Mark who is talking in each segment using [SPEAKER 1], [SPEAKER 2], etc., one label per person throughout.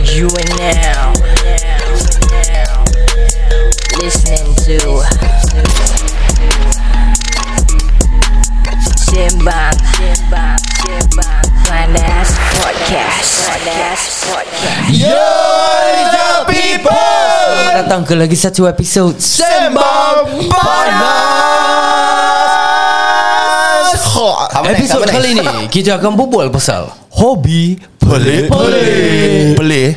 [SPEAKER 1] You are now listening to Simbang Finance Podcast. Finance Podcast.
[SPEAKER 2] Yo Ninja People
[SPEAKER 3] Selamat datang ke lagi satu episod
[SPEAKER 2] Sembang Panas Apa next?
[SPEAKER 3] Episod
[SPEAKER 2] Apa
[SPEAKER 3] kali
[SPEAKER 2] next?
[SPEAKER 3] ni Kita akan berbual pasal Hobi
[SPEAKER 2] Pelik Pelik Pelik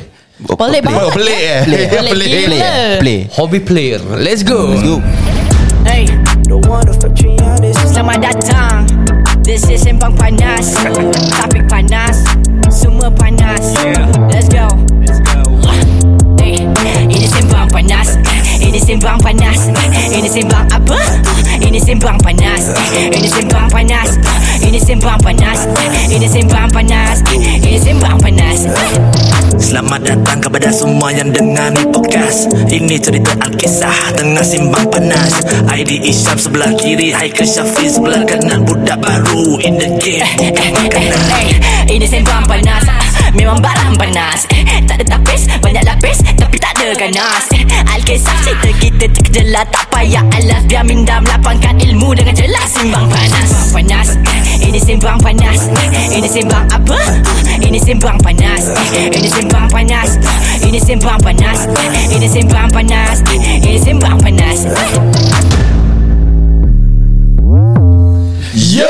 [SPEAKER 4] Pelik banget.
[SPEAKER 2] Oh, Pelik eh
[SPEAKER 4] Pelik.
[SPEAKER 2] Pelik
[SPEAKER 4] Pelik gila.
[SPEAKER 2] Pelik
[SPEAKER 3] Hobi player Let's go Let's go
[SPEAKER 1] Hey, selamat datang. This is Sembang Panas. Topik panas, semua panas. Let's go. Hey, ini Sembang Panas. Ini Sembang Panas. Ini Sembang apa? Ini Sembang Panas. Ini Sembang Panas. Ini Sembang Panas. Ini Sembang Panas. Ini Sembang Panas.
[SPEAKER 5] Selamat datang kepada semua yang dengar ni podcast Ini cerita Alkisah tengah simbang panas ID Isyam sebelah kiri Haikal Syafiq sebelah kanan Budak baru in the game bukan makanan
[SPEAKER 1] Eh, Ini sembang panas Ah, Memang barang panas Eh, Tak ada tapis Banyak lapis Tapi tak ada ganas Eh, Alkisah cerita kita terkejelah Tak payah alas Biar minda melapangkan ilmu Dengan jelas Simbang panas Simbang panas Eh, Ini sembang panas Eh, Ini sembang apa? Ah, Ini sembang panas Eh, Ini sembang panas Ah, Ini sembang panas Eh, Ini sembang panas Eh, Ini sembang panas Eh.
[SPEAKER 2] Yo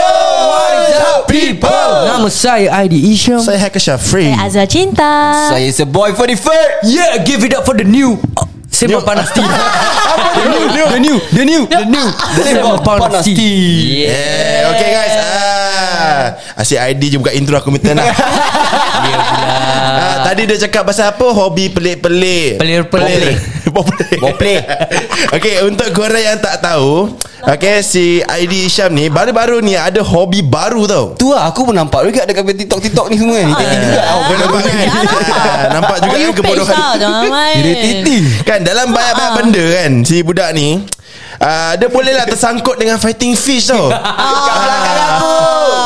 [SPEAKER 2] Ninja People
[SPEAKER 3] Oh. Nama saya Aidi Isham
[SPEAKER 2] Saya Hacker Syafri
[SPEAKER 4] Azra Cinta
[SPEAKER 6] Saya seboy for the first
[SPEAKER 3] Yeah give it up for the new uh, Sembang Panas Team
[SPEAKER 6] The new The new The new The
[SPEAKER 3] Sembang Panas Team Yeah
[SPEAKER 2] Eh, okay guys ah, Asyik ID je buka intro aku minta nak ah, Tadi dia cakap pasal apa Hobi pelik-pelik
[SPEAKER 3] Pelik-pelik.
[SPEAKER 2] Pelik
[SPEAKER 6] Boplay.
[SPEAKER 2] Okay untuk korang yang tak tahu Okay si ID Isyam ni Baru-baru ni ada hobi baru tau
[SPEAKER 6] Tu lah aku pun nampak juga Dekat TikTok-TikTok ni semua ni Titi juga lah,
[SPEAKER 2] Ah, kau nampak kan Ah, Nampak juga kan
[SPEAKER 4] You page
[SPEAKER 2] kebodohan
[SPEAKER 4] tau Jangan main
[SPEAKER 2] Kan dalam banyak-banyak benda kan Si budak ni uh, Dia bolehlah tersangkut dengan fighting fish tau Ah.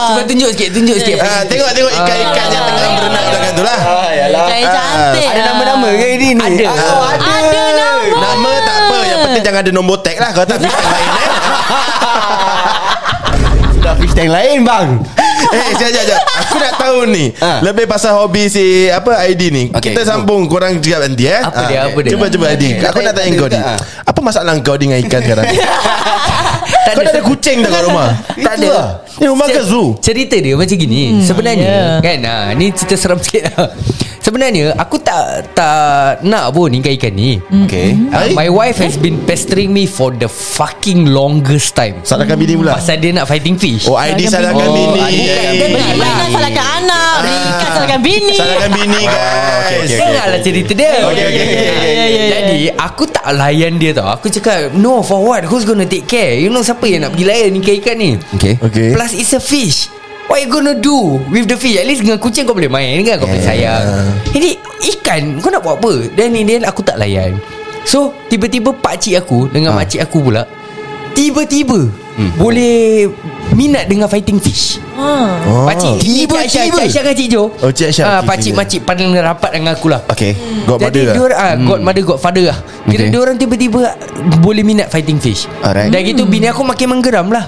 [SPEAKER 3] Cuba tunjuk sikit Tunjuk sikit
[SPEAKER 2] Ah, Tengok tengok ikan-ikan yang tengah
[SPEAKER 3] Ah.
[SPEAKER 2] berenang belakang tu lah
[SPEAKER 4] Jangan cantik
[SPEAKER 6] Ada
[SPEAKER 4] lah.
[SPEAKER 6] nama-nama ke ini ni Ada oh,
[SPEAKER 4] Ada Ah. nama
[SPEAKER 2] Nama tak apa Yang penting jangan ada nombor tag lah Kalau tak fish tank lain eh
[SPEAKER 6] Dah fish tank lain bang
[SPEAKER 2] Eh sekejap sekejap, sekejap Aku nak tahu ni
[SPEAKER 6] Ah.
[SPEAKER 2] Lebih pasal hobi si Apa ID ni
[SPEAKER 6] Okay,
[SPEAKER 2] Kita
[SPEAKER 6] go.
[SPEAKER 2] sambung Korang cakap nanti eh
[SPEAKER 3] Apa
[SPEAKER 2] Ah,
[SPEAKER 3] dia, apa dia?
[SPEAKER 2] Cuba cuba ID Aku nak tanya
[SPEAKER 6] Ada
[SPEAKER 2] kau ni
[SPEAKER 6] tak, ah?
[SPEAKER 2] Apa masalah kau dengan ikan sekarang Kau dah ada kucing dah kat rumah
[SPEAKER 3] Tak ada.
[SPEAKER 2] Itulah. Ni rumah ke
[SPEAKER 3] Cer-
[SPEAKER 2] zoo
[SPEAKER 3] Cerita dia macam gini hmm, Sebenarnya
[SPEAKER 4] ya.
[SPEAKER 3] yeah. Kan ha, Ni cerita seram sikit lah. Sebenarnya Aku tak Tak nak pun ikan-ikan ni
[SPEAKER 6] Okay
[SPEAKER 3] Uh,
[SPEAKER 2] Hai?
[SPEAKER 3] my wife has been pestering me for the fucking longest time.
[SPEAKER 2] Salahkan bini pula
[SPEAKER 3] Pasal dia nak fighting fish.
[SPEAKER 2] Oh ID salahkan
[SPEAKER 3] Oh,
[SPEAKER 2] bini
[SPEAKER 3] ID salahkan
[SPEAKER 4] Beli
[SPEAKER 3] Bini.
[SPEAKER 4] mainan salahkan anak Beli ikan Ah. salahkan bini
[SPEAKER 2] Ah. Salahkan bini Ah, guys
[SPEAKER 3] Dengarlah lah cerita dia
[SPEAKER 2] Okay, okay, okay, okay,
[SPEAKER 4] okay, okay.
[SPEAKER 3] Jadi Aku tak layan dia tau Aku cakap No for what Who's gonna take care You know siapa yang nak pergi layan Ikan-ikan ni
[SPEAKER 6] Okay
[SPEAKER 2] Okay
[SPEAKER 3] Plus it's a fish What you gonna do With the fish At least dengan kucing kau boleh main kan Kau boleh sayang Ini ikan Kau nak buat apa Then in the end aku tak layan So tiba-tiba pakcik aku Dengan ha. makcik aku pula Tiba-tiba hmm. Boleh Minat dengan fighting fish
[SPEAKER 2] Oh.
[SPEAKER 3] Pakcik
[SPEAKER 6] Tiba-tiba.
[SPEAKER 3] Cik Aisyah- Cik Aisyah kan Cik Jo
[SPEAKER 2] Oh, Cik Aisyah,
[SPEAKER 3] Ah,
[SPEAKER 2] okey,
[SPEAKER 3] Pakcik
[SPEAKER 2] okey.
[SPEAKER 3] makcik paling rapat dengan aku lah
[SPEAKER 6] Okay
[SPEAKER 2] God
[SPEAKER 3] jadi
[SPEAKER 2] mother lah
[SPEAKER 3] diorang ah, Godmother Godfather lah Kira
[SPEAKER 6] Hmm. Okay.
[SPEAKER 3] okay. diorang tiba-tiba Boleh minat fighting fish
[SPEAKER 6] Alright. Ah.
[SPEAKER 3] Dah gitu bini aku makin menggeram lah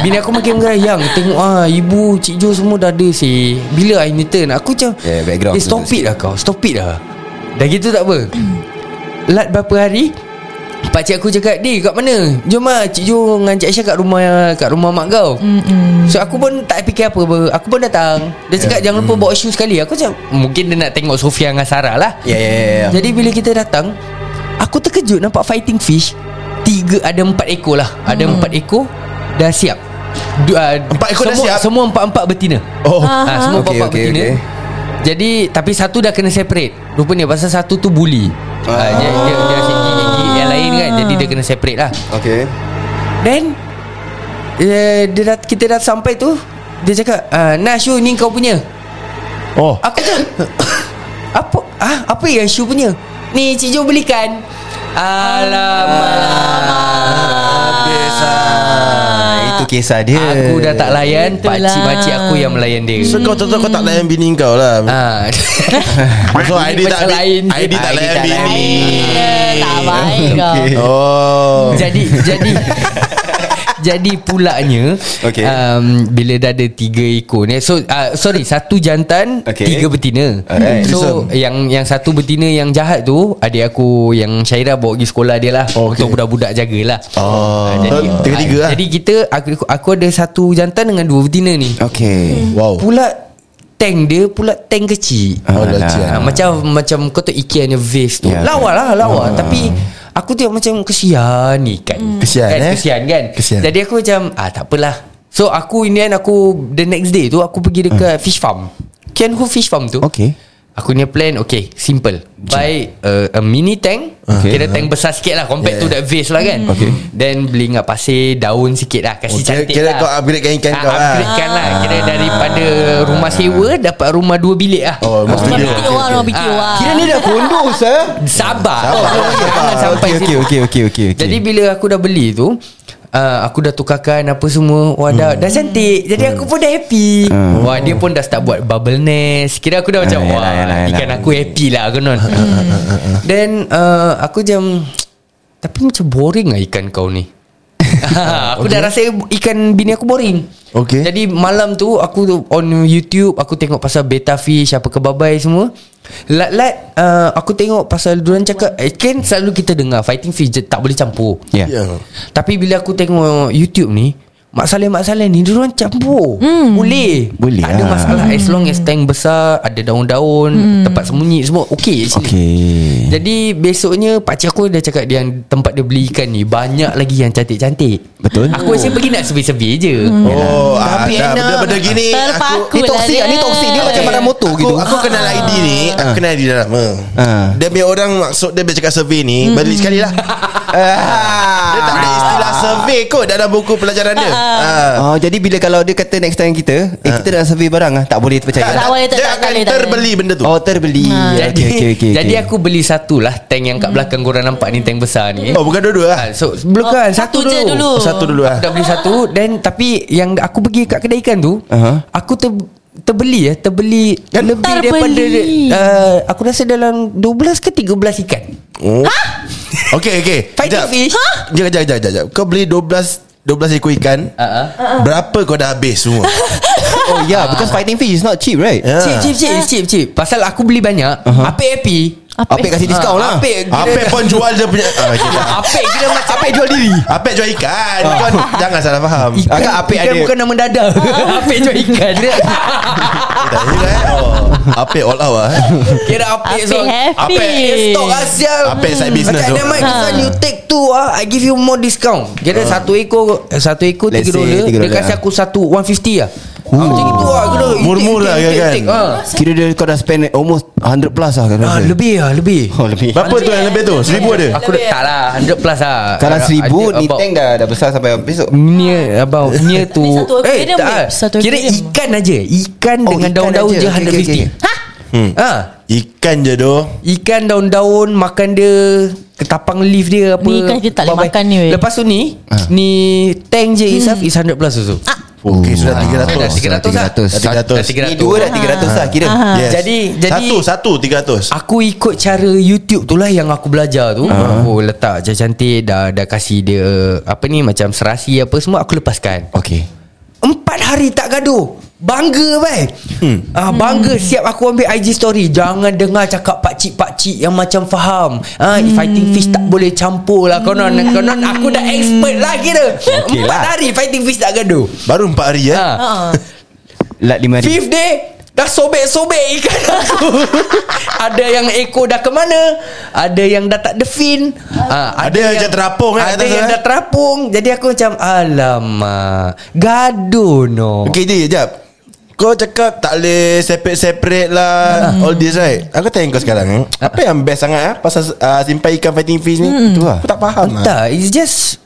[SPEAKER 3] Bini aku makin menggeram Yang tengok ah, Ibu Cik Jo semua dah ada si Bila I ni turn Aku macam
[SPEAKER 6] Yeah,
[SPEAKER 3] Eh
[SPEAKER 6] background
[SPEAKER 3] stop
[SPEAKER 6] dulu
[SPEAKER 3] it lah kau Stop it lah Dah gitu tak apa
[SPEAKER 6] Hmm.
[SPEAKER 3] Lat berapa hari Pakcik aku cakap Di kat mana Jom lah Cik Jo dengan Cik Aisyah kat rumah Kat rumah mak kau Mm-mm. So aku pun tak fikir apa pun Aku pun datang Dia cakap yeah. jangan lupa
[SPEAKER 6] Hmm.
[SPEAKER 3] bawa shoes sekali Aku macam Mungkin dia nak tengok Sofia dengan Sarah lah
[SPEAKER 6] Ya ya ya
[SPEAKER 2] Ah.
[SPEAKER 6] ya.
[SPEAKER 3] jadi bila kita datang Aku terkejut nampak fighting fish Tiga ada empat ekor lah Ada empat ekor Dah siap du, uh,
[SPEAKER 2] Hmm. Empat ekor dah
[SPEAKER 3] semua,
[SPEAKER 2] siap?
[SPEAKER 3] Semua empat-empat betina
[SPEAKER 2] Oh
[SPEAKER 3] ha, Semua
[SPEAKER 6] Okay,
[SPEAKER 3] empat-empat
[SPEAKER 6] okay,
[SPEAKER 3] betina
[SPEAKER 6] okay.
[SPEAKER 3] Jadi Tapi satu dah kena separate Rupanya pasal satu tu bully ah. dia, dia, dia asyik gigi-gigi yang lain kan Jadi dia
[SPEAKER 2] Ah.
[SPEAKER 3] kena separate lah
[SPEAKER 6] Okay
[SPEAKER 3] Then eh, dia dah, Kita dah sampai tu Dia cakap ah, Nah Shu ni kau punya
[SPEAKER 2] Oh
[SPEAKER 3] Aku macam Apa ah, Apa yang Shu punya Ni Cik Jo belikan Alamak
[SPEAKER 6] Habis lah Itu tu kisah dia
[SPEAKER 3] Aku dah tak layan
[SPEAKER 4] Itulah.
[SPEAKER 3] Pakcik-pakcik aku yang melayan dia
[SPEAKER 2] So kau contoh kau tak layan bini kau lah
[SPEAKER 3] Ah.
[SPEAKER 2] So ID tak
[SPEAKER 3] Macam lain.
[SPEAKER 2] ID tak
[SPEAKER 3] Ah,
[SPEAKER 2] layan
[SPEAKER 3] tak layan
[SPEAKER 2] bini
[SPEAKER 4] Eh, Tak baik kau
[SPEAKER 6] Okay.
[SPEAKER 2] Oh
[SPEAKER 3] Jadi Jadi Jadi pulaknya
[SPEAKER 6] Okay.
[SPEAKER 3] um, Bila dah ada tiga ekor ni So uh, sorry Satu jantan
[SPEAKER 6] Okay.
[SPEAKER 3] Tiga betina
[SPEAKER 6] Alright.
[SPEAKER 3] So yang yang satu betina yang jahat tu Adik aku yang Syairah bawa pergi sekolah dia lah
[SPEAKER 2] Oh,
[SPEAKER 3] oh,
[SPEAKER 2] okay.
[SPEAKER 3] Untuk budak-budak jagalah
[SPEAKER 2] Oh.
[SPEAKER 3] Ah,
[SPEAKER 2] So, tiga-tiga
[SPEAKER 3] ah,
[SPEAKER 2] lah.
[SPEAKER 3] Jadi kita aku, aku ada satu jantan dengan dua betina ni
[SPEAKER 6] Okay
[SPEAKER 2] Wow
[SPEAKER 3] Pula tank dia pula tank kecil
[SPEAKER 2] Oh,
[SPEAKER 6] Alah.
[SPEAKER 2] leceh.
[SPEAKER 3] Ha, macam macam kau tu Ikea punya vase tu.
[SPEAKER 6] Ya.
[SPEAKER 3] Yeah. Lawa lah, lawa.
[SPEAKER 2] Hmm.
[SPEAKER 3] Tapi aku tengok macam kesian ni kan.
[SPEAKER 2] Kesian,
[SPEAKER 3] kan,
[SPEAKER 2] eh?
[SPEAKER 3] Kesian kan.
[SPEAKER 2] Kesian.
[SPEAKER 3] Jadi aku macam ah tak apalah. So aku in the end aku the next day tu aku pergi
[SPEAKER 2] Hmm.
[SPEAKER 3] dekat fish farm. Kianhu fish farm tu.
[SPEAKER 6] Okay.
[SPEAKER 3] Aku punya plan okay simple. Buy uh, a mini tank.
[SPEAKER 2] Ah. Okay.
[SPEAKER 3] Okay. Kira tank besar sikit lah compared yeah. to that vase lah kan. Okay. Then beli ingat pasir daun sikit lah kasi
[SPEAKER 2] Oh, kira-
[SPEAKER 3] oh, cantik
[SPEAKER 2] kira
[SPEAKER 3] lah.
[SPEAKER 2] kau upgradekan ikan
[SPEAKER 3] Ah,
[SPEAKER 2] kau lah. Ah.
[SPEAKER 3] Upgradekan lah. Kira daripada rumah sewa dapat rumah dua bilik lah.
[SPEAKER 2] Oh rumah
[SPEAKER 4] Rumah
[SPEAKER 2] studio
[SPEAKER 4] fikir orang Rumah fikir
[SPEAKER 3] Ah.
[SPEAKER 4] orang
[SPEAKER 6] Kira ni dah kondo sah
[SPEAKER 2] Sabar.
[SPEAKER 3] Sabar Sabar. Jangan sampai situ.
[SPEAKER 6] Okay okay okay okay okay okay.
[SPEAKER 3] Jadi bila aku dah beli tu uh, Aku dah tukarkan apa semua Wah dah, dah cantik Jadi aku pun dah happy
[SPEAKER 6] Hmm.
[SPEAKER 3] Wah dia pun dah start buat bubble nest Kira aku dah macam
[SPEAKER 6] Ah, yalah,
[SPEAKER 3] Wah
[SPEAKER 6] yalah, yalah.
[SPEAKER 3] ikan aku happy lah konon Then uh, aku macam Tapi macam boring lah ikan kau ni Aku dah rasa ikan bini aku boring
[SPEAKER 2] Okay.
[SPEAKER 3] Jadi malam tu Aku tu on YouTube Aku tengok pasal beta fish Apa kebabai semua Lat-lat uh, Aku tengok pasal Diorang cakap eh, Kan selalu kita dengar Fighting fish je- tak boleh campur
[SPEAKER 6] Ya
[SPEAKER 2] Ya.
[SPEAKER 3] Tapi bila aku tengok YouTube ni Mak Saleh-Mak Saleh ni Diorang campur Boleh
[SPEAKER 6] Boleh
[SPEAKER 3] Tak ada
[SPEAKER 6] lah.
[SPEAKER 3] masalah As long as tank besar Ada daun-daun Tempat sembunyi Semua okay actually
[SPEAKER 6] Okay
[SPEAKER 3] jadi besoknya pakcik aku dah cakap dia yang tempat dia beli ikan ni banyak lagi yang cantik-cantik.
[SPEAKER 6] Betul.
[SPEAKER 3] Aku asyik pergi nak sebi-sebi je.
[SPEAKER 2] Oh ah,
[SPEAKER 6] Tapi
[SPEAKER 2] dah
[SPEAKER 6] enak.
[SPEAKER 2] Benda-benda gini Aku
[SPEAKER 4] Terpaku ah.
[SPEAKER 6] Ni
[SPEAKER 4] lah
[SPEAKER 6] toksik
[SPEAKER 4] dia
[SPEAKER 6] lah Ni toksik Dia macam barang motor
[SPEAKER 2] aku,
[SPEAKER 6] gitu
[SPEAKER 2] Aku kenal ID ni Aku
[SPEAKER 3] Ah.
[SPEAKER 2] kenal ID dah lama
[SPEAKER 6] Ha.
[SPEAKER 2] Dia punya orang Maksud dia bila cakap survey ni
[SPEAKER 4] Hmm.
[SPEAKER 2] Balik sekali lah
[SPEAKER 6] Ah.
[SPEAKER 2] Dia tak ada istilah survey kot Dalam buku pelajaran dia Ah.
[SPEAKER 6] Oh, jadi bila kalau dia kata next time kita eh, Kita dah survey barang lah Tak boleh
[SPEAKER 4] Tak
[SPEAKER 6] percaya
[SPEAKER 4] boleh,
[SPEAKER 2] Dia
[SPEAKER 4] tak- tak- tak
[SPEAKER 2] akan
[SPEAKER 4] boleh, tak
[SPEAKER 2] terbeli benda tu
[SPEAKER 6] Oh terbeli
[SPEAKER 3] Ah. Jadi,
[SPEAKER 6] okay, okay, okay,
[SPEAKER 3] jadi
[SPEAKER 6] okay.
[SPEAKER 3] aku beli satu lah tank yang kat belakang korang nampak ni tank besar ni.
[SPEAKER 2] Oh bukan dua-dua lah
[SPEAKER 3] Ah, So belum kan
[SPEAKER 4] Hmm. Oh,
[SPEAKER 3] satu,
[SPEAKER 4] satu je dulu.
[SPEAKER 2] Oh, Satu dulu
[SPEAKER 3] Aku
[SPEAKER 2] lah
[SPEAKER 3] dah beli satu Then tapi yang aku pergi kat kedai ikan tu
[SPEAKER 6] Aha.
[SPEAKER 3] Aku ter, terbeli ya Terbeli
[SPEAKER 2] Kan?
[SPEAKER 3] Lebih
[SPEAKER 4] Terbeli.
[SPEAKER 3] daripada uh, Aku rasa dalam 12 ke 13 ikan
[SPEAKER 2] oh. Okay okay
[SPEAKER 3] Fighting
[SPEAKER 2] Jap.
[SPEAKER 3] fish ha?
[SPEAKER 2] Jangan jangan jangan jangan. Kau beli 12 12 ekor ikan
[SPEAKER 3] Uh-huh.
[SPEAKER 2] Berapa kau dah habis semua
[SPEAKER 6] Oh yeah Because fighting fish is not cheap right
[SPEAKER 2] Ya.
[SPEAKER 3] Cip, cip, cip, cip, cip. Ah. Pasal aku beli banyak uh-huh. Api-api
[SPEAKER 4] Apek.
[SPEAKER 6] Apek kasi diskaun
[SPEAKER 3] Ah,
[SPEAKER 6] lah
[SPEAKER 3] Apek
[SPEAKER 2] Apek pun jual dia punya ah, okay.
[SPEAKER 3] Ya, Apek kira macam Apek jual diri
[SPEAKER 2] Apek jual ikan Kau jangan salah faham
[SPEAKER 3] Ikan,
[SPEAKER 6] Agak Apek
[SPEAKER 3] ikan
[SPEAKER 6] ada.
[SPEAKER 3] bukan nama dadah
[SPEAKER 4] Oh.
[SPEAKER 3] Apek jual ikan
[SPEAKER 2] Tak juga eh oh. Apek all out lah eh.
[SPEAKER 3] Kira Apek
[SPEAKER 4] Apek
[SPEAKER 3] so
[SPEAKER 4] happy.
[SPEAKER 2] Apek
[SPEAKER 3] Dia stok Asia
[SPEAKER 2] Apek side business
[SPEAKER 3] Macam
[SPEAKER 2] tu.
[SPEAKER 3] Dynamite
[SPEAKER 4] Eh, Ha.
[SPEAKER 3] ha. You take two ah, I give you more discount Kira satu ekor eh, Satu ekor
[SPEAKER 6] Ha. Let's
[SPEAKER 3] tiga
[SPEAKER 6] say
[SPEAKER 3] dolar
[SPEAKER 6] tiga
[SPEAKER 3] Dia
[SPEAKER 6] dolar,
[SPEAKER 3] kasi
[SPEAKER 6] ah.
[SPEAKER 3] aku satu One fifty lah Ah, Macam gitu lah kira, you take,
[SPEAKER 2] Murmur
[SPEAKER 3] you
[SPEAKER 2] lah,
[SPEAKER 3] take, you
[SPEAKER 2] kan?
[SPEAKER 3] take, ah.
[SPEAKER 6] Kira dia kau dah spend almost 100 plus lah
[SPEAKER 3] Ah, Lebih lah Lebih
[SPEAKER 6] Oh lebih
[SPEAKER 2] Berapa tu yang lebih tu Seribu ada
[SPEAKER 3] Aku dah tak lah 100 plus lah
[SPEAKER 6] Kalau
[SPEAKER 3] Ada-
[SPEAKER 6] seribu
[SPEAKER 3] ada
[SPEAKER 6] Ni
[SPEAKER 3] about-
[SPEAKER 6] tank dah Dah besar sampai besok
[SPEAKER 3] Near About Near to
[SPEAKER 4] Ni satu
[SPEAKER 3] Eh
[SPEAKER 4] aquarium,
[SPEAKER 3] tak
[SPEAKER 4] babe.
[SPEAKER 3] lah.
[SPEAKER 4] Satu
[SPEAKER 3] Kira
[SPEAKER 4] aquarium.
[SPEAKER 3] ikan aja Ikan
[SPEAKER 6] Oh,
[SPEAKER 3] dengan
[SPEAKER 6] ikan
[SPEAKER 3] daun-daun
[SPEAKER 6] aja.
[SPEAKER 3] je
[SPEAKER 6] Okay, okay, Hmm. okay.
[SPEAKER 3] 150 Ha? Ha
[SPEAKER 2] Ikan je tu
[SPEAKER 3] Ikan daun-daun Makan dia Ketapang leaf dia apa
[SPEAKER 4] Ni ikan kita tak boleh
[SPEAKER 3] Babai.
[SPEAKER 4] makan ni, weh. Hmm.
[SPEAKER 3] Lepas tu ni Ni Tank je itself Is 100 plus also ah,
[SPEAKER 2] Okay sudah
[SPEAKER 3] Dah
[SPEAKER 2] 300
[SPEAKER 3] 300 lah
[SPEAKER 2] Dah 300.
[SPEAKER 3] Dah 300
[SPEAKER 6] Ni dua dah 300 lah kira
[SPEAKER 2] yes.
[SPEAKER 3] Ah. Jadi- jadi- Ah.
[SPEAKER 2] Satu Satu 300
[SPEAKER 3] Aku ikut cara YouTube tu lah Yang aku belajar tu uh-huh. Oh letak je cantik Dah dah kasih dia Apa ni Macam serasi apa semua Aku lepaskan
[SPEAKER 6] Okay
[SPEAKER 3] Empat hari tak gaduh Bangga baik hmm. ah, Bangga hmm. siap aku ambil IG story Jangan dengar cakap pakcik-pakcik yang macam faham ah, hmm. Fighting fish tak boleh campur lah Konon, konon aku dah expert lah kira okay Empat
[SPEAKER 6] lah.
[SPEAKER 3] hari fighting fish tak gaduh
[SPEAKER 2] Baru 4 hari eh
[SPEAKER 3] ah.
[SPEAKER 4] Ah.
[SPEAKER 6] Lat lima hari
[SPEAKER 3] Fifth day Dah sobek-sobek ikan aku Ada yang ekor dah ke mana Ada yang dah tak ada fin ha,
[SPEAKER 2] Ah. Ada yang macam terapung kan
[SPEAKER 3] Ada
[SPEAKER 2] atas
[SPEAKER 3] yang
[SPEAKER 2] tu, eh?
[SPEAKER 3] dah terapung Jadi aku macam Alamak Gaduh no
[SPEAKER 2] Okay je jap Kau cakap tak boleh separate-separate lah
[SPEAKER 3] Ah.
[SPEAKER 2] All this right Aku tanya kau sekarang eh, Apa yang best sangat ah Pasal ah, simpan ikan fighting fish ni Itu lah Aku tak faham lah
[SPEAKER 3] Hmm. Entah It's just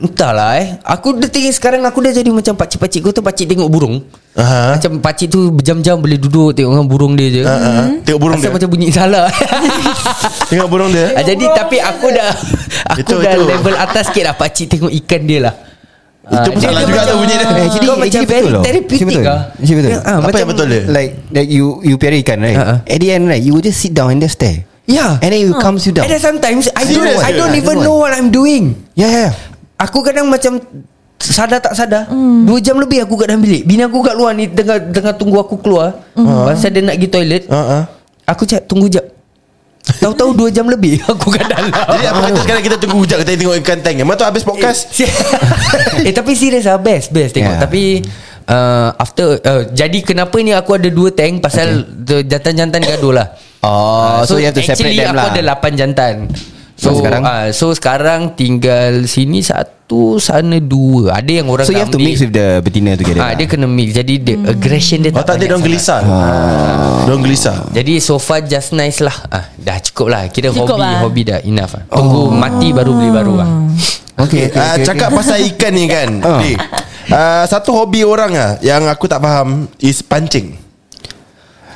[SPEAKER 3] Entahlah eh Aku dah tengok sekarang Aku dah jadi macam pakcik-pakcik Kau tu pakcik tengok burung
[SPEAKER 2] Aha.
[SPEAKER 3] Macam pakcik tu Berjam-jam boleh duduk Tengok dengan burung dia je
[SPEAKER 2] Ah, ah, ah. Tengok burung
[SPEAKER 3] Asal
[SPEAKER 2] dia
[SPEAKER 3] macam bunyi salah
[SPEAKER 2] Tengok burung dia
[SPEAKER 3] Ah, jadi tapi aku dah aku
[SPEAKER 2] Itu,
[SPEAKER 3] dah
[SPEAKER 2] itu.
[SPEAKER 3] level atas sikit lah pak cik tengok ikan dia lah.
[SPEAKER 2] Itu pun salah juga tu bunyi dia.
[SPEAKER 3] Eh, jadi, Kau macam very therapeutic
[SPEAKER 6] betul.
[SPEAKER 3] lah
[SPEAKER 6] Actually betul.
[SPEAKER 3] Ah,
[SPEAKER 2] Apa
[SPEAKER 3] macam-
[SPEAKER 2] yang betul dia?
[SPEAKER 6] Like that you you perikan kan, right.
[SPEAKER 3] Ah, ah.
[SPEAKER 6] At the end right, you will just sit down and just stare.
[SPEAKER 3] Yeah
[SPEAKER 6] And then you calms you down.
[SPEAKER 3] Ya. And then sometimes I don't
[SPEAKER 2] Serious
[SPEAKER 3] I
[SPEAKER 2] ke?
[SPEAKER 3] don't
[SPEAKER 6] I
[SPEAKER 3] even
[SPEAKER 6] don't
[SPEAKER 3] know what I'm doing
[SPEAKER 6] Yeah, yeah. yeah.
[SPEAKER 3] Aku kadang macam Sadar tak sadar mm. Dua jam lebih aku kat dalam bilik Bini aku kat luar ni Tengah, tengah tunggu aku keluar mm. Pasal dia nak pergi toilet
[SPEAKER 2] Ah, ah.
[SPEAKER 3] Aku cakap tunggu jap Tahu-tahu dua jam lebih Aku kat dalam
[SPEAKER 2] Jadi apa kata sekarang kita tunggu hujat Kita tengok ikan tank Memang tu habis podcast
[SPEAKER 3] Si- eh tapi serius lah Best Best tengok yeah.
[SPEAKER 6] Yeah.
[SPEAKER 3] Tapi uh, After uh, Jadi kenapa ni aku ada dua tank Pasal okay. Jantan-jantan gaduh lah Ah,
[SPEAKER 6] Oh, so, you have to separate
[SPEAKER 3] actually
[SPEAKER 6] them lah.
[SPEAKER 3] aku ada lapan jantan So,
[SPEAKER 6] So,
[SPEAKER 3] so sekarang uh,
[SPEAKER 6] sekarang?
[SPEAKER 3] So sekarang tinggal Sini satu Sana dua Ada yang orang
[SPEAKER 6] So you have to mix with the betina together.
[SPEAKER 3] Ah,
[SPEAKER 6] lah.
[SPEAKER 3] dia kena mix Jadi dia, aggression dia
[SPEAKER 2] Oh tak ada Diorang
[SPEAKER 3] Eh, banyak sangat.
[SPEAKER 2] gelisah Ah. Diorang gelisah
[SPEAKER 3] Jadi so far just nice lah ah, Dah cukup lah Kira
[SPEAKER 4] Cukup
[SPEAKER 3] hobi
[SPEAKER 4] lah.
[SPEAKER 3] Hobi dah enough lah
[SPEAKER 6] Oh.
[SPEAKER 3] Tunggu mati baru beli baru lah
[SPEAKER 6] Okay, okay,
[SPEAKER 2] Ah,
[SPEAKER 6] okay,
[SPEAKER 2] Cakap pasal ikan ni kan
[SPEAKER 6] Ah.
[SPEAKER 2] Lee, ah, Satu hobi orang ah Yang aku tak faham Is pancing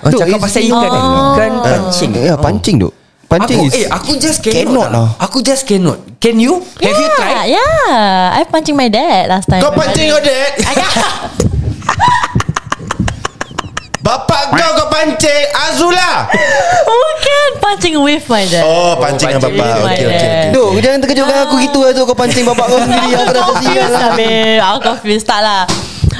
[SPEAKER 3] oh,
[SPEAKER 6] Duk,
[SPEAKER 3] Cakap
[SPEAKER 6] it's
[SPEAKER 3] pasal
[SPEAKER 6] been-
[SPEAKER 3] ikan kan Ikan
[SPEAKER 6] Ah.
[SPEAKER 3] pancing Oh.
[SPEAKER 6] Yeah, pancing duk. Pancing
[SPEAKER 3] aku,
[SPEAKER 6] is
[SPEAKER 3] Eh aku just cannot,
[SPEAKER 6] Cannot
[SPEAKER 3] lah.
[SPEAKER 6] lah.
[SPEAKER 3] Aku just cannot Can you?
[SPEAKER 4] Ya,
[SPEAKER 3] Have you tried?
[SPEAKER 4] Yeah, yeah. I pancing my dad last time.
[SPEAKER 2] Kau pancing kau dek Bapak kau kau pancing Azula
[SPEAKER 4] Bukan pancing Oh, with my dad.
[SPEAKER 2] Oh pancing dengan
[SPEAKER 3] pancing.
[SPEAKER 2] bapak Okay okay okay.
[SPEAKER 6] Duk, jangan terkejutkan aku gitu lah tu kau pancing bapak kau sendiri aku dah tersial
[SPEAKER 4] confused
[SPEAKER 6] lah.
[SPEAKER 4] lah babe I'm confused Tak lah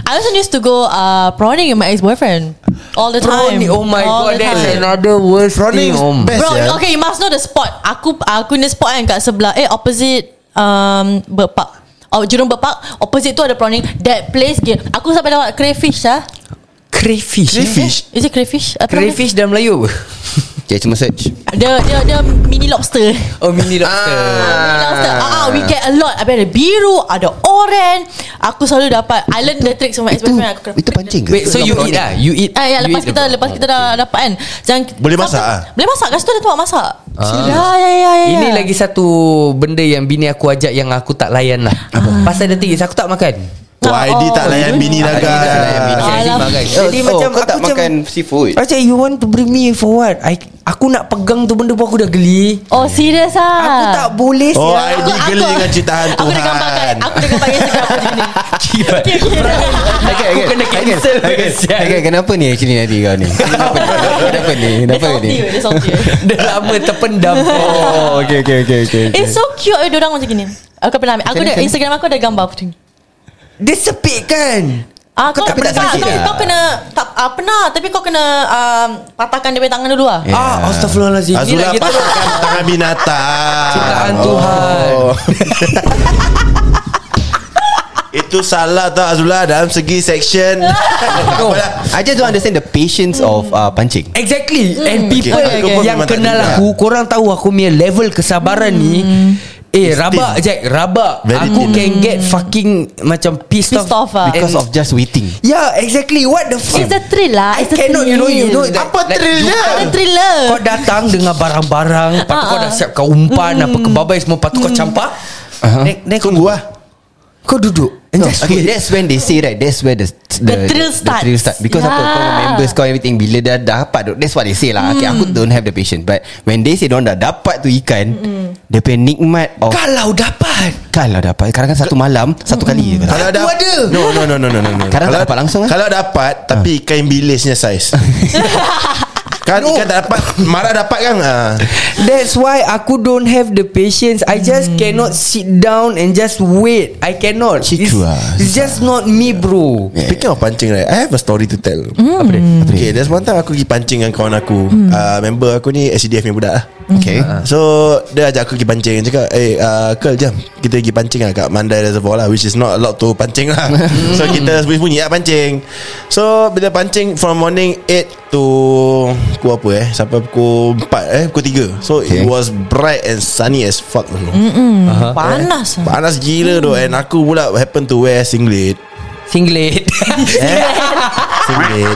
[SPEAKER 4] I also used to go uh, prawning with my ex-boyfriend All the time
[SPEAKER 3] Prawning Oh my
[SPEAKER 4] All
[SPEAKER 3] god
[SPEAKER 4] the
[SPEAKER 3] That's
[SPEAKER 4] time.
[SPEAKER 3] another worst
[SPEAKER 2] Prawning
[SPEAKER 3] thing
[SPEAKER 2] is
[SPEAKER 3] om.
[SPEAKER 2] best
[SPEAKER 4] Bro
[SPEAKER 2] ya
[SPEAKER 4] okay you must know the spot Aku aku ni spot kan kat sebelah Eh opposite um, Bird Park Oh, Jurong Bird Park Opposite tu ada prawning That place game Aku sampai dapat crayfish lah
[SPEAKER 3] Crayfish
[SPEAKER 2] Crayfish
[SPEAKER 4] Is it crayfish? Apa nama
[SPEAKER 3] Crayfish dalam Melayu apa? Ah,
[SPEAKER 6] Okay, cuma search.
[SPEAKER 4] dia? Dia dia dia mini lobster
[SPEAKER 3] Oh mini lobster
[SPEAKER 4] Mini lobster ah, ah, We get a lot Habis ada biru Ada oren Aku selalu dapat I learn the tricks From my ex-boyfriend Aku kena-
[SPEAKER 6] Itu pancing ke?
[SPEAKER 3] Wait so you eat lah You eat
[SPEAKER 4] Ah, ya,
[SPEAKER 3] you
[SPEAKER 4] lepas
[SPEAKER 3] eat
[SPEAKER 4] kita
[SPEAKER 3] the-
[SPEAKER 4] lepas kita dah dapat kan. Jangan
[SPEAKER 2] Boleh masak
[SPEAKER 4] Sampai-
[SPEAKER 2] ah?
[SPEAKER 4] Boleh masak kat situ ada tempat masak. Ya ya ya ya.
[SPEAKER 3] Ini
[SPEAKER 4] ya.
[SPEAKER 3] lagi satu benda yang bini aku ajak yang aku tak layan lah.
[SPEAKER 4] Ah.
[SPEAKER 3] Pasal the thing is aku tak makan.
[SPEAKER 2] Wah ID Oh,
[SPEAKER 4] Oh.
[SPEAKER 2] tak layan bini lah, dah
[SPEAKER 3] Ah, dia tak layan bini.
[SPEAKER 2] kan
[SPEAKER 3] Jadi
[SPEAKER 4] Alah.
[SPEAKER 3] makan. Jadi
[SPEAKER 6] Oh,
[SPEAKER 3] macam
[SPEAKER 6] kau
[SPEAKER 3] aku
[SPEAKER 6] tak
[SPEAKER 3] macam-
[SPEAKER 6] makan seafood?
[SPEAKER 3] Aku cakap you want to bring me for what? I, aku nak pegang tu benda pun aku dah geli.
[SPEAKER 4] Oh serius ah.
[SPEAKER 3] Aku tak boleh
[SPEAKER 2] Oh
[SPEAKER 3] sial.
[SPEAKER 2] ID geli dengan ciptaan
[SPEAKER 4] Aku dah gambarkan
[SPEAKER 2] Tuhan
[SPEAKER 4] Aku dah gambarkan Instagram aku macam ni
[SPEAKER 3] Jibat.
[SPEAKER 4] Okay okay
[SPEAKER 3] Okay,
[SPEAKER 6] Okay,
[SPEAKER 3] aku kena cancel
[SPEAKER 6] okay,
[SPEAKER 3] sial.
[SPEAKER 6] okay, kenapa ni actually nanti kau ni? Kenapa ni? Kenapa ni?
[SPEAKER 4] Dia
[SPEAKER 6] Kenapa
[SPEAKER 4] salty
[SPEAKER 6] ni?
[SPEAKER 4] weh, Dia salty weh.
[SPEAKER 3] Dah lama terpendam.
[SPEAKER 6] Oh, okay, okay, okay, okay. okay.
[SPEAKER 4] It's so cute eh, Diorang macam gini Aku pernah ambil Aku dah
[SPEAKER 6] Macam mana, macam
[SPEAKER 4] Instagram aku ada gambar aku macam ni
[SPEAKER 3] Dia sepit kan?
[SPEAKER 4] Ah, kau,
[SPEAKER 6] tak
[SPEAKER 4] kau,
[SPEAKER 6] pernah sakit
[SPEAKER 4] kau,
[SPEAKER 6] dah?
[SPEAKER 4] kau kena tak, ah, Pernah Tapi kau kena um, Patahkan dia punya tangan dulu lah
[SPEAKER 6] Yeah.
[SPEAKER 3] Ah, astagfirullahalazim. Ni
[SPEAKER 2] Azula
[SPEAKER 3] lagi tu.
[SPEAKER 2] patahkan tangan binatang
[SPEAKER 3] Ciptaan
[SPEAKER 2] Oh.
[SPEAKER 3] Tuhan.
[SPEAKER 2] Itu salah tau Azula Dalam segi section
[SPEAKER 3] No.
[SPEAKER 6] I just don't understand the patience of uh, pancing.
[SPEAKER 3] Exactly And people
[SPEAKER 2] Hmm. Okay, aku pun
[SPEAKER 3] yang
[SPEAKER 2] memang tak lah.
[SPEAKER 3] kenal
[SPEAKER 2] juga.
[SPEAKER 3] aku Korang tahu aku punya level kesabaran ni
[SPEAKER 2] Hmm.
[SPEAKER 3] Eh rabak Jack Rabak
[SPEAKER 2] Very
[SPEAKER 3] Aku
[SPEAKER 2] thin.
[SPEAKER 3] can get fucking Macam pissed,
[SPEAKER 4] Pissed off
[SPEAKER 2] lah.
[SPEAKER 4] ah.
[SPEAKER 6] Because of just waiting.
[SPEAKER 3] Yeah exactly What the fuck
[SPEAKER 4] It's a thrill lah
[SPEAKER 3] I
[SPEAKER 4] It's a
[SPEAKER 3] cannot you know you know that,
[SPEAKER 2] Apa thrill
[SPEAKER 3] you
[SPEAKER 2] dia? Ah,
[SPEAKER 3] come-
[SPEAKER 4] Ada thriller
[SPEAKER 3] Kau datang dengan barang-barang Lepas tu kau dah siapkan umpan Apa
[SPEAKER 2] Hmm.
[SPEAKER 3] kebabai semua Lepas tu kau campak Then- then kau-
[SPEAKER 2] Tunggu lah
[SPEAKER 3] Kau duduk And
[SPEAKER 6] No,
[SPEAKER 3] just
[SPEAKER 6] okay,
[SPEAKER 3] wait.
[SPEAKER 6] that's when they say right. That's where the
[SPEAKER 4] The thrill starts.
[SPEAKER 6] The thrill start because yeah. apa? Kau
[SPEAKER 4] Yeah.
[SPEAKER 6] members kau everything bila dah dapat. That's what they say lah. Mm. Okay, aku don't have the patience. But when they say don't dah dapat tu ikan, mm. dia punya nikmat of
[SPEAKER 3] Kalau dapat
[SPEAKER 6] kalau dapat. Kadang-kadang satu malam, satu kali je. kau dapat.
[SPEAKER 2] Kalau ada
[SPEAKER 3] Aku ada.
[SPEAKER 2] No no no no no no. no. kalau
[SPEAKER 6] Kadang tak dapat langsung, eh? Ah.
[SPEAKER 2] Kalau dapat tapi ikan bilisnya saiz. kan ikan tak dapat marah dapat kan. Ah.
[SPEAKER 3] That's why aku don't have the patience. I just cannot sit down and just wait. I cannot.
[SPEAKER 6] Situ
[SPEAKER 3] It's,
[SPEAKER 6] lah,
[SPEAKER 3] it's just not me, bro.
[SPEAKER 2] Speaking of pancing right I have a story to tell mm.
[SPEAKER 6] Hmm.
[SPEAKER 2] Apa dia? Okay there's one time aku pergi pancing dengan kawan aku mm. uh, Member aku ni SCDF ni budak lah
[SPEAKER 6] Okay.
[SPEAKER 2] So dia ajak aku pergi pancing Dia Cakap eh uh, Curl jam Kita pergi pancing lah Kat Mandai Reservoir lah Which is not allowed to pancing lah So kita sembunyi-sembunyi lah pancing So bila pancing From morning 8 to Pukul apa eh Sampai pukul 4 eh Pukul 3 So okay. it
[SPEAKER 6] Okay. Mm.
[SPEAKER 2] was bright and sunny as fuck tu.
[SPEAKER 4] Panas ah.
[SPEAKER 2] Panas gila tu And aku pula happen to wear singlet
[SPEAKER 3] Singlet.
[SPEAKER 2] Singlet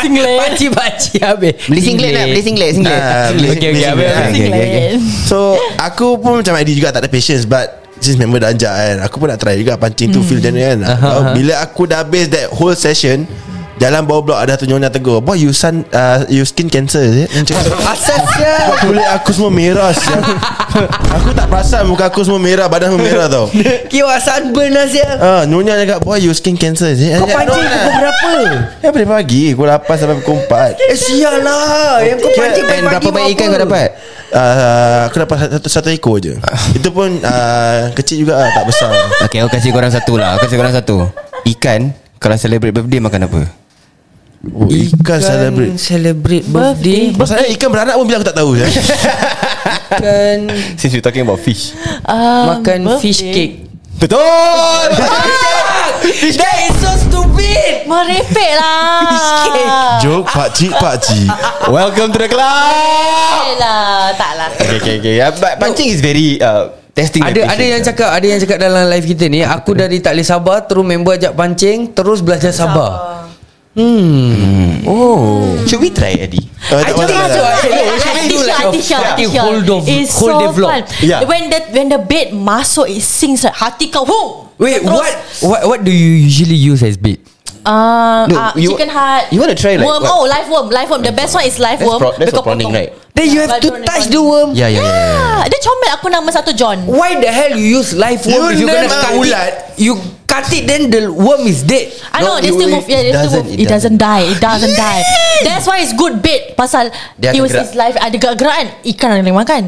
[SPEAKER 3] Singlet. Paci-paci habis.
[SPEAKER 6] Beli singlet lah Beli singlet Singlet
[SPEAKER 2] Ah, beli-
[SPEAKER 3] Okay,
[SPEAKER 2] beli singlet.
[SPEAKER 3] okay, habis.
[SPEAKER 6] Okay, okay, okay.
[SPEAKER 2] So aku pun macam ID juga tak ada patience But since member dah
[SPEAKER 3] Hmm.
[SPEAKER 2] ajak kan Aku pun nak try juga pancing tu feel macam ni kan uh-huh. Bila aku dah habis that whole session Jalan bawah blok Ada tu nyonya tegur Boy you sun uh, You skin cancer is it Macam
[SPEAKER 6] Asal sial
[SPEAKER 2] Buat kulit aku semua merah sial. Aku tak perasan Muka aku semua merah Badan semua merah tau
[SPEAKER 3] Kira sunburn lah sial
[SPEAKER 2] Ah, Nyonya cakap Boy you skin cancer is it
[SPEAKER 3] Kau pancing pukul berapa
[SPEAKER 2] Ya boleh pagi Pukul 8 sampai pukul 4
[SPEAKER 3] Eh sial lah Yang kau pancing
[SPEAKER 6] And berapa banyak ikan kau dapat Ah.
[SPEAKER 2] Uh, aku dapat satu, satu ekor je Itu pun uh, Kecil juga lah Tak besar
[SPEAKER 6] Okay aku kasih korang satu lah Aku kasih korang satu Ikan Kalau celebrate birthday makan apa
[SPEAKER 2] oh, Ikan celebrate
[SPEAKER 3] Kan, Celebrate birthday
[SPEAKER 2] Masalahnya ikan beranak pun Bila aku tak tahu ya. je
[SPEAKER 3] Makan
[SPEAKER 6] Since we talking about fish
[SPEAKER 4] um,
[SPEAKER 3] Makan fish
[SPEAKER 4] birthday.
[SPEAKER 3] cake
[SPEAKER 6] Betul
[SPEAKER 3] That is so stupid
[SPEAKER 4] Merepek lah
[SPEAKER 3] Fish cake.
[SPEAKER 2] Joke pakcik pakcik
[SPEAKER 6] Welcome to the club
[SPEAKER 4] Merepek lah Tak lah
[SPEAKER 6] Okay okay okay uh, But pancing is very uh, Testing
[SPEAKER 3] ada
[SPEAKER 6] the
[SPEAKER 3] ada
[SPEAKER 6] patience,
[SPEAKER 3] yang
[SPEAKER 6] uh.
[SPEAKER 3] cakap ada yang cakap dalam live kita ni aku dari tak boleh sabar terus member ajak pancing terus belajar sabar.
[SPEAKER 2] Oh
[SPEAKER 6] Should we try Eddie?
[SPEAKER 2] I
[SPEAKER 3] think so.
[SPEAKER 4] Atisha, Atisha,
[SPEAKER 3] Okay,
[SPEAKER 4] Atisha.
[SPEAKER 3] hold off-
[SPEAKER 4] It's
[SPEAKER 3] hold
[SPEAKER 4] so
[SPEAKER 3] the vlog.
[SPEAKER 4] fun.
[SPEAKER 6] Yeah.
[SPEAKER 4] When the when the bed masuk, it sings like hati kau. Huh.
[SPEAKER 3] Wait,
[SPEAKER 4] Terus,
[SPEAKER 3] what what what do you usually use as bait?
[SPEAKER 4] Uh,
[SPEAKER 6] No,
[SPEAKER 4] uh,
[SPEAKER 6] you-
[SPEAKER 4] chicken heart.
[SPEAKER 6] you wanna try like
[SPEAKER 4] worm?
[SPEAKER 6] what?
[SPEAKER 4] Oh, live worm, live worm. The best one is live
[SPEAKER 6] That's
[SPEAKER 4] worm.
[SPEAKER 6] pro- that's
[SPEAKER 4] Because
[SPEAKER 6] for prawning,
[SPEAKER 4] potong.
[SPEAKER 6] right?
[SPEAKER 3] Then you
[SPEAKER 4] Yeah,
[SPEAKER 3] have
[SPEAKER 4] live
[SPEAKER 3] to
[SPEAKER 4] prawning,
[SPEAKER 3] touch the
[SPEAKER 4] prawning.
[SPEAKER 3] worm.
[SPEAKER 6] Yeah yeah yeah, yeah.
[SPEAKER 4] Ah, dia comel aku nama satu John.
[SPEAKER 3] Why the hell you use live
[SPEAKER 2] You
[SPEAKER 3] worm if you gonna
[SPEAKER 2] never-
[SPEAKER 3] cut it? You cut it then the worm is dead.
[SPEAKER 4] I know
[SPEAKER 6] No,
[SPEAKER 4] they
[SPEAKER 6] you-
[SPEAKER 4] still move. Yeah,
[SPEAKER 6] it
[SPEAKER 4] they still
[SPEAKER 6] doesn't,
[SPEAKER 4] move.
[SPEAKER 6] it
[SPEAKER 4] It doesn't die. It doesn't die. That's why it's good bait pasal
[SPEAKER 6] Dia
[SPEAKER 4] it
[SPEAKER 6] akan
[SPEAKER 4] was
[SPEAKER 6] gerak.
[SPEAKER 4] his life. Ada gerak-gerakan ikan yang dia makan.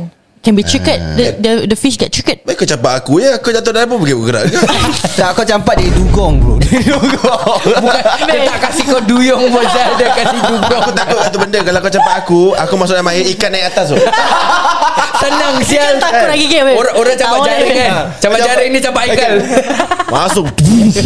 [SPEAKER 4] Can be triggered.
[SPEAKER 6] Ah.
[SPEAKER 4] The, the the fish get triggered.
[SPEAKER 2] Baik kau capak aku ya Kau jatuh dari pun pergi bergerak ke
[SPEAKER 6] Tak kau campak dia dugong bro Dia dugong
[SPEAKER 3] Bukan dia tak kasih kau duyung pun Syah. dia kasih dugong.
[SPEAKER 2] Aku takut satu benda Kalau kau capak aku Aku masuk dalam air Ikan naik atas tu
[SPEAKER 3] Tenang
[SPEAKER 4] Kan
[SPEAKER 3] sial.
[SPEAKER 4] takut nak gigit. weh.
[SPEAKER 3] Orang orang campak
[SPEAKER 4] Tahu
[SPEAKER 3] jaring
[SPEAKER 4] lah,
[SPEAKER 3] kan. Campak jaring ni campak ikan.
[SPEAKER 2] Masuk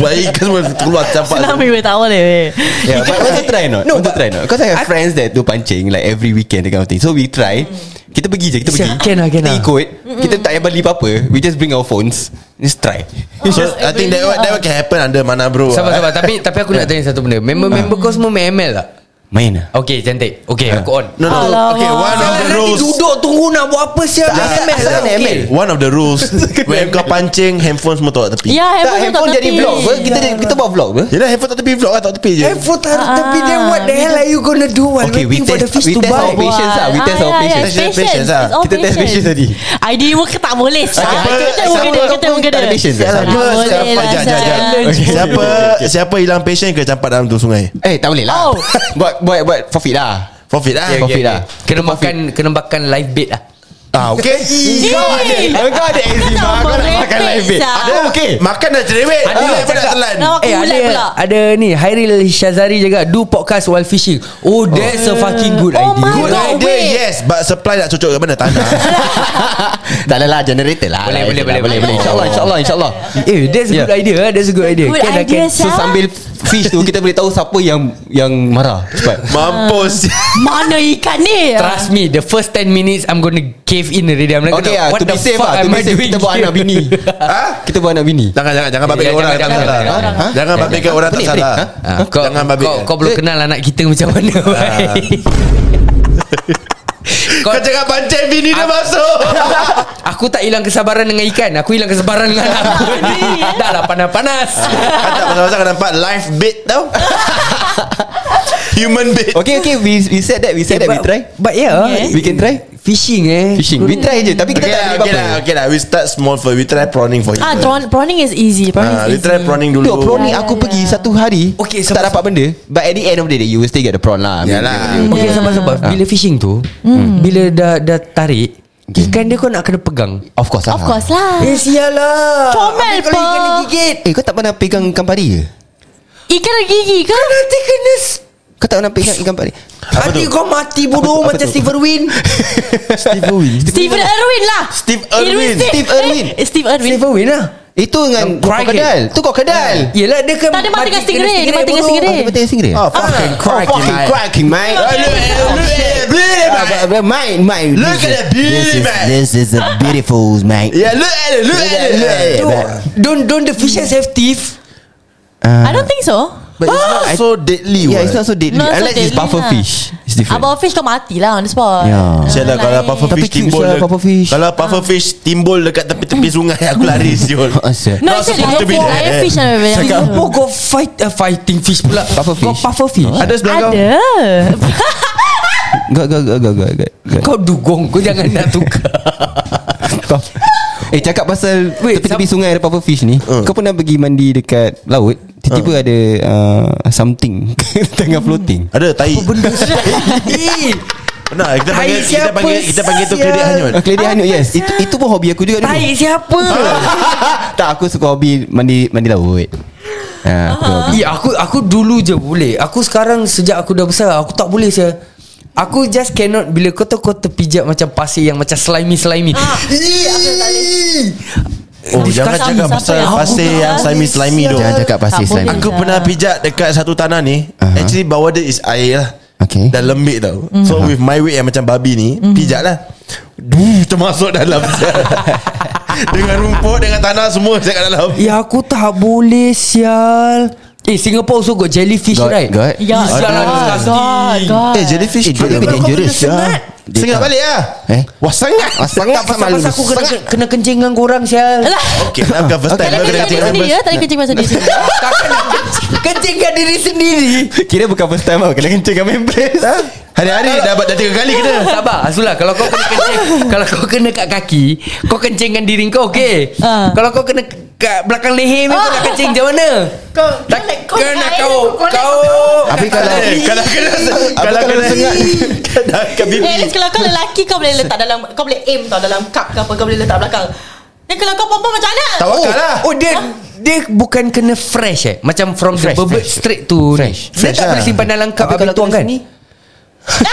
[SPEAKER 2] Baik ikan semua keluar
[SPEAKER 4] weh.
[SPEAKER 2] Campak
[SPEAKER 4] Tsunami weh tahu leh weh.
[SPEAKER 6] Yeah, but want to try not? No,
[SPEAKER 3] No,
[SPEAKER 6] want to
[SPEAKER 3] but-
[SPEAKER 6] try not? Because I have friends that do pancing like every weekend that kind of thing. So we try. Kita pergi je, kita pergi.
[SPEAKER 3] Mm. Siap, can lah, can
[SPEAKER 6] kita
[SPEAKER 3] lah.
[SPEAKER 6] ikut. Kita tak payah beli apa-apa. We just bring our phones. Just try.
[SPEAKER 3] Oh.
[SPEAKER 2] So I think that what, that what can happen Under mana bro
[SPEAKER 3] Sabar sabar tapi tapi aku nak tanya satu benda. Member-member kau semua main ML tak?
[SPEAKER 6] Main lah.
[SPEAKER 3] Okay cantik. Okay aku on.
[SPEAKER 2] No no
[SPEAKER 4] Alamak.
[SPEAKER 2] Okay one of the
[SPEAKER 3] Nanti
[SPEAKER 2] rules Ya,
[SPEAKER 3] duduk tunggu nak buat apa sial.
[SPEAKER 2] Tak,
[SPEAKER 3] ML lah.
[SPEAKER 6] asal nak
[SPEAKER 3] okay.
[SPEAKER 6] ML.
[SPEAKER 2] One of the rules When kau pancing Handphone semua tolak tepi
[SPEAKER 4] Ya,
[SPEAKER 6] Tak,
[SPEAKER 4] handphone
[SPEAKER 6] handphone
[SPEAKER 4] tak
[SPEAKER 6] jadi
[SPEAKER 4] tepi.
[SPEAKER 6] vlog. apa? Kita jadi- kita buat vlog ke?
[SPEAKER 2] Yelah handphone tak tepi Vlog lah tak tepi je
[SPEAKER 3] Handphone taruh tepi Then what the
[SPEAKER 4] Ah,
[SPEAKER 3] hell are you gonna do While
[SPEAKER 6] Okay, we
[SPEAKER 3] waiting for the
[SPEAKER 6] test-
[SPEAKER 3] fish
[SPEAKER 6] we
[SPEAKER 3] to
[SPEAKER 6] test
[SPEAKER 3] bite
[SPEAKER 6] our patience lah. We
[SPEAKER 4] Buat.
[SPEAKER 6] test our
[SPEAKER 4] Ah, ya, ya,
[SPEAKER 6] patience.
[SPEAKER 4] Patience
[SPEAKER 2] Patience lah.
[SPEAKER 4] It's all
[SPEAKER 6] Kita test patience tadi.
[SPEAKER 4] ID mu ke tak boleh Siapa
[SPEAKER 2] apa-
[SPEAKER 4] Kita
[SPEAKER 2] siapa-
[SPEAKER 4] mengena Kita
[SPEAKER 6] kau pun
[SPEAKER 4] mengena
[SPEAKER 6] tak ada patience, eh?
[SPEAKER 4] Tak
[SPEAKER 2] Siapa
[SPEAKER 4] boleh
[SPEAKER 2] Siapa
[SPEAKER 4] lah,
[SPEAKER 2] jap, jap, jap.
[SPEAKER 4] Zah.
[SPEAKER 2] Okay. Siapa Siapa hilang patient ke Campak dalam tu sungai
[SPEAKER 6] Eh, tak boleh lah.
[SPEAKER 4] Oh.
[SPEAKER 6] buat, buat, buat forfeit lah.
[SPEAKER 2] Profit lah
[SPEAKER 6] Okay, okay,
[SPEAKER 2] Profit lah
[SPEAKER 6] okay.
[SPEAKER 3] Kena makan Kena makan live bait lah
[SPEAKER 2] Ah okay
[SPEAKER 4] Ih,
[SPEAKER 6] Kau ada Kau ada eczema Kau nak makan
[SPEAKER 4] merepek,
[SPEAKER 6] live bait
[SPEAKER 4] Zah.
[SPEAKER 6] Ada okay
[SPEAKER 2] Makan dah cerewet Ada
[SPEAKER 3] yang
[SPEAKER 2] yang nak
[SPEAKER 3] cakap-
[SPEAKER 2] telan
[SPEAKER 4] Nak aku
[SPEAKER 3] Eh, ada
[SPEAKER 4] ulat Oh, pula
[SPEAKER 3] Ada ni Hairil Syazari juga Do podcast while fishing Oh that's a fucking good
[SPEAKER 4] Oh
[SPEAKER 3] idea
[SPEAKER 4] my
[SPEAKER 2] Good
[SPEAKER 4] No
[SPEAKER 2] idea
[SPEAKER 4] way.
[SPEAKER 2] yes But supply nak cocok ke mana Tak nak
[SPEAKER 6] Tak ada lah generator lah
[SPEAKER 3] Boleh, boleh,
[SPEAKER 6] Lah, boleh
[SPEAKER 3] boleh,
[SPEAKER 6] boleh
[SPEAKER 3] boleh.
[SPEAKER 6] InsyaAllah InsyaAllah InsyaAllah
[SPEAKER 3] Eh that's a good idea eh. That's a good idea
[SPEAKER 4] Good idea
[SPEAKER 6] So
[SPEAKER 4] Siapa?
[SPEAKER 6] sambil fish tu Kita boleh tahu siapa yang Yang marah Cepat
[SPEAKER 2] Mampus
[SPEAKER 4] Mana ikan ni
[SPEAKER 3] Trust me The first 10 minutes I'm gonna cave in already I'm like
[SPEAKER 6] Okay lah To be safe
[SPEAKER 3] ah,
[SPEAKER 6] lah To be safe Kita buat anak bini
[SPEAKER 2] Ha?
[SPEAKER 6] Kita buat anak bini
[SPEAKER 2] Jangan jangan Eh, jangan babik
[SPEAKER 3] Jangan,
[SPEAKER 2] orang tak
[SPEAKER 3] jangan, jangan,
[SPEAKER 2] salah.
[SPEAKER 3] jangan,
[SPEAKER 2] Ha? Jangan babik orang tak
[SPEAKER 6] Pelik,
[SPEAKER 2] salah.
[SPEAKER 6] pelik,
[SPEAKER 3] Ah, kau,
[SPEAKER 2] Jangan babik.
[SPEAKER 3] kau, kau belum kenal anak kita macam mana Eh. ah.
[SPEAKER 2] Kau Ah. cakap pancing bini dia masuk.
[SPEAKER 3] Aku tak hilang kesabaran dengan ikan Aku hilang kesabaran dengan anak aku Dah lah panas-panas
[SPEAKER 2] Kau tak pasal-pasal kau nampak live bait tau. Human bait.
[SPEAKER 6] Okay okay We we said that We said that We
[SPEAKER 3] But-
[SPEAKER 6] try
[SPEAKER 3] But yeah
[SPEAKER 6] We can try
[SPEAKER 3] ya. Fishing eh
[SPEAKER 6] Fishing We try je Tapi kita
[SPEAKER 2] Okay
[SPEAKER 6] tak
[SPEAKER 2] lah,
[SPEAKER 6] ada
[SPEAKER 2] okay lah,
[SPEAKER 6] apa-apa
[SPEAKER 2] okay lah. We start small first. We try prawning for you.
[SPEAKER 4] Ah, prawn, prawning is easy. Prawning
[SPEAKER 2] Ah, we
[SPEAKER 4] is easy.
[SPEAKER 2] try prawning dulu.
[SPEAKER 6] Tengok prawn ni aku
[SPEAKER 4] yeah,
[SPEAKER 6] pergi
[SPEAKER 4] yeah.
[SPEAKER 6] satu hari
[SPEAKER 3] Okay, Ya sabar-
[SPEAKER 6] Tak dapat benda But at the end of the day You will still get the prawn lah I mean,
[SPEAKER 2] Yalah.
[SPEAKER 6] you- you-
[SPEAKER 3] Okay sabar-sabar Bila fishing tu Bila dah, dah tarik Ikan dia kau nak kena pegang
[SPEAKER 6] Of course lah
[SPEAKER 4] Of course lah.
[SPEAKER 3] Eh sialah
[SPEAKER 4] Comel
[SPEAKER 3] Habis Kalau
[SPEAKER 4] pe.
[SPEAKER 3] ikan digigit
[SPEAKER 6] Eh kau tak pernah pegang ikan pari ke?
[SPEAKER 4] Ikan ada gigi ke?
[SPEAKER 3] Nanti kena s-
[SPEAKER 6] Kau tak pernah pegang ikan pari
[SPEAKER 3] Nanti kau mati bodoh
[SPEAKER 6] Apa tu? Apa
[SPEAKER 3] Macam
[SPEAKER 6] tu?
[SPEAKER 3] Stephen Win
[SPEAKER 6] Steve Irwin
[SPEAKER 4] Stephen Irwin lah.
[SPEAKER 2] Steve Irwin.
[SPEAKER 6] Steve Irwin.
[SPEAKER 4] Eh, Steve Irwin.
[SPEAKER 3] Stephen Win lah
[SPEAKER 6] Itu dengan
[SPEAKER 3] Yang cry
[SPEAKER 6] krokodil Tu Ah, krokodil
[SPEAKER 3] Yelah dia kan
[SPEAKER 4] Tak, dia mati dengan stingray. Dia mati dengan
[SPEAKER 3] bodoh. Ah.
[SPEAKER 4] stingray.
[SPEAKER 6] Apa tengah singri?
[SPEAKER 2] Oh, fucking cracking, mate.
[SPEAKER 6] cracking mate Oh,
[SPEAKER 2] Look
[SPEAKER 6] Mate mate
[SPEAKER 2] Look at that beauty, mate.
[SPEAKER 6] This is a beautiful mate
[SPEAKER 2] Yeah, Ya, look at it, look at it.
[SPEAKER 6] Look at it.
[SPEAKER 3] Don't don't the fishes have teeth
[SPEAKER 4] I don't think so. Ah.
[SPEAKER 2] But it's not so deadly what?
[SPEAKER 6] Yeah, it's not so deadly.
[SPEAKER 4] No, so
[SPEAKER 6] I like this
[SPEAKER 4] deadly
[SPEAKER 6] puffer
[SPEAKER 4] lah.
[SPEAKER 6] fish. It's different.
[SPEAKER 4] Abang Fish kau mati lah on the spot Ah,
[SPEAKER 6] Ya.
[SPEAKER 2] Sial lah kalau puffer
[SPEAKER 6] Tapi
[SPEAKER 2] fish
[SPEAKER 6] cute
[SPEAKER 2] timbul
[SPEAKER 6] sial lah,
[SPEAKER 2] de-
[SPEAKER 6] puffer fish.
[SPEAKER 2] Kalau puffer fish timbul dekat tepi-tepi sungai Aku lari siul
[SPEAKER 6] Ah, sial.
[SPEAKER 4] No,
[SPEAKER 2] Not
[SPEAKER 4] it's a
[SPEAKER 2] supposed to be
[SPEAKER 4] lionfish.
[SPEAKER 2] there.
[SPEAKER 4] Lionfish lah memang.
[SPEAKER 2] Cakap-
[SPEAKER 3] Singapore kau fight uh, fighting fish pula.
[SPEAKER 6] Puffer
[SPEAKER 3] Kau
[SPEAKER 6] fish.
[SPEAKER 3] puffer fish.
[SPEAKER 2] Ada sebelah kau
[SPEAKER 4] Ada
[SPEAKER 6] Gak gak gak gak gak gak. gak.
[SPEAKER 3] Kau dugong Kau jangan nak tukar
[SPEAKER 6] Puff. Eh cakap pasal
[SPEAKER 3] Wait,
[SPEAKER 6] tepi-tepi
[SPEAKER 3] some-
[SPEAKER 6] sungai ada puffer fish ni.
[SPEAKER 2] Ah.
[SPEAKER 6] Kau pernah pergi mandi dekat laut? Tiba-tiba ada uh, something tengah floating.
[SPEAKER 2] Ada tai
[SPEAKER 3] Eh
[SPEAKER 2] Benar kita
[SPEAKER 3] Tai
[SPEAKER 2] panggil kita
[SPEAKER 3] siapa,
[SPEAKER 2] panggil kita panggil tu
[SPEAKER 3] sial?
[SPEAKER 2] kredit hanyut.
[SPEAKER 6] Ah, Keledek hanyut yes. Itu itu pun hobi aku juga dulu.
[SPEAKER 3] Tai siapa
[SPEAKER 6] tak aku suka hobi mandi mandi laut. Ha, aku hobi.
[SPEAKER 3] Eh aku aku dulu je boleh Aku sekarang Sejak aku dah besar Aku tak boleh saya Aku just cannot Bila kau tahu kau terpijak Macam pasir yang Macam slimy-slimy
[SPEAKER 2] Oh jangan
[SPEAKER 4] Disgusting.
[SPEAKER 2] cakap
[SPEAKER 4] Siapa
[SPEAKER 2] pasal
[SPEAKER 4] yang-
[SPEAKER 2] pasir yang slimy slimy tu.
[SPEAKER 6] Jangan cakap pasir
[SPEAKER 4] Tak
[SPEAKER 6] slimy.
[SPEAKER 4] boleh.
[SPEAKER 2] Aku
[SPEAKER 4] Dah.
[SPEAKER 2] pernah pijak dekat satu tanah ni
[SPEAKER 6] Aha.
[SPEAKER 2] Actually bawah dia is air lah
[SPEAKER 6] Okay.
[SPEAKER 2] Dah lembik tau
[SPEAKER 4] Hmm.
[SPEAKER 2] So with my weight yang macam babi ni Pijak lah Duh, termasuk dalam Dengan rumput, dengan tanah semua saya kat dalam
[SPEAKER 3] Ya aku tak boleh sial Eh Singapore also got jellyfish
[SPEAKER 6] Got-
[SPEAKER 3] right
[SPEAKER 6] got.
[SPEAKER 3] Ya
[SPEAKER 4] Ya
[SPEAKER 3] Sial lah
[SPEAKER 4] God, God,
[SPEAKER 3] disgusting
[SPEAKER 4] God.
[SPEAKER 2] Eh jellyfish
[SPEAKER 6] Eh, dia
[SPEAKER 2] Tapi
[SPEAKER 6] lebih
[SPEAKER 2] kalau kau
[SPEAKER 6] dangerous
[SPEAKER 2] kena sengat,
[SPEAKER 6] lah.
[SPEAKER 2] Sengat
[SPEAKER 6] Dia tak-
[SPEAKER 2] ya. balik lah
[SPEAKER 6] Eh?
[SPEAKER 2] Wah sangat
[SPEAKER 6] Ah, sangat pasal malu.
[SPEAKER 3] Pasal aku kena, kena kencing dengan korang sial
[SPEAKER 4] Alah
[SPEAKER 2] Okay nak bukan first time
[SPEAKER 4] Tadi
[SPEAKER 2] kau kena
[SPEAKER 4] kencing
[SPEAKER 2] tengok
[SPEAKER 4] pasal
[SPEAKER 2] first.
[SPEAKER 4] sendiri ya Tadi kencing pasal diri
[SPEAKER 3] Takkan nak kencing- kencingkan diri sendiri
[SPEAKER 6] Kira bukan first time tau Kena kencing kat main place ha?
[SPEAKER 2] Hari-hari dah, dah tiga kali kena
[SPEAKER 3] Sabar Azula Kalau kau kena kencing Kalau kau kena kat kaki Kau kencingkan diri kau okay
[SPEAKER 4] Ah.
[SPEAKER 3] Kalau kau kena kat belakang leher uh. Kau nak kencing macam mana
[SPEAKER 4] Kau
[SPEAKER 3] Tak kena kau Kau
[SPEAKER 6] Habis kalau
[SPEAKER 2] Eh, Kalau kena Kalau kena sengat Dah kat
[SPEAKER 4] Eh, at
[SPEAKER 2] bibi
[SPEAKER 4] least kalau kau lelaki Kau boleh letak dalam Kau boleh aim tau Dalam cup ke apa Kau boleh letak belakang Dan kalau kau perempuan macam mana
[SPEAKER 2] Tawakal lah
[SPEAKER 3] Oh dia dia bukan kena fresh eh Macam from fresh,
[SPEAKER 6] Fresh,
[SPEAKER 3] the bubble
[SPEAKER 6] fresh.
[SPEAKER 3] straight to
[SPEAKER 6] Fresh.
[SPEAKER 3] Dia
[SPEAKER 2] Fresh
[SPEAKER 3] tak
[SPEAKER 2] lah.
[SPEAKER 3] boleh simpan dalam cup
[SPEAKER 6] Tapi
[SPEAKER 3] Habis
[SPEAKER 6] kalau
[SPEAKER 3] tuang
[SPEAKER 6] kena
[SPEAKER 3] kan
[SPEAKER 6] sini?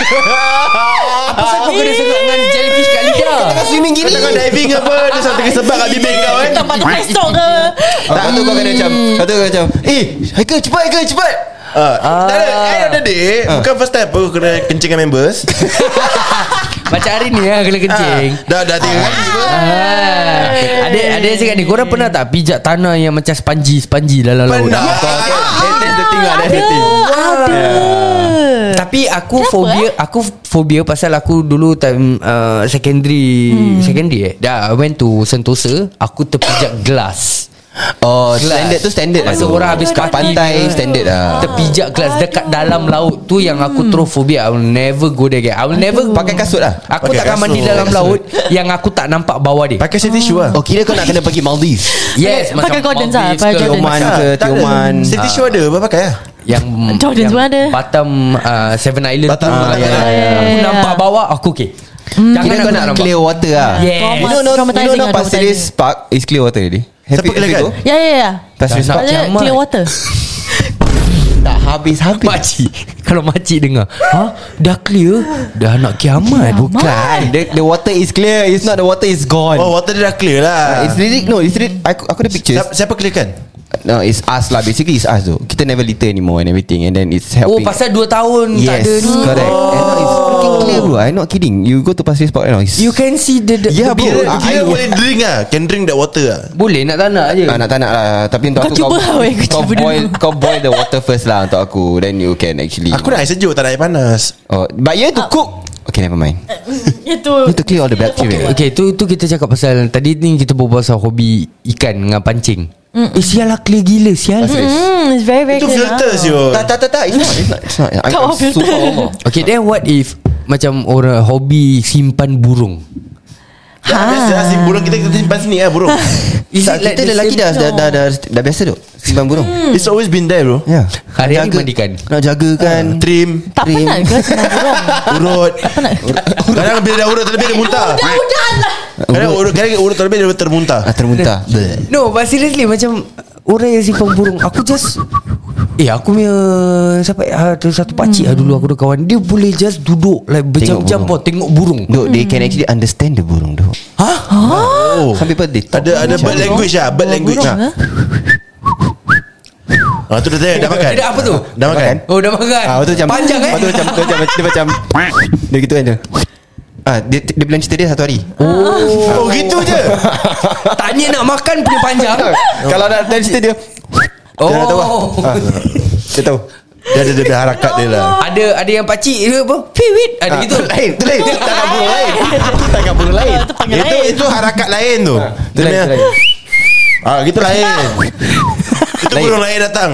[SPEAKER 3] Apa sebab kau kena sengat dengan jellyfish kat lidah
[SPEAKER 6] Swimming gini Ah.
[SPEAKER 2] Kau diving apa Dia satu kena sebab kat bibi kau kan
[SPEAKER 4] Tempat tu pesok ke
[SPEAKER 6] Tak tu kau kena macam Lepas tu kau macam Eh Haikal cepat Haikal cepat
[SPEAKER 2] Ah, Tak ada End of the day
[SPEAKER 6] Ah.
[SPEAKER 2] Bukan first time pun Kena kencing dengan members
[SPEAKER 3] Macam hari ni lah kena kencing
[SPEAKER 2] Ah, Dah dah tiga kali pun
[SPEAKER 3] Ah, ada ada yang cakap ni Korang pernah tak pijak tanah yang macam spongy-spongy dalam laut?
[SPEAKER 2] Pernah.
[SPEAKER 6] That- That's the thing lah That's the thing
[SPEAKER 4] Ada
[SPEAKER 3] Tapi aku Kenapa,
[SPEAKER 4] Kenapa,
[SPEAKER 3] phobia eh? Aku phobia pasal aku dulu time uh, secondary hmm. Secondary eh Dah I went to Sentosa Aku terpijak gelas
[SPEAKER 6] Oh
[SPEAKER 3] Glass.
[SPEAKER 6] standard tu standard lah
[SPEAKER 3] Masa orang habis
[SPEAKER 6] Kat
[SPEAKER 3] kat
[SPEAKER 6] pantai standard lah
[SPEAKER 3] Terpijak gelas Dekat dalam laut tu Yang
[SPEAKER 4] Hmm.
[SPEAKER 3] aku terus phobia I will never go there again I will never
[SPEAKER 6] Pakai kasut lah
[SPEAKER 3] Aku
[SPEAKER 2] Pakai
[SPEAKER 3] takkan
[SPEAKER 2] kasut,
[SPEAKER 3] mandi dalam
[SPEAKER 2] kasut.
[SPEAKER 3] laut Yang aku tak nampak bawah dia
[SPEAKER 2] Pakai safety shoe lah
[SPEAKER 6] Oh kira kau nak kena pergi Maldives
[SPEAKER 3] Yes macam
[SPEAKER 4] Pakai Gordons lah,
[SPEAKER 3] Maldives
[SPEAKER 4] pakai
[SPEAKER 3] ke,
[SPEAKER 4] Gordons.
[SPEAKER 6] Tioman ke
[SPEAKER 2] Ah, Tak ada.
[SPEAKER 6] Tioman
[SPEAKER 2] Safety shoe ada Apa pakai lah
[SPEAKER 3] Yang
[SPEAKER 4] Jordan
[SPEAKER 3] yang
[SPEAKER 4] pun ada.
[SPEAKER 3] Batam uh, Seven Island
[SPEAKER 2] Batam,
[SPEAKER 3] tu,
[SPEAKER 2] Batam,
[SPEAKER 3] yang-
[SPEAKER 2] Batam.
[SPEAKER 3] Aku
[SPEAKER 4] Ya. Hmm.
[SPEAKER 3] nampak bawah Aku okay
[SPEAKER 6] Kira kau nak
[SPEAKER 3] nampak.
[SPEAKER 6] clear water lah
[SPEAKER 3] Yes.
[SPEAKER 6] You know, no, you know
[SPEAKER 4] Traumatizing
[SPEAKER 6] now
[SPEAKER 4] lah,
[SPEAKER 6] Pasir Ris
[SPEAKER 4] traumatizing.
[SPEAKER 6] Park is clear water already
[SPEAKER 2] Siapa clearkan?
[SPEAKER 4] Ya ya ya
[SPEAKER 6] Pasir Ris
[SPEAKER 3] Dah
[SPEAKER 6] Park
[SPEAKER 3] nak.
[SPEAKER 4] Ada
[SPEAKER 3] kiamat.
[SPEAKER 4] clear water
[SPEAKER 6] Tak habis-habis
[SPEAKER 3] Makcik Kalau makcik dengar Ha? Dah clear? Dah nak kiamat
[SPEAKER 6] Bukan Kan? the, the water is clear It's not the water is gone Uh,
[SPEAKER 2] Oh water dia dah clear lah
[SPEAKER 6] Ah, It's really No it's really Aku, aku ada pictures
[SPEAKER 2] Siapa- Siapa clearkan
[SPEAKER 6] No it's us lah Basically it's us though Kita never litter anymore And everything And then it's
[SPEAKER 3] Oh
[SPEAKER 6] helping
[SPEAKER 3] pasal 2 tahun tak
[SPEAKER 6] Yes
[SPEAKER 3] ada ni Oh.
[SPEAKER 6] correct And now it's freaking clear bro I'm not kidding You go to Pasir Ris Park right now it's-
[SPEAKER 3] You can see the, the
[SPEAKER 6] Yeah
[SPEAKER 3] the-
[SPEAKER 6] Ya, bro
[SPEAKER 2] Kira,
[SPEAKER 6] Ah,
[SPEAKER 2] kira boleh drink lah Can drink that water lah
[SPEAKER 3] Boleh nak tak nak je
[SPEAKER 6] Ah, nak tak nak lah Tapi untuk
[SPEAKER 4] Kau
[SPEAKER 6] aku
[SPEAKER 4] cuba lah, weh. Kau
[SPEAKER 6] Kau
[SPEAKER 4] cuba dulu.
[SPEAKER 6] boil Kau boil the water first lah Untuk aku Then you can actually
[SPEAKER 2] Aku nak air sejuk Tak nak air panas
[SPEAKER 6] oh, But
[SPEAKER 3] Ah.
[SPEAKER 6] you have to cook Okay never mind
[SPEAKER 4] Itu
[SPEAKER 6] You have to clear all the bacteria
[SPEAKER 3] Okay tu tu kita cakap pasal Tadi ni kita berbual pasal hobi Ikan dengan pancing Eh sial lah clear gila sial
[SPEAKER 4] Hmm, it's very very
[SPEAKER 2] Itu
[SPEAKER 4] clear
[SPEAKER 2] filter siul
[SPEAKER 6] Tak tak tak tak It's not It's not, it's not. I-
[SPEAKER 4] Kau
[SPEAKER 6] I'm
[SPEAKER 4] filter.
[SPEAKER 6] super Allah.
[SPEAKER 3] Oh. Okay then what if Macam orang hobi simpan burung
[SPEAKER 2] Ya, Biasa lah si burung kita Kita simpan sini lah burung
[SPEAKER 3] Is
[SPEAKER 6] Tak,
[SPEAKER 3] it like
[SPEAKER 6] kita
[SPEAKER 3] the
[SPEAKER 6] lelaki
[SPEAKER 3] same- Hmm.
[SPEAKER 6] dah, dah, dah, dah, dah biasa tu Simpan burung
[SPEAKER 2] It's always been there bro
[SPEAKER 6] Ya
[SPEAKER 3] Hari-hari mandikan.
[SPEAKER 6] Nak jaga kan
[SPEAKER 2] Trim
[SPEAKER 4] Tak penat ke semua burung
[SPEAKER 2] Urut Kadang bila dah urut terlebih Dia muntah
[SPEAKER 4] Udah lah
[SPEAKER 2] Kadang urut, kadang urut terlebih Dia termuntah
[SPEAKER 6] ah, Termuntah Bleh.
[SPEAKER 3] No but seriously Macam Orang yang simpan burung Aku just Eh aku punya Siapa Ada satu pakcik hmm. lah dulu Aku ada kawan Dia boleh just duduk like, Berjam-jam
[SPEAKER 6] burung.
[SPEAKER 3] pun Tengok burung
[SPEAKER 6] Dok they
[SPEAKER 3] Hmm.
[SPEAKER 6] can actually understand the burung dok
[SPEAKER 3] Ha?
[SPEAKER 2] Oh
[SPEAKER 6] Some people they talk
[SPEAKER 2] Ada ada
[SPEAKER 6] macam-
[SPEAKER 2] bird language lah Bird language
[SPEAKER 4] burung,
[SPEAKER 2] lah Ah tu dah tanya dah makan.
[SPEAKER 3] Eh, dah apa tu?
[SPEAKER 2] Dah makan.
[SPEAKER 3] Oh dah makan
[SPEAKER 6] Ah, waktu macam
[SPEAKER 3] Panjang eh
[SPEAKER 6] Waktu macam dia macam dia macam dia gitu kan dia. Ah, dia, dia bilang cerita dia satu hari.
[SPEAKER 2] Oh gitu je.
[SPEAKER 3] Tanya
[SPEAKER 6] Oh.
[SPEAKER 3] nak makan punya panjang
[SPEAKER 6] Kalau nak tanya cerita dia
[SPEAKER 3] Oh
[SPEAKER 6] dah tahu lah.
[SPEAKER 2] Dia tahu Dia ada dia harakat dia lah
[SPEAKER 3] Ada ada yang pakcik dia apa? Piwit ada
[SPEAKER 6] Ah,
[SPEAKER 3] gitu.
[SPEAKER 6] tu lain Tu lain Kita tak nak burung lain Kita tak nak burung lain
[SPEAKER 4] Itu panggil
[SPEAKER 2] Itu
[SPEAKER 4] lain
[SPEAKER 2] itu harakat lain tu
[SPEAKER 6] Tu
[SPEAKER 2] Dia
[SPEAKER 6] lain,
[SPEAKER 2] punya
[SPEAKER 6] tu lain.
[SPEAKER 2] Ah, Kita lain Itu
[SPEAKER 6] Lain.
[SPEAKER 2] burung lain datang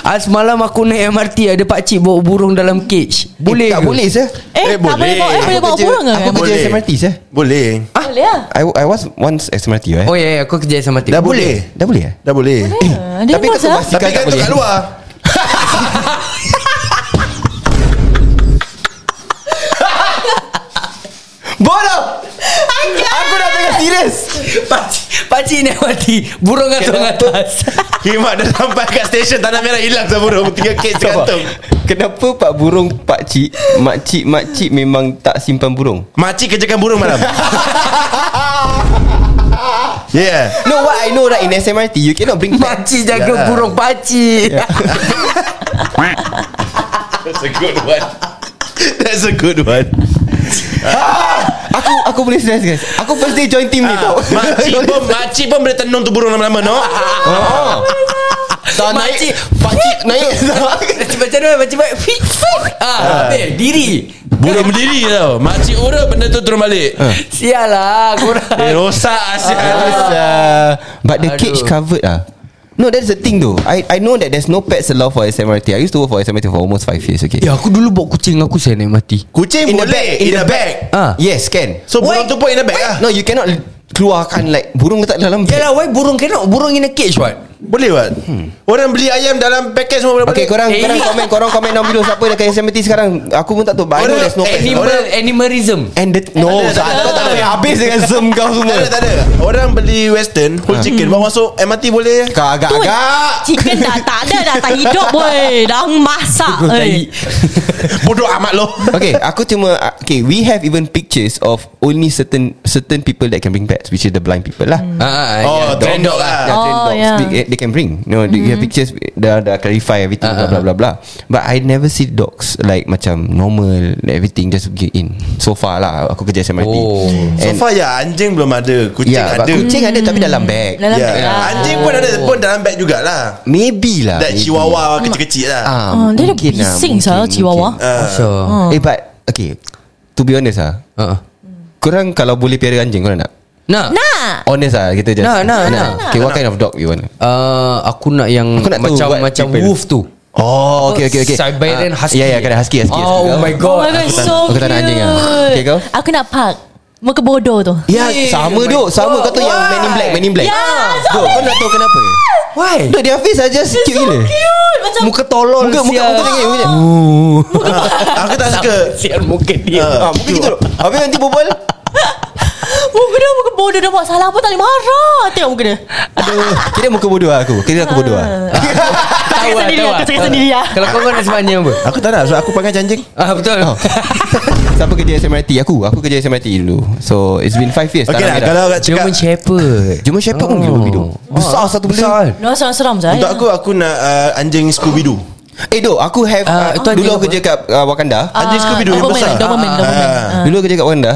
[SPEAKER 3] Ah, semalam aku naik MRT ada pakcik bawa burung dalam cage. Boleh.
[SPEAKER 6] Eh, Tak
[SPEAKER 3] ke?
[SPEAKER 6] boleh sir
[SPEAKER 4] Eh,
[SPEAKER 2] Eh,
[SPEAKER 4] tak boleh
[SPEAKER 2] boleh.
[SPEAKER 4] bawa Eh boleh
[SPEAKER 6] Aku
[SPEAKER 4] bawa
[SPEAKER 6] kerja-
[SPEAKER 4] burung ke
[SPEAKER 6] Aku kerja
[SPEAKER 2] Boleh.
[SPEAKER 6] SMRT sir
[SPEAKER 2] Boleh
[SPEAKER 4] Boleh lah
[SPEAKER 6] I, I was once SMRT eh
[SPEAKER 3] Oh ya, yeah, aku kerja sama
[SPEAKER 2] Dah
[SPEAKER 3] tip.
[SPEAKER 2] boleh
[SPEAKER 6] Dah boleh eh
[SPEAKER 2] Dah boleh
[SPEAKER 4] Ah, Dia
[SPEAKER 6] Tapi
[SPEAKER 4] nak
[SPEAKER 6] kau
[SPEAKER 4] sah
[SPEAKER 2] Tapi
[SPEAKER 6] masih- Sikap tak
[SPEAKER 2] kan tu
[SPEAKER 6] boleh.
[SPEAKER 2] kat luar
[SPEAKER 6] Bodoh Aku dah tengah serius
[SPEAKER 3] Pakcik, pakcik naik MRT, burung gantung atas.
[SPEAKER 2] Kimak dah sampai kat stesen Tanah Merah hilang sama burung Tiga kes tergantung
[SPEAKER 6] Kenapa pak burung pak cik Mak cik mak cik memang tak simpan burung
[SPEAKER 2] Makcik kerjakan burung malam Yeah
[SPEAKER 6] No what I know right In SMRT You cannot bring pet
[SPEAKER 3] Pakcik jaga
[SPEAKER 2] Yalah.
[SPEAKER 3] burung pakcik.
[SPEAKER 2] That's a good one That's a good one
[SPEAKER 6] Aku aku boleh serius guys Aku first day join team ni
[SPEAKER 2] Ah,
[SPEAKER 6] tau
[SPEAKER 2] Makcik pun Makcik pun boleh tenung tu burung lama-lama no
[SPEAKER 6] oh. Tak naik
[SPEAKER 3] Makcik.
[SPEAKER 6] Pakcik naik
[SPEAKER 3] Macam macam mana macam baik. Fit fit. Ah, habis diri.
[SPEAKER 2] Burung berdiri tau Makcik ura benda tu turun balik
[SPEAKER 3] Sialah, korang.
[SPEAKER 2] Eh rosak asyik
[SPEAKER 6] uh, But the cage
[SPEAKER 3] Aduh.
[SPEAKER 6] covered ah No that's the thing though I I know that there's no pets allowed for SMRT I used to work for SMRT for almost 5 years okay
[SPEAKER 3] Ya, aku dulu bawa kucing aku saya naik MRT.
[SPEAKER 2] Kucing
[SPEAKER 6] In the
[SPEAKER 2] boleh
[SPEAKER 6] bag,
[SPEAKER 2] In the bag
[SPEAKER 3] Ah.
[SPEAKER 6] Yes can
[SPEAKER 2] So burung tu pun in the bag lah
[SPEAKER 6] No you cannot Keluarkan like Burung letak dalam bag
[SPEAKER 3] Yalah, why burung cannot? Burung in a cage, what?
[SPEAKER 2] Boleh buat Orang beli ayam dalam package semua boleh
[SPEAKER 6] Okay korang,
[SPEAKER 3] Eh,
[SPEAKER 6] korang
[SPEAKER 3] ini-
[SPEAKER 6] komen Korang komen dalam video Siapa dekat SMRT sekarang Aku pun tak tahu But I know
[SPEAKER 2] Korang-
[SPEAKER 6] there's no
[SPEAKER 2] eh,
[SPEAKER 6] pets
[SPEAKER 2] ni-
[SPEAKER 3] Animal,
[SPEAKER 2] Orang-
[SPEAKER 3] animalism.
[SPEAKER 6] And the No
[SPEAKER 2] Eh, tak ada, tak
[SPEAKER 6] Saat kau
[SPEAKER 2] ada.
[SPEAKER 6] tak boleh habis Dengan zoom kau
[SPEAKER 2] Tak
[SPEAKER 6] semua
[SPEAKER 2] ada, tak ada. Orang beli western Whole chicken Bawa masuk MRT boleh
[SPEAKER 6] Kau agak-agak
[SPEAKER 4] Chicken dah tak ada Dah tak hidup boy Dah masak eh.
[SPEAKER 2] Bodoh amat lo
[SPEAKER 6] Okay aku cuma ah, Okay we have even pictures Of only certain Certain people that can bring pets Which is the blind people lah
[SPEAKER 4] Hmm.
[SPEAKER 3] Ah, ah,
[SPEAKER 2] Oh,
[SPEAKER 3] yeah,
[SPEAKER 2] trend dog
[SPEAKER 3] dog.
[SPEAKER 2] lah.
[SPEAKER 6] Yeah, train
[SPEAKER 4] Oh,
[SPEAKER 6] dogs.
[SPEAKER 4] yeah.
[SPEAKER 6] They, they can bring. No, they
[SPEAKER 4] Hmm.
[SPEAKER 6] have pictures. Dah dah clarify everything.
[SPEAKER 3] Ah,
[SPEAKER 6] Blah blah
[SPEAKER 2] Uh-huh.
[SPEAKER 6] blah blah. But I never see dogs like macam normal. Everything just get in. So far lah, aku kerja SMRT.
[SPEAKER 3] Oh.
[SPEAKER 2] So
[SPEAKER 6] And,
[SPEAKER 2] far ya Anjing belum ada Kucing
[SPEAKER 6] yeah,
[SPEAKER 2] ada
[SPEAKER 6] but kucing ada tapi dalam bag.
[SPEAKER 4] Dalam
[SPEAKER 2] Ya.
[SPEAKER 4] bag lah.
[SPEAKER 2] Anjing pun ada Pun dalam bag jugalah
[SPEAKER 6] Maybe lah.
[SPEAKER 2] That
[SPEAKER 6] maybe.
[SPEAKER 2] chihuahua kecil-kecil lah
[SPEAKER 6] Ah,
[SPEAKER 4] Oh, dia ada
[SPEAKER 6] mungkin lah,
[SPEAKER 4] bising
[SPEAKER 6] mungkin,
[SPEAKER 4] sah Chihuahua
[SPEAKER 6] mungkin.
[SPEAKER 2] Ah.
[SPEAKER 3] So,
[SPEAKER 6] Eh but okay. To be honest ah,
[SPEAKER 3] ah.
[SPEAKER 6] korang kalau boleh piara anjing korang nak?
[SPEAKER 3] Nah.
[SPEAKER 4] Nak
[SPEAKER 6] Honest ah, kita just.
[SPEAKER 3] Nah, nah, nah.
[SPEAKER 6] Okay, what kind of dog you want?
[SPEAKER 3] Uh, aku nak yang
[SPEAKER 6] Aku nak tahu
[SPEAKER 3] macam
[SPEAKER 6] what
[SPEAKER 3] macam
[SPEAKER 6] people-
[SPEAKER 3] wolf tu.
[SPEAKER 6] Oh, okay, okay, okay.
[SPEAKER 3] Siberian
[SPEAKER 6] Ah,
[SPEAKER 3] husky.
[SPEAKER 6] Yeah, yeah, kena husky, husky.
[SPEAKER 3] Oh, my god.
[SPEAKER 4] Oh
[SPEAKER 6] husky.
[SPEAKER 4] my god
[SPEAKER 6] Aku tak-
[SPEAKER 4] So
[SPEAKER 6] aku tak
[SPEAKER 4] cute
[SPEAKER 6] nak anjing ah. Okay, kau?
[SPEAKER 4] Aku nak park Muka bodoh tu
[SPEAKER 6] Ya
[SPEAKER 3] Eh, oh my
[SPEAKER 6] sama duk Sama
[SPEAKER 3] God.
[SPEAKER 6] kau tu yang
[SPEAKER 3] Why?
[SPEAKER 6] Man in Black Man in Black
[SPEAKER 4] Ya, so
[SPEAKER 6] Duk kau nak tahu kenapa
[SPEAKER 3] Why?
[SPEAKER 6] Duk dia face aja just cute gila
[SPEAKER 4] Cute Macam
[SPEAKER 3] Muka tolol
[SPEAKER 6] Muka muka
[SPEAKER 3] sial.
[SPEAKER 6] muka tengok muka
[SPEAKER 2] Ah, Aku tak suka
[SPEAKER 3] Sial muka dia.
[SPEAKER 2] Ah.
[SPEAKER 6] Ah muka gitu duk Habis nanti berbual
[SPEAKER 4] Muka dia muka bodoh Dia buat salah pun tak boleh marah Tengok muka dia
[SPEAKER 6] Aduh Kira muka bodoh lah aku Kira aku bodoh lah
[SPEAKER 4] Aku cakap sendiri Aku cakap sendiri lah
[SPEAKER 3] Kalau kau kau nak sebenarnya apa?
[SPEAKER 2] Aku tak nak Sebab aku panggil anjing
[SPEAKER 3] Ah betul.
[SPEAKER 6] Oh. Siapa kerja SMRT Aku Aku kerja SMRT dulu So it's been 5 years
[SPEAKER 2] Okay lah Kalau nak cakap
[SPEAKER 3] German Shepherd.
[SPEAKER 6] German Shepherd pun gila bidung
[SPEAKER 2] Oh.
[SPEAKER 6] Besar satu benda
[SPEAKER 3] Besar.
[SPEAKER 4] No seram-seram saya
[SPEAKER 2] Untuk aku Aku nak ah, anjing Scooby-Doo
[SPEAKER 6] Eh duk aku have
[SPEAKER 3] Ah,
[SPEAKER 6] ah,
[SPEAKER 3] itu anjing
[SPEAKER 6] Dulu aku
[SPEAKER 3] apa?
[SPEAKER 6] kerja kat ah, Wakanda
[SPEAKER 2] Anjing Scooby-Doo yang
[SPEAKER 4] Doberman,
[SPEAKER 2] besar
[SPEAKER 4] Doberman,
[SPEAKER 2] Ah.
[SPEAKER 4] Doberman.
[SPEAKER 2] Ah.
[SPEAKER 6] Dulu aku kerja kat Wakanda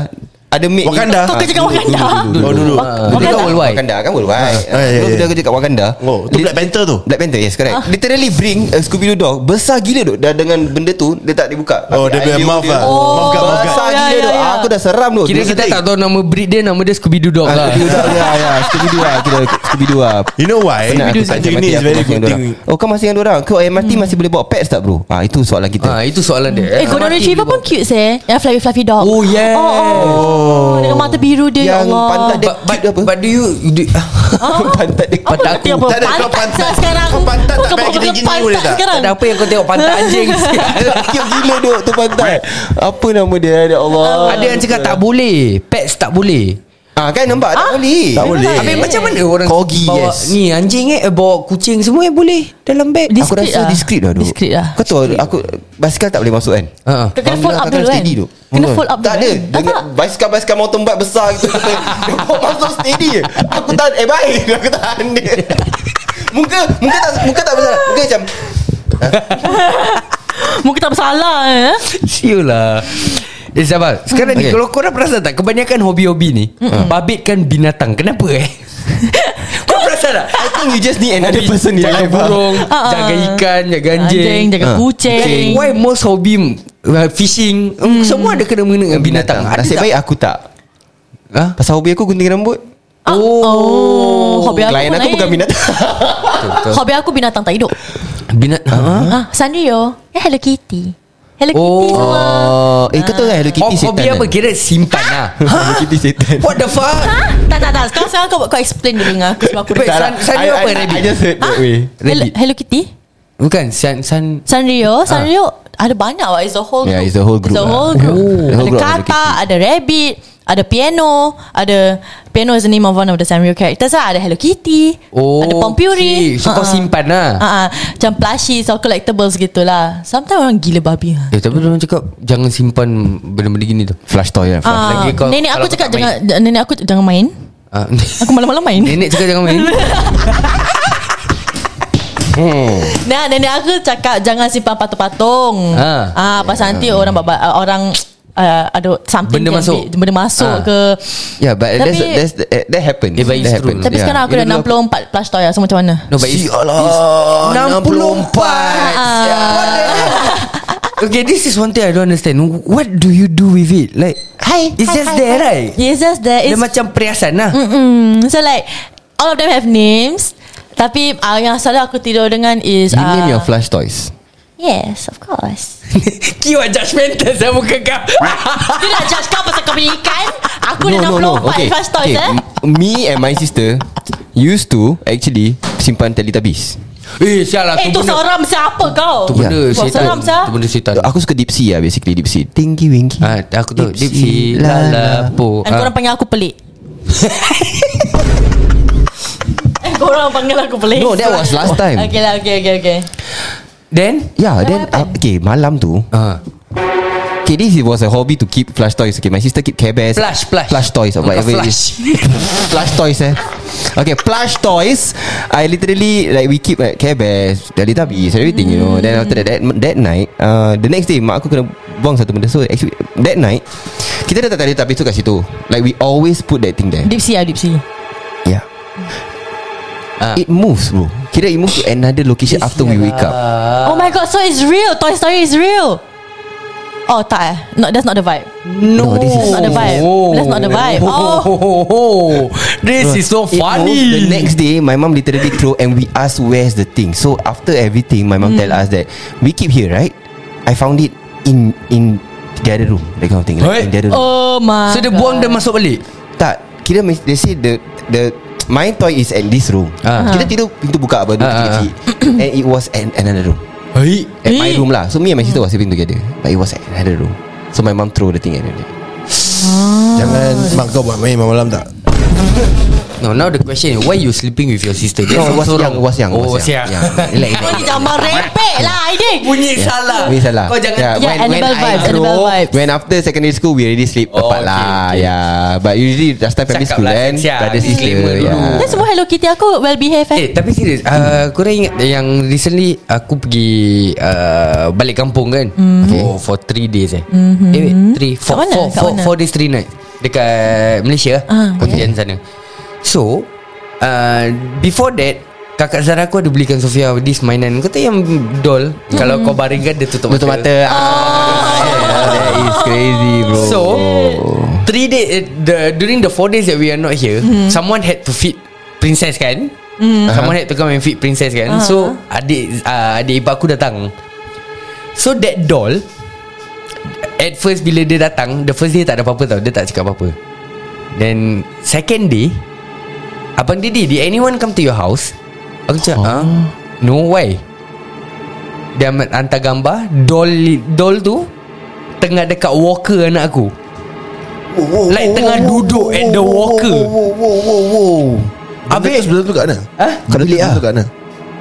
[SPEAKER 6] Ada mate ni-
[SPEAKER 2] Wakanda
[SPEAKER 4] Kau kerja kat
[SPEAKER 6] dulu,
[SPEAKER 4] Wakanda
[SPEAKER 6] dulu,
[SPEAKER 2] Oh dulu
[SPEAKER 3] Ah, Dia kan Ah. worldwide.
[SPEAKER 6] Wakanda kan worldwide
[SPEAKER 2] Ah, ya, ya,
[SPEAKER 6] Dulu kita
[SPEAKER 2] ya.
[SPEAKER 6] kerja kat Wakanda
[SPEAKER 2] Oh tu
[SPEAKER 6] Lit-
[SPEAKER 2] Black Panther tu
[SPEAKER 6] Black Panther yes
[SPEAKER 3] Ah.
[SPEAKER 6] correct Literally bring a Scooby-Doo dog Besar gila tu Dah dengan benda tu Dia tak dibuka
[SPEAKER 2] Oh, dia
[SPEAKER 6] Tapi
[SPEAKER 2] punya
[SPEAKER 6] idea
[SPEAKER 2] mouth
[SPEAKER 6] dia-
[SPEAKER 2] lah. Oh, mouth guard, mouth guard.
[SPEAKER 6] Besar
[SPEAKER 4] Ya,
[SPEAKER 6] gila
[SPEAKER 4] ya,
[SPEAKER 6] tu
[SPEAKER 4] ya.
[SPEAKER 6] Aku dah seram tu
[SPEAKER 3] Kira
[SPEAKER 6] Dia
[SPEAKER 3] kita
[SPEAKER 6] sedih.
[SPEAKER 3] tak tahu nama breed dia, nama dia Scooby Doo Dog
[SPEAKER 6] Ah,
[SPEAKER 3] lah.
[SPEAKER 6] Scooby-Doo dog ya, ya. Scooby-Doo lah Kira Scooby-Doo lah
[SPEAKER 2] You know why
[SPEAKER 6] Penat aku tak
[SPEAKER 2] Anjing ni Eh, is
[SPEAKER 6] mati, aku
[SPEAKER 2] very
[SPEAKER 6] masih
[SPEAKER 2] good
[SPEAKER 6] dengan
[SPEAKER 2] thing
[SPEAKER 6] dorang. Oh kau masih dengan orang Kau MRT masih boleh bawa pets tak bro Ah Itu soalan
[SPEAKER 3] Hmm. Ah
[SPEAKER 6] kita
[SPEAKER 3] itu soalan dia.
[SPEAKER 4] Eh Golden Retriever pun cute seh Yang fluffy fluffy dog
[SPEAKER 3] Oh, yeah.
[SPEAKER 4] oh, oh. Dengan mata biru dia
[SPEAKER 6] Yang
[SPEAKER 4] Ya Allah
[SPEAKER 6] pantat dia
[SPEAKER 3] But, but,
[SPEAKER 6] cute apa?
[SPEAKER 3] but do you, you do,
[SPEAKER 6] Pantat dia
[SPEAKER 4] Apa
[SPEAKER 3] Pantat
[SPEAKER 4] nak
[SPEAKER 3] aku.
[SPEAKER 4] tengok
[SPEAKER 2] Tak ada, kau
[SPEAKER 4] pantat
[SPEAKER 2] pantat.
[SPEAKER 4] sah sekarang
[SPEAKER 2] Kau pantat tak
[SPEAKER 4] Bukan
[SPEAKER 2] payah
[SPEAKER 4] bukan
[SPEAKER 2] gini-gini
[SPEAKER 4] pantat
[SPEAKER 2] boleh tak?
[SPEAKER 4] sekarang
[SPEAKER 3] Tak apa yang kau tengok pantat anjing sial.
[SPEAKER 6] Cute gila duk tu pantat Apa nama dia Ya Allah
[SPEAKER 3] Ada yang cakap tak boleh Pets tak boleh
[SPEAKER 6] Ah kan nampak tak
[SPEAKER 4] Ah?
[SPEAKER 6] boleh.
[SPEAKER 2] Tak boleh.
[SPEAKER 3] Habis macam mana orang
[SPEAKER 6] Corgi,
[SPEAKER 3] bawa
[SPEAKER 6] yes.
[SPEAKER 3] Ni anjing eh eh, Bawa kucing semua eh boleh Dalam beg
[SPEAKER 4] Dis-
[SPEAKER 6] Aku
[SPEAKER 4] Discreet
[SPEAKER 6] rasa
[SPEAKER 4] lah.
[SPEAKER 6] discreet lah duk.
[SPEAKER 4] Discreet lah.
[SPEAKER 6] Kau tahu aku basikal tak boleh masuk kan?
[SPEAKER 3] Ha.
[SPEAKER 4] Kau kena
[SPEAKER 6] Alhamdulillah,
[SPEAKER 4] fold up
[SPEAKER 6] kau
[SPEAKER 4] dulu
[SPEAKER 6] kena
[SPEAKER 4] kan
[SPEAKER 6] steady duk.
[SPEAKER 4] Kena
[SPEAKER 6] Betul.
[SPEAKER 4] fold up dulu
[SPEAKER 6] Tak ada
[SPEAKER 4] kan? Tak
[SPEAKER 6] Dengan
[SPEAKER 4] tak
[SPEAKER 6] Basikal-basikal mountain bike besar gitu Dia bawa masuk steady je Aku tahan Eh baik Aku tahan dia Muka Muka tak Muka tak besar Muka macam
[SPEAKER 4] Mungkin tak bersalah eh.
[SPEAKER 3] Sial lah Eh Zabal Sekarang ni
[SPEAKER 6] Okay.
[SPEAKER 3] Kalau korang perasan tak Kebanyakan hobi-hobi ni Babitkan binatang Kenapa eh Kau perasan tak
[SPEAKER 6] think you just need another person in your
[SPEAKER 3] Jaga
[SPEAKER 6] life ah.
[SPEAKER 3] burung
[SPEAKER 4] Ah.
[SPEAKER 3] Jaga ikan Jaga anjing,
[SPEAKER 4] Anjing, jaga
[SPEAKER 6] Ah.
[SPEAKER 4] kucing.
[SPEAKER 3] Why most hobby uh, Fishing mm. Semua ada kena mengena dengan binatang,
[SPEAKER 6] Hmm. Binatang. Nasib ah?
[SPEAKER 3] tak?
[SPEAKER 6] baik aku tak.
[SPEAKER 3] ha?
[SPEAKER 6] Pasal hobi aku gunting rambut.
[SPEAKER 4] Ah, Oh, hobi aku
[SPEAKER 6] Klien
[SPEAKER 4] pun
[SPEAKER 6] aku
[SPEAKER 4] lain.
[SPEAKER 6] bukan binatang.
[SPEAKER 4] Hobi aku binatang tak hidup.
[SPEAKER 3] Binat ha?
[SPEAKER 4] Ah, Sanrio. Eh Hello Kitty. Hello Kitty
[SPEAKER 3] Oh.
[SPEAKER 4] semua.
[SPEAKER 6] eh kau tahu kan Hello
[SPEAKER 4] Ah,
[SPEAKER 3] Oh, hobi apa kira simpan lah
[SPEAKER 6] Hello Kitty setan.
[SPEAKER 3] What the fuck
[SPEAKER 4] Ha? Tak tak tak. Sekarang sekarang kau kau explain dulu dengan aku sebab aku
[SPEAKER 3] Wait,
[SPEAKER 4] dah-
[SPEAKER 3] San- Sanrio
[SPEAKER 6] lah. I-
[SPEAKER 3] apa,
[SPEAKER 6] I- I-
[SPEAKER 3] rabbit?
[SPEAKER 6] I just heard that way.
[SPEAKER 4] Hello,
[SPEAKER 3] Rabbit.
[SPEAKER 4] Hello Kitty.
[SPEAKER 3] Bukan San, san Ah.
[SPEAKER 4] Sanrio, Sanrio ada banyak lah. It's a whole group.
[SPEAKER 6] Yeah, it's a whole group
[SPEAKER 4] It's a
[SPEAKER 6] lah.
[SPEAKER 4] whole group.
[SPEAKER 6] Oh. The
[SPEAKER 4] Ada
[SPEAKER 6] whole group of Hello
[SPEAKER 4] kata, ada rabbit, ada piano, ada piano is the name of one of the Sanrio characters lah. Ada Hello Kitty,
[SPEAKER 3] Oh,
[SPEAKER 4] ada Pompuri.
[SPEAKER 3] okay. So, kau simpan lah.
[SPEAKER 4] Uh-uh. Macam plushies or collectibles gitulah. Sometimes orang gila babi. Ha.
[SPEAKER 3] Eh tapi orang cakap Jangan simpan Benda-benda gini tu
[SPEAKER 6] Flash toy lah.
[SPEAKER 3] Ah.
[SPEAKER 4] Uh,
[SPEAKER 3] Lagi kau-
[SPEAKER 4] nenek
[SPEAKER 3] kalau
[SPEAKER 4] aku
[SPEAKER 3] kau
[SPEAKER 4] cakap
[SPEAKER 3] tak main.
[SPEAKER 4] jangan nenek aku jangan main.
[SPEAKER 3] Ah,
[SPEAKER 4] Aku malam-malam main.
[SPEAKER 3] Nenek cakap jangan main
[SPEAKER 4] Nah, nenek aku cakap jangan simpan patung-patung.
[SPEAKER 3] Ha.
[SPEAKER 4] Ha. Ah, pasal nanti orang baba, orang uh, ada something
[SPEAKER 3] Benda
[SPEAKER 4] can
[SPEAKER 3] masuk.
[SPEAKER 4] be- benda masuk
[SPEAKER 3] Ha.
[SPEAKER 4] ke.
[SPEAKER 6] Yeah, Ya, but
[SPEAKER 4] Tapi-
[SPEAKER 6] that's, that's, that, that happens.
[SPEAKER 3] Yeah, but it's
[SPEAKER 6] that
[SPEAKER 3] true.
[SPEAKER 6] happens. ya.
[SPEAKER 4] Tapi yeah. sekarang aku
[SPEAKER 6] Bila
[SPEAKER 4] dah
[SPEAKER 6] dulu
[SPEAKER 4] 64 plush toy so macam mana?
[SPEAKER 3] Ya. No but it's,
[SPEAKER 2] Sialah
[SPEAKER 3] 64
[SPEAKER 4] Ah,
[SPEAKER 3] Okay this is one thing I don't understand What do you do with it Like
[SPEAKER 4] Hi. Mm.
[SPEAKER 3] It's just there right
[SPEAKER 4] It's just that
[SPEAKER 3] Dia
[SPEAKER 4] it's
[SPEAKER 3] macam perhiasan lah
[SPEAKER 4] Mm-mm. So like all of them have names. Tapi uh, yang selalu aku tidur dengan is
[SPEAKER 6] You name
[SPEAKER 4] ah,
[SPEAKER 6] your flash toys.
[SPEAKER 4] Yes, of course.
[SPEAKER 3] Kiwa judgemental Saya bukan kau
[SPEAKER 4] Dia nak judge kau pasal kau punya ikan. Aku dah 64 plush toys eh.
[SPEAKER 6] M- Me and my sister used to actually simpan Teletubbies.
[SPEAKER 3] Eh sial lah
[SPEAKER 4] Eh tu seram siapa kau?
[SPEAKER 3] Tu benda
[SPEAKER 4] Buat
[SPEAKER 3] setan
[SPEAKER 4] Seram sah.
[SPEAKER 3] Tu benda setan
[SPEAKER 6] Aku suka Dipsy lah basically Dipsy. Tinggi winky.
[SPEAKER 3] Ah, Aku tahu Dipsi Lala Po Ah.
[SPEAKER 4] Dan korang panggil aku pelik Eh korang panggil aku pelik
[SPEAKER 6] No, Oh, that was last time.
[SPEAKER 4] Okay lah okay okay okay
[SPEAKER 3] Then
[SPEAKER 6] Yeah, then uh, okay malam tu.
[SPEAKER 3] Ah.
[SPEAKER 6] Okay, this was a hobby to keep flash toys. Okay, my sister keep Care Bears.
[SPEAKER 3] Plush, plush.
[SPEAKER 6] Plush toys or
[SPEAKER 3] Bukan
[SPEAKER 6] whatever it is. plush toys eh. Okay, plush toys. I literally like we keep like Care Bears, Teletubbies, everything you know. Then after that, that, that night, uh, the next day mak aku kena buang satu benda. So actually that night kita dah tak Teletubbies tu kat situ. Like we always put that thing there.
[SPEAKER 4] Dipsy lah Dipsy
[SPEAKER 6] Yeah.
[SPEAKER 3] Ah.
[SPEAKER 6] It moves bro Kira it moves to another location After we wake up
[SPEAKER 4] Oh my god so it's real Toy Story is real Oh tak eh no, That's not the vibe
[SPEAKER 3] No,
[SPEAKER 6] this is-
[SPEAKER 4] That's not the vibe That's not the vibe Oh
[SPEAKER 3] Oh, this is so
[SPEAKER 6] It moves. The
[SPEAKER 3] funny.
[SPEAKER 6] next day My mom literally throw And we ask where's the thing So after everything My
[SPEAKER 3] Hmm.
[SPEAKER 6] mom tell us that We keep here right I found it In in The other room That kind of thing
[SPEAKER 3] Right.
[SPEAKER 6] like, In the other room
[SPEAKER 4] Oh my
[SPEAKER 3] So dia
[SPEAKER 4] god.
[SPEAKER 3] buang dia masuk balik.
[SPEAKER 6] Tak Kira mes- they say the the my toy is at this room.
[SPEAKER 3] Ah.
[SPEAKER 6] Kita tidur pintu buka apa
[SPEAKER 3] Ah, ah,
[SPEAKER 6] uh and it was at another room.
[SPEAKER 3] Hai.
[SPEAKER 6] At my
[SPEAKER 4] Eh.
[SPEAKER 6] room lah. So me and my sister was sleeping together. But it was at another room. So my mom throw the thing at it.
[SPEAKER 2] Jangan Mak kau buat main malam tak
[SPEAKER 3] No, now the question is why you sleeping with your sister? That's
[SPEAKER 6] No, it was
[SPEAKER 3] also
[SPEAKER 6] young,
[SPEAKER 3] wrong.
[SPEAKER 6] was young,
[SPEAKER 3] Oh,
[SPEAKER 6] was
[SPEAKER 3] siang.
[SPEAKER 6] young. Yeah. Relax,
[SPEAKER 4] Kau ni jambar repek lah Aiding
[SPEAKER 3] Bunyi salah.
[SPEAKER 6] Ni salah
[SPEAKER 3] Kau jangan
[SPEAKER 6] yeah,
[SPEAKER 4] Yeah, Annabelle vibes, Annabelle vibes.
[SPEAKER 6] When after secondary school We already sleep
[SPEAKER 3] Oh,
[SPEAKER 6] oh,
[SPEAKER 3] okay,
[SPEAKER 6] apart okay, lah
[SPEAKER 3] okay.
[SPEAKER 6] okay. Yeah But usually Last time family
[SPEAKER 3] Cakap
[SPEAKER 6] school
[SPEAKER 3] lah,
[SPEAKER 6] kan
[SPEAKER 3] siap-siap.
[SPEAKER 6] Brother sister ya.
[SPEAKER 3] Disclaimer dulu.
[SPEAKER 4] Dia semua Hello Kitty aku well behave eh
[SPEAKER 3] Eh, tapi serius. Uh, korang ingat yang recently aku pergi uh, balik kampung kan? Okay. Oh, for 3 days eh. Mm-hmm. Eh, wait, 3
[SPEAKER 4] Hmm. Mhm. Kat mana?
[SPEAKER 3] 4
[SPEAKER 4] Kat mana?
[SPEAKER 3] 4 4 days 3 night dekat Malaysia.
[SPEAKER 4] Ah,
[SPEAKER 3] Aku kerjaan sana. So, uh, before that Kakak Zara aku ada belikan Sofia This mainan Kau tahu yang doll
[SPEAKER 4] Hmm.
[SPEAKER 3] Kalau kau baringkan Dia tutup,
[SPEAKER 6] Tutup mata ah,
[SPEAKER 4] Oh.
[SPEAKER 6] That is crazy bro
[SPEAKER 3] So Three day eh, the, During the four days That we are not here Someone had to feed Princess kan Someone had to come and feed Princess kan So Adik uh, Adik ipar aku datang So that doll At first bila dia datang The first day tak ada apa-apa tau Dia tak cakap apa-apa Then Second day Abang Didi Did anyone come to your house Aku cakap huh? No why Dia amat hantar gambar Doll Doll tu Tengah dekat walker anak aku Like tengah duduk at the walker
[SPEAKER 2] Habis
[SPEAKER 3] Habis
[SPEAKER 2] Sebelum tu kat mana
[SPEAKER 3] Hah?
[SPEAKER 2] Kat bilik tu kat mana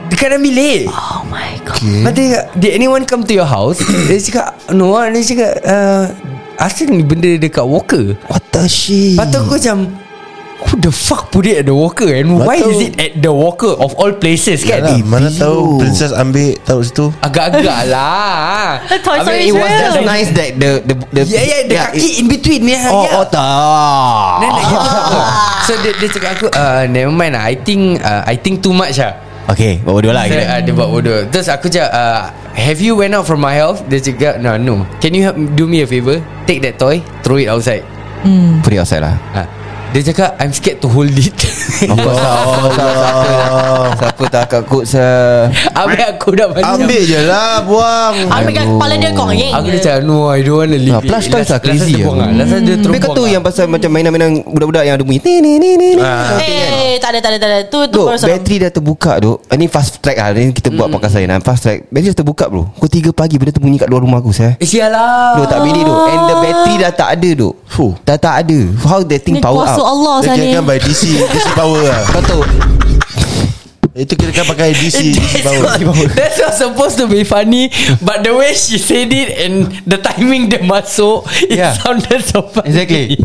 [SPEAKER 3] Dekat dalam bilik
[SPEAKER 4] Ha? Oh my god
[SPEAKER 3] Lepas tu dia cakap, Did anyone come to your house Dia cakap No ah." Dia cakap uh, Asal ni benda dekat walker
[SPEAKER 6] What the shit
[SPEAKER 3] Lepas tu aku macam Who the fuck put it at the walker And why
[SPEAKER 2] Betul.
[SPEAKER 3] is it at the walker Of all places kan
[SPEAKER 2] Yalah, Mana
[SPEAKER 6] Biru.
[SPEAKER 2] tahu Princess ambil Taruh situ
[SPEAKER 3] Agak-agak lah
[SPEAKER 4] The
[SPEAKER 3] I mean,
[SPEAKER 4] Toy Story
[SPEAKER 3] it
[SPEAKER 4] is
[SPEAKER 3] was
[SPEAKER 4] real.
[SPEAKER 3] just
[SPEAKER 6] That's
[SPEAKER 3] like-
[SPEAKER 6] nice that the the, the
[SPEAKER 3] Yeah yeah The kaki in between ni ha,
[SPEAKER 6] it, Oh
[SPEAKER 3] yeah.
[SPEAKER 6] oh tak
[SPEAKER 3] Then like, ya. So dia, dia cakap aku uh, Never mind lah I think uh, I think too much lah
[SPEAKER 6] Okay Bawa dua lah
[SPEAKER 3] Saya
[SPEAKER 6] kira
[SPEAKER 3] uh, dia buat bodoh Terus aku cakap uh, Have you went out from my house Dia cakap No no Can you help do me a favour Take that toy Throw it outside
[SPEAKER 4] Hmm.
[SPEAKER 6] Put it outside lah
[SPEAKER 3] ha. Dia cakap I'm scared to hold it
[SPEAKER 6] Of course lah Of course lah Siapa lah Siapa tak akan kot se-
[SPEAKER 3] Habis aku dah macam
[SPEAKER 2] Ambil je lah Buang
[SPEAKER 4] Aku pegang Oh kepala dia Eh, kau Yeng
[SPEAKER 3] Eh. Aku dah cakap No I don't want to leave
[SPEAKER 6] Ah, plush
[SPEAKER 3] it.
[SPEAKER 6] toys
[SPEAKER 3] Last-
[SPEAKER 6] lah
[SPEAKER 3] Last
[SPEAKER 6] crazy
[SPEAKER 3] dia buang lah Last dia
[SPEAKER 4] Hmm.
[SPEAKER 3] terus
[SPEAKER 6] Tapi kau
[SPEAKER 3] buang
[SPEAKER 6] tu
[SPEAKER 3] lah.
[SPEAKER 6] yang pasal Macam mainan-mainan Budak-budak yang ada bunyi Ni ni ni ni ni
[SPEAKER 3] Ah.
[SPEAKER 4] Eh tak ada tak ada tak ada Tu tu
[SPEAKER 6] Duk,
[SPEAKER 4] baru seram.
[SPEAKER 6] bateri dah terbuka duk Ini fast track lah Ini kita buat podcast lain lah Fast track Bateri dah terbuka bro Kau 3 pagi Benda tu bunyi kat luar rumah aku saya
[SPEAKER 3] Eh sial lah
[SPEAKER 6] Duk tak bilik duk And the bateri dah tak ada duk
[SPEAKER 2] Fuh.
[SPEAKER 6] Dah tak ada How that
[SPEAKER 4] Ni
[SPEAKER 6] thing power
[SPEAKER 4] kuasa
[SPEAKER 6] up
[SPEAKER 4] Allah Eh,
[SPEAKER 2] Dia
[SPEAKER 4] sana
[SPEAKER 2] kira kan by DC DC power lah
[SPEAKER 6] Kau tahu
[SPEAKER 2] Itu kira kan pakai DC DC power
[SPEAKER 3] That's what- That's not supposed to be funny But the way she said it And the timing dia masuk It
[SPEAKER 6] Yeah.
[SPEAKER 3] sounded so funny
[SPEAKER 6] Exactly.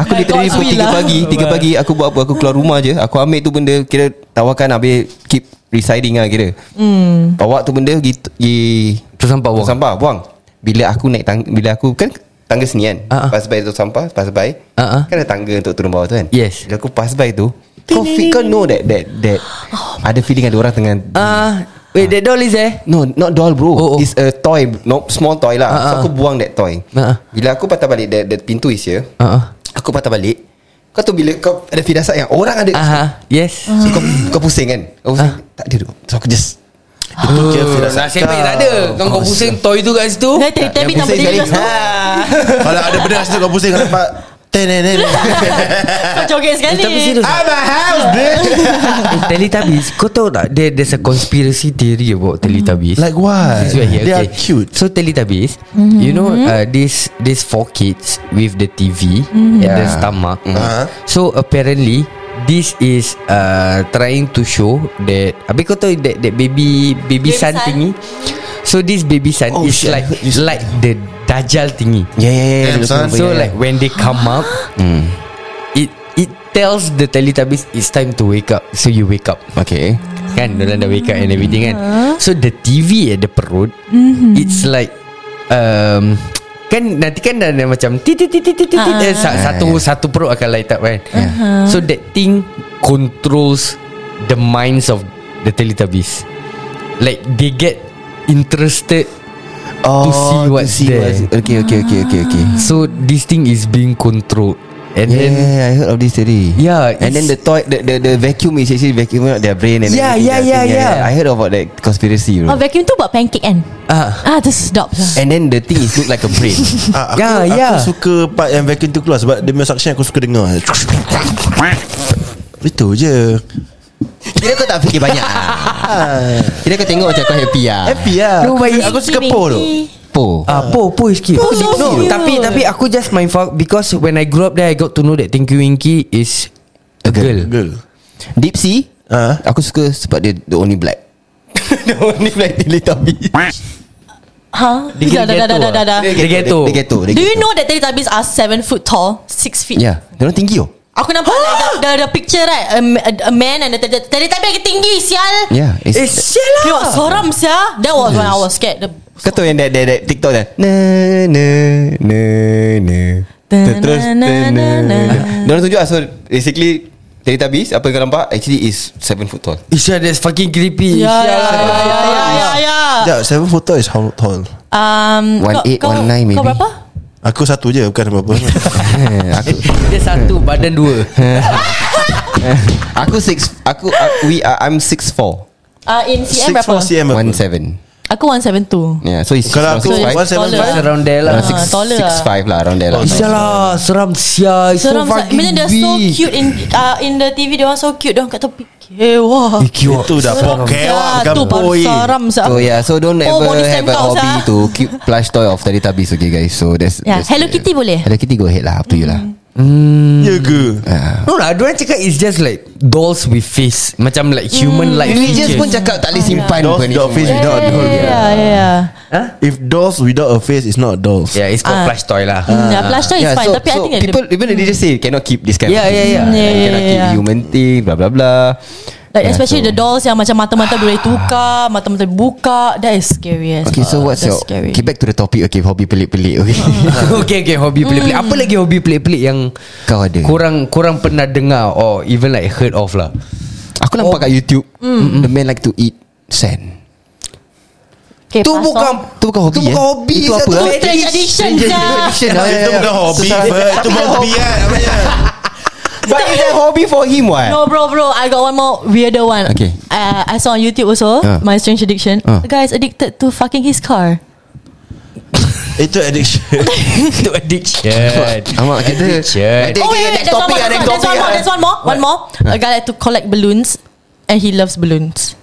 [SPEAKER 6] Aku
[SPEAKER 3] My
[SPEAKER 6] literally
[SPEAKER 3] God's
[SPEAKER 6] pun
[SPEAKER 3] will
[SPEAKER 6] 3
[SPEAKER 3] lah.
[SPEAKER 6] pagi 3 pagi aku buat apa Aku keluar rumah je Aku ambil tu benda Kira tawarkan habis Keep residing lah kira hmm. Bawa tu benda Pergi
[SPEAKER 3] Terus sampah buang.
[SPEAKER 6] Terus sampah buang Bila aku naik tang Bila aku Kan tangga sini kan
[SPEAKER 3] Ah, ah.
[SPEAKER 6] Pass by tu sampah Pass by
[SPEAKER 3] Ah, ah.
[SPEAKER 6] Kan ada tangga untuk turun bawah tu kan
[SPEAKER 3] Yes.
[SPEAKER 6] Bila aku pass by tu Kau, feel, kau know that that that Ada feeling ada orang tengah
[SPEAKER 3] Ah, Wait that doll is there
[SPEAKER 6] No not doll
[SPEAKER 3] Oh,
[SPEAKER 6] bro oh,
[SPEAKER 3] oh.
[SPEAKER 6] It's a toy no, Small toy lah
[SPEAKER 3] Ah,
[SPEAKER 6] uh, So
[SPEAKER 3] ah.
[SPEAKER 6] aku buang that toy
[SPEAKER 3] Ah, ah.
[SPEAKER 6] Bila aku patah balik That, that pintu is here
[SPEAKER 3] uh
[SPEAKER 6] Aku patah balik Kau tu bila kau ada firasat yang Orang ada uh-huh.
[SPEAKER 3] Aha, yes.
[SPEAKER 6] So kau, kau pusing kan Kau pusing
[SPEAKER 3] Ah.
[SPEAKER 6] Tak ada duk So aku just
[SPEAKER 2] Itu kira Oh. firasat
[SPEAKER 3] Nasib baik tak ada. Kau kau pusing toy tu kat situ.
[SPEAKER 4] Nanti tapi tak
[SPEAKER 6] pusing
[SPEAKER 4] berdiri
[SPEAKER 6] sekali.
[SPEAKER 2] Kalau ada benda kat situ Kau pusing Kau nampak Ten ten ten
[SPEAKER 4] Kau joget sekali
[SPEAKER 3] Tapi serius.
[SPEAKER 2] I'm a house bitch
[SPEAKER 3] Eh, Teletubbies Kau tahu tak There, There's a conspiracy theory About Teletubbies
[SPEAKER 2] Like what
[SPEAKER 3] This is where he-
[SPEAKER 2] They are
[SPEAKER 3] okay.
[SPEAKER 2] cute
[SPEAKER 3] So Teletubbies mm-hmm. You know uh, These These four kids With the TV mm-hmm. And the
[SPEAKER 6] Yeah.
[SPEAKER 3] stomach
[SPEAKER 2] Uh-huh.
[SPEAKER 3] So apparently This is uh, Trying to show That Habis kau tahu That, that baby Baby,
[SPEAKER 4] Baby
[SPEAKER 3] son,
[SPEAKER 4] son.
[SPEAKER 3] thingy So this baby son
[SPEAKER 6] Oh,
[SPEAKER 3] Is
[SPEAKER 6] shit.
[SPEAKER 3] like Like the Dajjal thingy
[SPEAKER 6] Yeah yeah yeah,
[SPEAKER 2] Damn,
[SPEAKER 6] yeah.
[SPEAKER 2] son.
[SPEAKER 3] So like Hmm. when they come up It It tells the Teletubbies It's time to wake up So you wake up
[SPEAKER 6] Okay
[SPEAKER 3] Kan Diorang dah wake up and everything kan So the TV at the perut It's like um, Kan nanti kan dah, dah macam ti ti ti ti ti ti ti eh, sa- Satu satu perut akan light up kan So that thing Controls The minds of The Teletubbies Like they get Interested
[SPEAKER 6] Oh
[SPEAKER 3] To see what's there.
[SPEAKER 6] Okay okay okay okay, okay.
[SPEAKER 3] So this thing is being controlled And
[SPEAKER 6] Yeah,
[SPEAKER 3] then
[SPEAKER 6] yeah, I heard of this theory.
[SPEAKER 3] Yeah,
[SPEAKER 6] and then the toy, the, the the vacuum is actually vacuuming out their brain and
[SPEAKER 3] Yeah,
[SPEAKER 6] everything,
[SPEAKER 3] yeah,
[SPEAKER 6] their
[SPEAKER 3] yeah,
[SPEAKER 6] thing.
[SPEAKER 3] yeah.
[SPEAKER 6] I heard about that conspiracy,
[SPEAKER 4] Oh
[SPEAKER 6] bro.
[SPEAKER 4] vacuum tu buat pancake kan
[SPEAKER 3] ah,
[SPEAKER 4] Ah tu sedap lah
[SPEAKER 6] And then the thing is look like a brain.
[SPEAKER 2] Ah, Aku,
[SPEAKER 3] Yeah, yeah.
[SPEAKER 2] aku suka part yang vacuum tu keluar Sebab dia punya suction aku suka dengar Itu je
[SPEAKER 6] Kira kau tak fikir banyak. ah. Kira kau tengok macam kau happy ah.
[SPEAKER 2] Happy lah
[SPEAKER 3] No,
[SPEAKER 2] Aku-
[SPEAKER 3] but
[SPEAKER 2] Eh, Aku suka po tu
[SPEAKER 6] Po.
[SPEAKER 3] Ah, po, po is cute.
[SPEAKER 4] Po is
[SPEAKER 3] no,
[SPEAKER 4] cute.
[SPEAKER 3] tapi tapi aku just mind fuck because when I grew up there, I got to know that Tinky Winky is a girl.
[SPEAKER 2] Girl
[SPEAKER 6] Deep Sea
[SPEAKER 2] Ah.
[SPEAKER 6] Aku suka sebab dia The only black The only black Teletubby
[SPEAKER 4] Ha
[SPEAKER 3] kira
[SPEAKER 4] Dah dah dah
[SPEAKER 3] ghetto
[SPEAKER 4] dah dah dah
[SPEAKER 3] Dia ghetto.
[SPEAKER 6] Dia ghetto
[SPEAKER 4] Do you know that Teletubbies are 7 foot tall 6 feet
[SPEAKER 6] Yeah Dia orang tinggi oh
[SPEAKER 4] Aku nampak like the, the, the picture right a, a, a man and the Teletubbies Teletubbies tinggi sial
[SPEAKER 6] Yeah it's,
[SPEAKER 3] Eh, sial
[SPEAKER 4] Tengok
[SPEAKER 3] lah.
[SPEAKER 4] seram sia That was when I was scared the,
[SPEAKER 6] Kau tahu yang that, that, that TikTok dah Na na na na Ter- Terus
[SPEAKER 4] Na, na, na, na.
[SPEAKER 6] Dia orang tunjuk lah So basically Teletubbies Apa yang kau nampak Actually is 7 foot tall
[SPEAKER 3] Eh, sial, that's fucking creepy.
[SPEAKER 4] Ya
[SPEAKER 3] Sial
[SPEAKER 4] ya
[SPEAKER 3] lah.
[SPEAKER 4] ya ya ya ya ya
[SPEAKER 2] Sekejap Seven photo is how tall
[SPEAKER 4] Um,
[SPEAKER 6] One
[SPEAKER 4] kau-
[SPEAKER 6] eight,
[SPEAKER 4] kau-
[SPEAKER 6] one nine
[SPEAKER 4] Kau
[SPEAKER 6] maybe.
[SPEAKER 4] berapa?
[SPEAKER 2] Aku satu je Bukan apa-apa
[SPEAKER 6] Eh, Aku
[SPEAKER 3] Dia satu, badan dua.
[SPEAKER 6] Aku six Aku aku- we are, I'm 6'4
[SPEAKER 4] Uh, in CM
[SPEAKER 2] 6
[SPEAKER 4] berapa?
[SPEAKER 2] for CM apa?
[SPEAKER 6] 1'7
[SPEAKER 4] Aku 172
[SPEAKER 6] Yeah so it's
[SPEAKER 2] Kalau aku
[SPEAKER 4] So, it's
[SPEAKER 2] 175
[SPEAKER 4] taller.
[SPEAKER 3] Around there lah.
[SPEAKER 6] Around six,
[SPEAKER 4] Ah, taller
[SPEAKER 6] six
[SPEAKER 4] lah.
[SPEAKER 6] five lah Around there lah
[SPEAKER 2] Oh,
[SPEAKER 3] Eh, sial lah, seram sial. It's
[SPEAKER 4] Seram
[SPEAKER 3] so
[SPEAKER 4] so, I
[SPEAKER 3] fucking
[SPEAKER 4] mean they're so
[SPEAKER 3] big.
[SPEAKER 4] cute in uh, in the TV they are so cute. Dia orang kat tepi. Kewa.
[SPEAKER 3] Eh, cute.
[SPEAKER 2] Itu dah pokewak
[SPEAKER 4] Tu
[SPEAKER 2] Kampoi
[SPEAKER 4] seram sah.
[SPEAKER 6] So yeah So don't
[SPEAKER 4] Oh,
[SPEAKER 6] ever
[SPEAKER 4] body
[SPEAKER 6] have
[SPEAKER 4] stamp
[SPEAKER 6] a
[SPEAKER 4] kau,
[SPEAKER 6] hobby
[SPEAKER 4] Zah.
[SPEAKER 6] To keep plush toy of Teletubbies Okay guys So that's,
[SPEAKER 4] Yeah,
[SPEAKER 6] that's
[SPEAKER 4] Hello Kitty boleh? Mm-hmm.
[SPEAKER 6] Hello Kitty go ahead lah Up to you lah
[SPEAKER 2] Ya ke
[SPEAKER 3] No lah Diorang cakap It's just like Dolls with face Macam
[SPEAKER 4] Mm.
[SPEAKER 3] like human like features
[SPEAKER 6] Religious pun cakap
[SPEAKER 4] Oh,
[SPEAKER 6] tak boleh simpan
[SPEAKER 2] Dolls
[SPEAKER 6] apa ni
[SPEAKER 2] without
[SPEAKER 6] semua.
[SPEAKER 2] face without a doll
[SPEAKER 4] Yeah, yeah.
[SPEAKER 2] If dolls without a face It's not dolls
[SPEAKER 3] Yeah it's called
[SPEAKER 4] Ah.
[SPEAKER 3] plush toy lah
[SPEAKER 4] Hmm, yeah, plush toy is fine.
[SPEAKER 6] Uh, so,
[SPEAKER 4] Tapi I
[SPEAKER 6] so
[SPEAKER 4] think ada-
[SPEAKER 6] people even they just say cannot keep this kind
[SPEAKER 3] Yeah, yeah,
[SPEAKER 6] of
[SPEAKER 3] yeah.
[SPEAKER 6] thing.
[SPEAKER 4] Yeah, yeah,
[SPEAKER 6] cannot keep
[SPEAKER 4] yeah.
[SPEAKER 6] human thing blah blah blah
[SPEAKER 4] Like especially the dolls yang macam mata-mata boleh tukar, mata-mata buka. That is scary as
[SPEAKER 6] Okay so
[SPEAKER 4] fuck.
[SPEAKER 6] what's
[SPEAKER 4] That's
[SPEAKER 6] your
[SPEAKER 4] scary.
[SPEAKER 6] Okay back to the topic Okay hobi pelik-pelik Okay
[SPEAKER 4] Hmm.
[SPEAKER 3] Okay okay Hobi
[SPEAKER 4] Mm.
[SPEAKER 3] pelik-pelik Apa lagi hobi pelik-pelik yang
[SPEAKER 6] Kau ada
[SPEAKER 3] Kurang kurang pernah dengar Or even like heard of lah
[SPEAKER 6] Aku nampak kat YouTube
[SPEAKER 4] Hmm.
[SPEAKER 6] The man like to eat sand
[SPEAKER 4] Okay,
[SPEAKER 3] Tu
[SPEAKER 4] pasal-
[SPEAKER 3] bukan
[SPEAKER 6] Tu bukan hobi
[SPEAKER 3] Tu bukan
[SPEAKER 6] eh?
[SPEAKER 3] hobi
[SPEAKER 6] Itu apa
[SPEAKER 3] Itu
[SPEAKER 4] Tu
[SPEAKER 6] eh?
[SPEAKER 4] strange addiction Zah.
[SPEAKER 6] Addiction
[SPEAKER 2] Nah,
[SPEAKER 6] lah, ya,
[SPEAKER 2] Itu
[SPEAKER 6] ya.
[SPEAKER 2] bukan hobi
[SPEAKER 6] Sesaran.
[SPEAKER 2] Fer. Itu bukan hobi kan namanya.
[SPEAKER 6] But it's a hobby for him what
[SPEAKER 4] No bro bro I got one more Weirder one
[SPEAKER 6] Okay.
[SPEAKER 4] uh, I saw on YouTube also
[SPEAKER 6] Ah.
[SPEAKER 4] My strange addiction
[SPEAKER 6] Ah.
[SPEAKER 4] The guy is addicted to Fucking his car
[SPEAKER 2] Itu addiction
[SPEAKER 3] Itu addiction
[SPEAKER 6] Amat kita
[SPEAKER 3] Addiction.
[SPEAKER 6] Nanti-
[SPEAKER 4] Oh
[SPEAKER 6] nanti
[SPEAKER 4] wait, wait, wait
[SPEAKER 6] next
[SPEAKER 4] there's, one
[SPEAKER 6] topic
[SPEAKER 4] more,
[SPEAKER 6] lah,
[SPEAKER 4] there's, one,
[SPEAKER 6] next topic
[SPEAKER 4] more,
[SPEAKER 6] lah.
[SPEAKER 4] there's one more One more A guy like to collect balloons And he loves balloons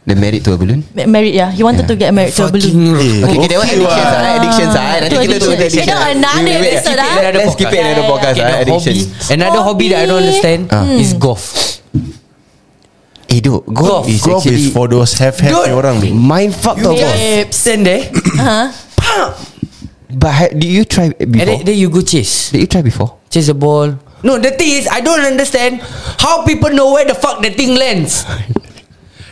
[SPEAKER 6] They married to a balloon
[SPEAKER 4] Ma- Married yeah He wanted to get married to a balloon
[SPEAKER 2] Eh,
[SPEAKER 6] Okay, okay, that one
[SPEAKER 2] okay,
[SPEAKER 6] addictions
[SPEAKER 2] wah.
[SPEAKER 6] lah Addictions lah Nanti
[SPEAKER 4] Itu
[SPEAKER 6] kita tu
[SPEAKER 4] addiction.
[SPEAKER 6] addiction
[SPEAKER 4] Kita another
[SPEAKER 6] Wait, wait, wait.
[SPEAKER 4] episode, ah.
[SPEAKER 6] Let's keep it another podcast
[SPEAKER 3] Okay,
[SPEAKER 6] lah
[SPEAKER 3] the hobby,
[SPEAKER 6] Addictions
[SPEAKER 3] another hobby that I don't
[SPEAKER 4] Hobby.
[SPEAKER 3] understand
[SPEAKER 6] Ah.
[SPEAKER 3] is golf.
[SPEAKER 6] Eh duk Golf
[SPEAKER 3] Golf.
[SPEAKER 6] is
[SPEAKER 2] Golf is
[SPEAKER 6] actually
[SPEAKER 2] for those have-have
[SPEAKER 3] Dude.
[SPEAKER 2] orang ni
[SPEAKER 6] Mind fuck tau
[SPEAKER 3] You
[SPEAKER 6] golf
[SPEAKER 3] just stand there,
[SPEAKER 6] But ha- did you
[SPEAKER 3] and
[SPEAKER 6] try
[SPEAKER 3] then,
[SPEAKER 6] before?
[SPEAKER 3] then you go chase,
[SPEAKER 6] Did you try before?
[SPEAKER 3] chase the ball. No, the thing is, I don't understand how people know where the fuck the thing lands.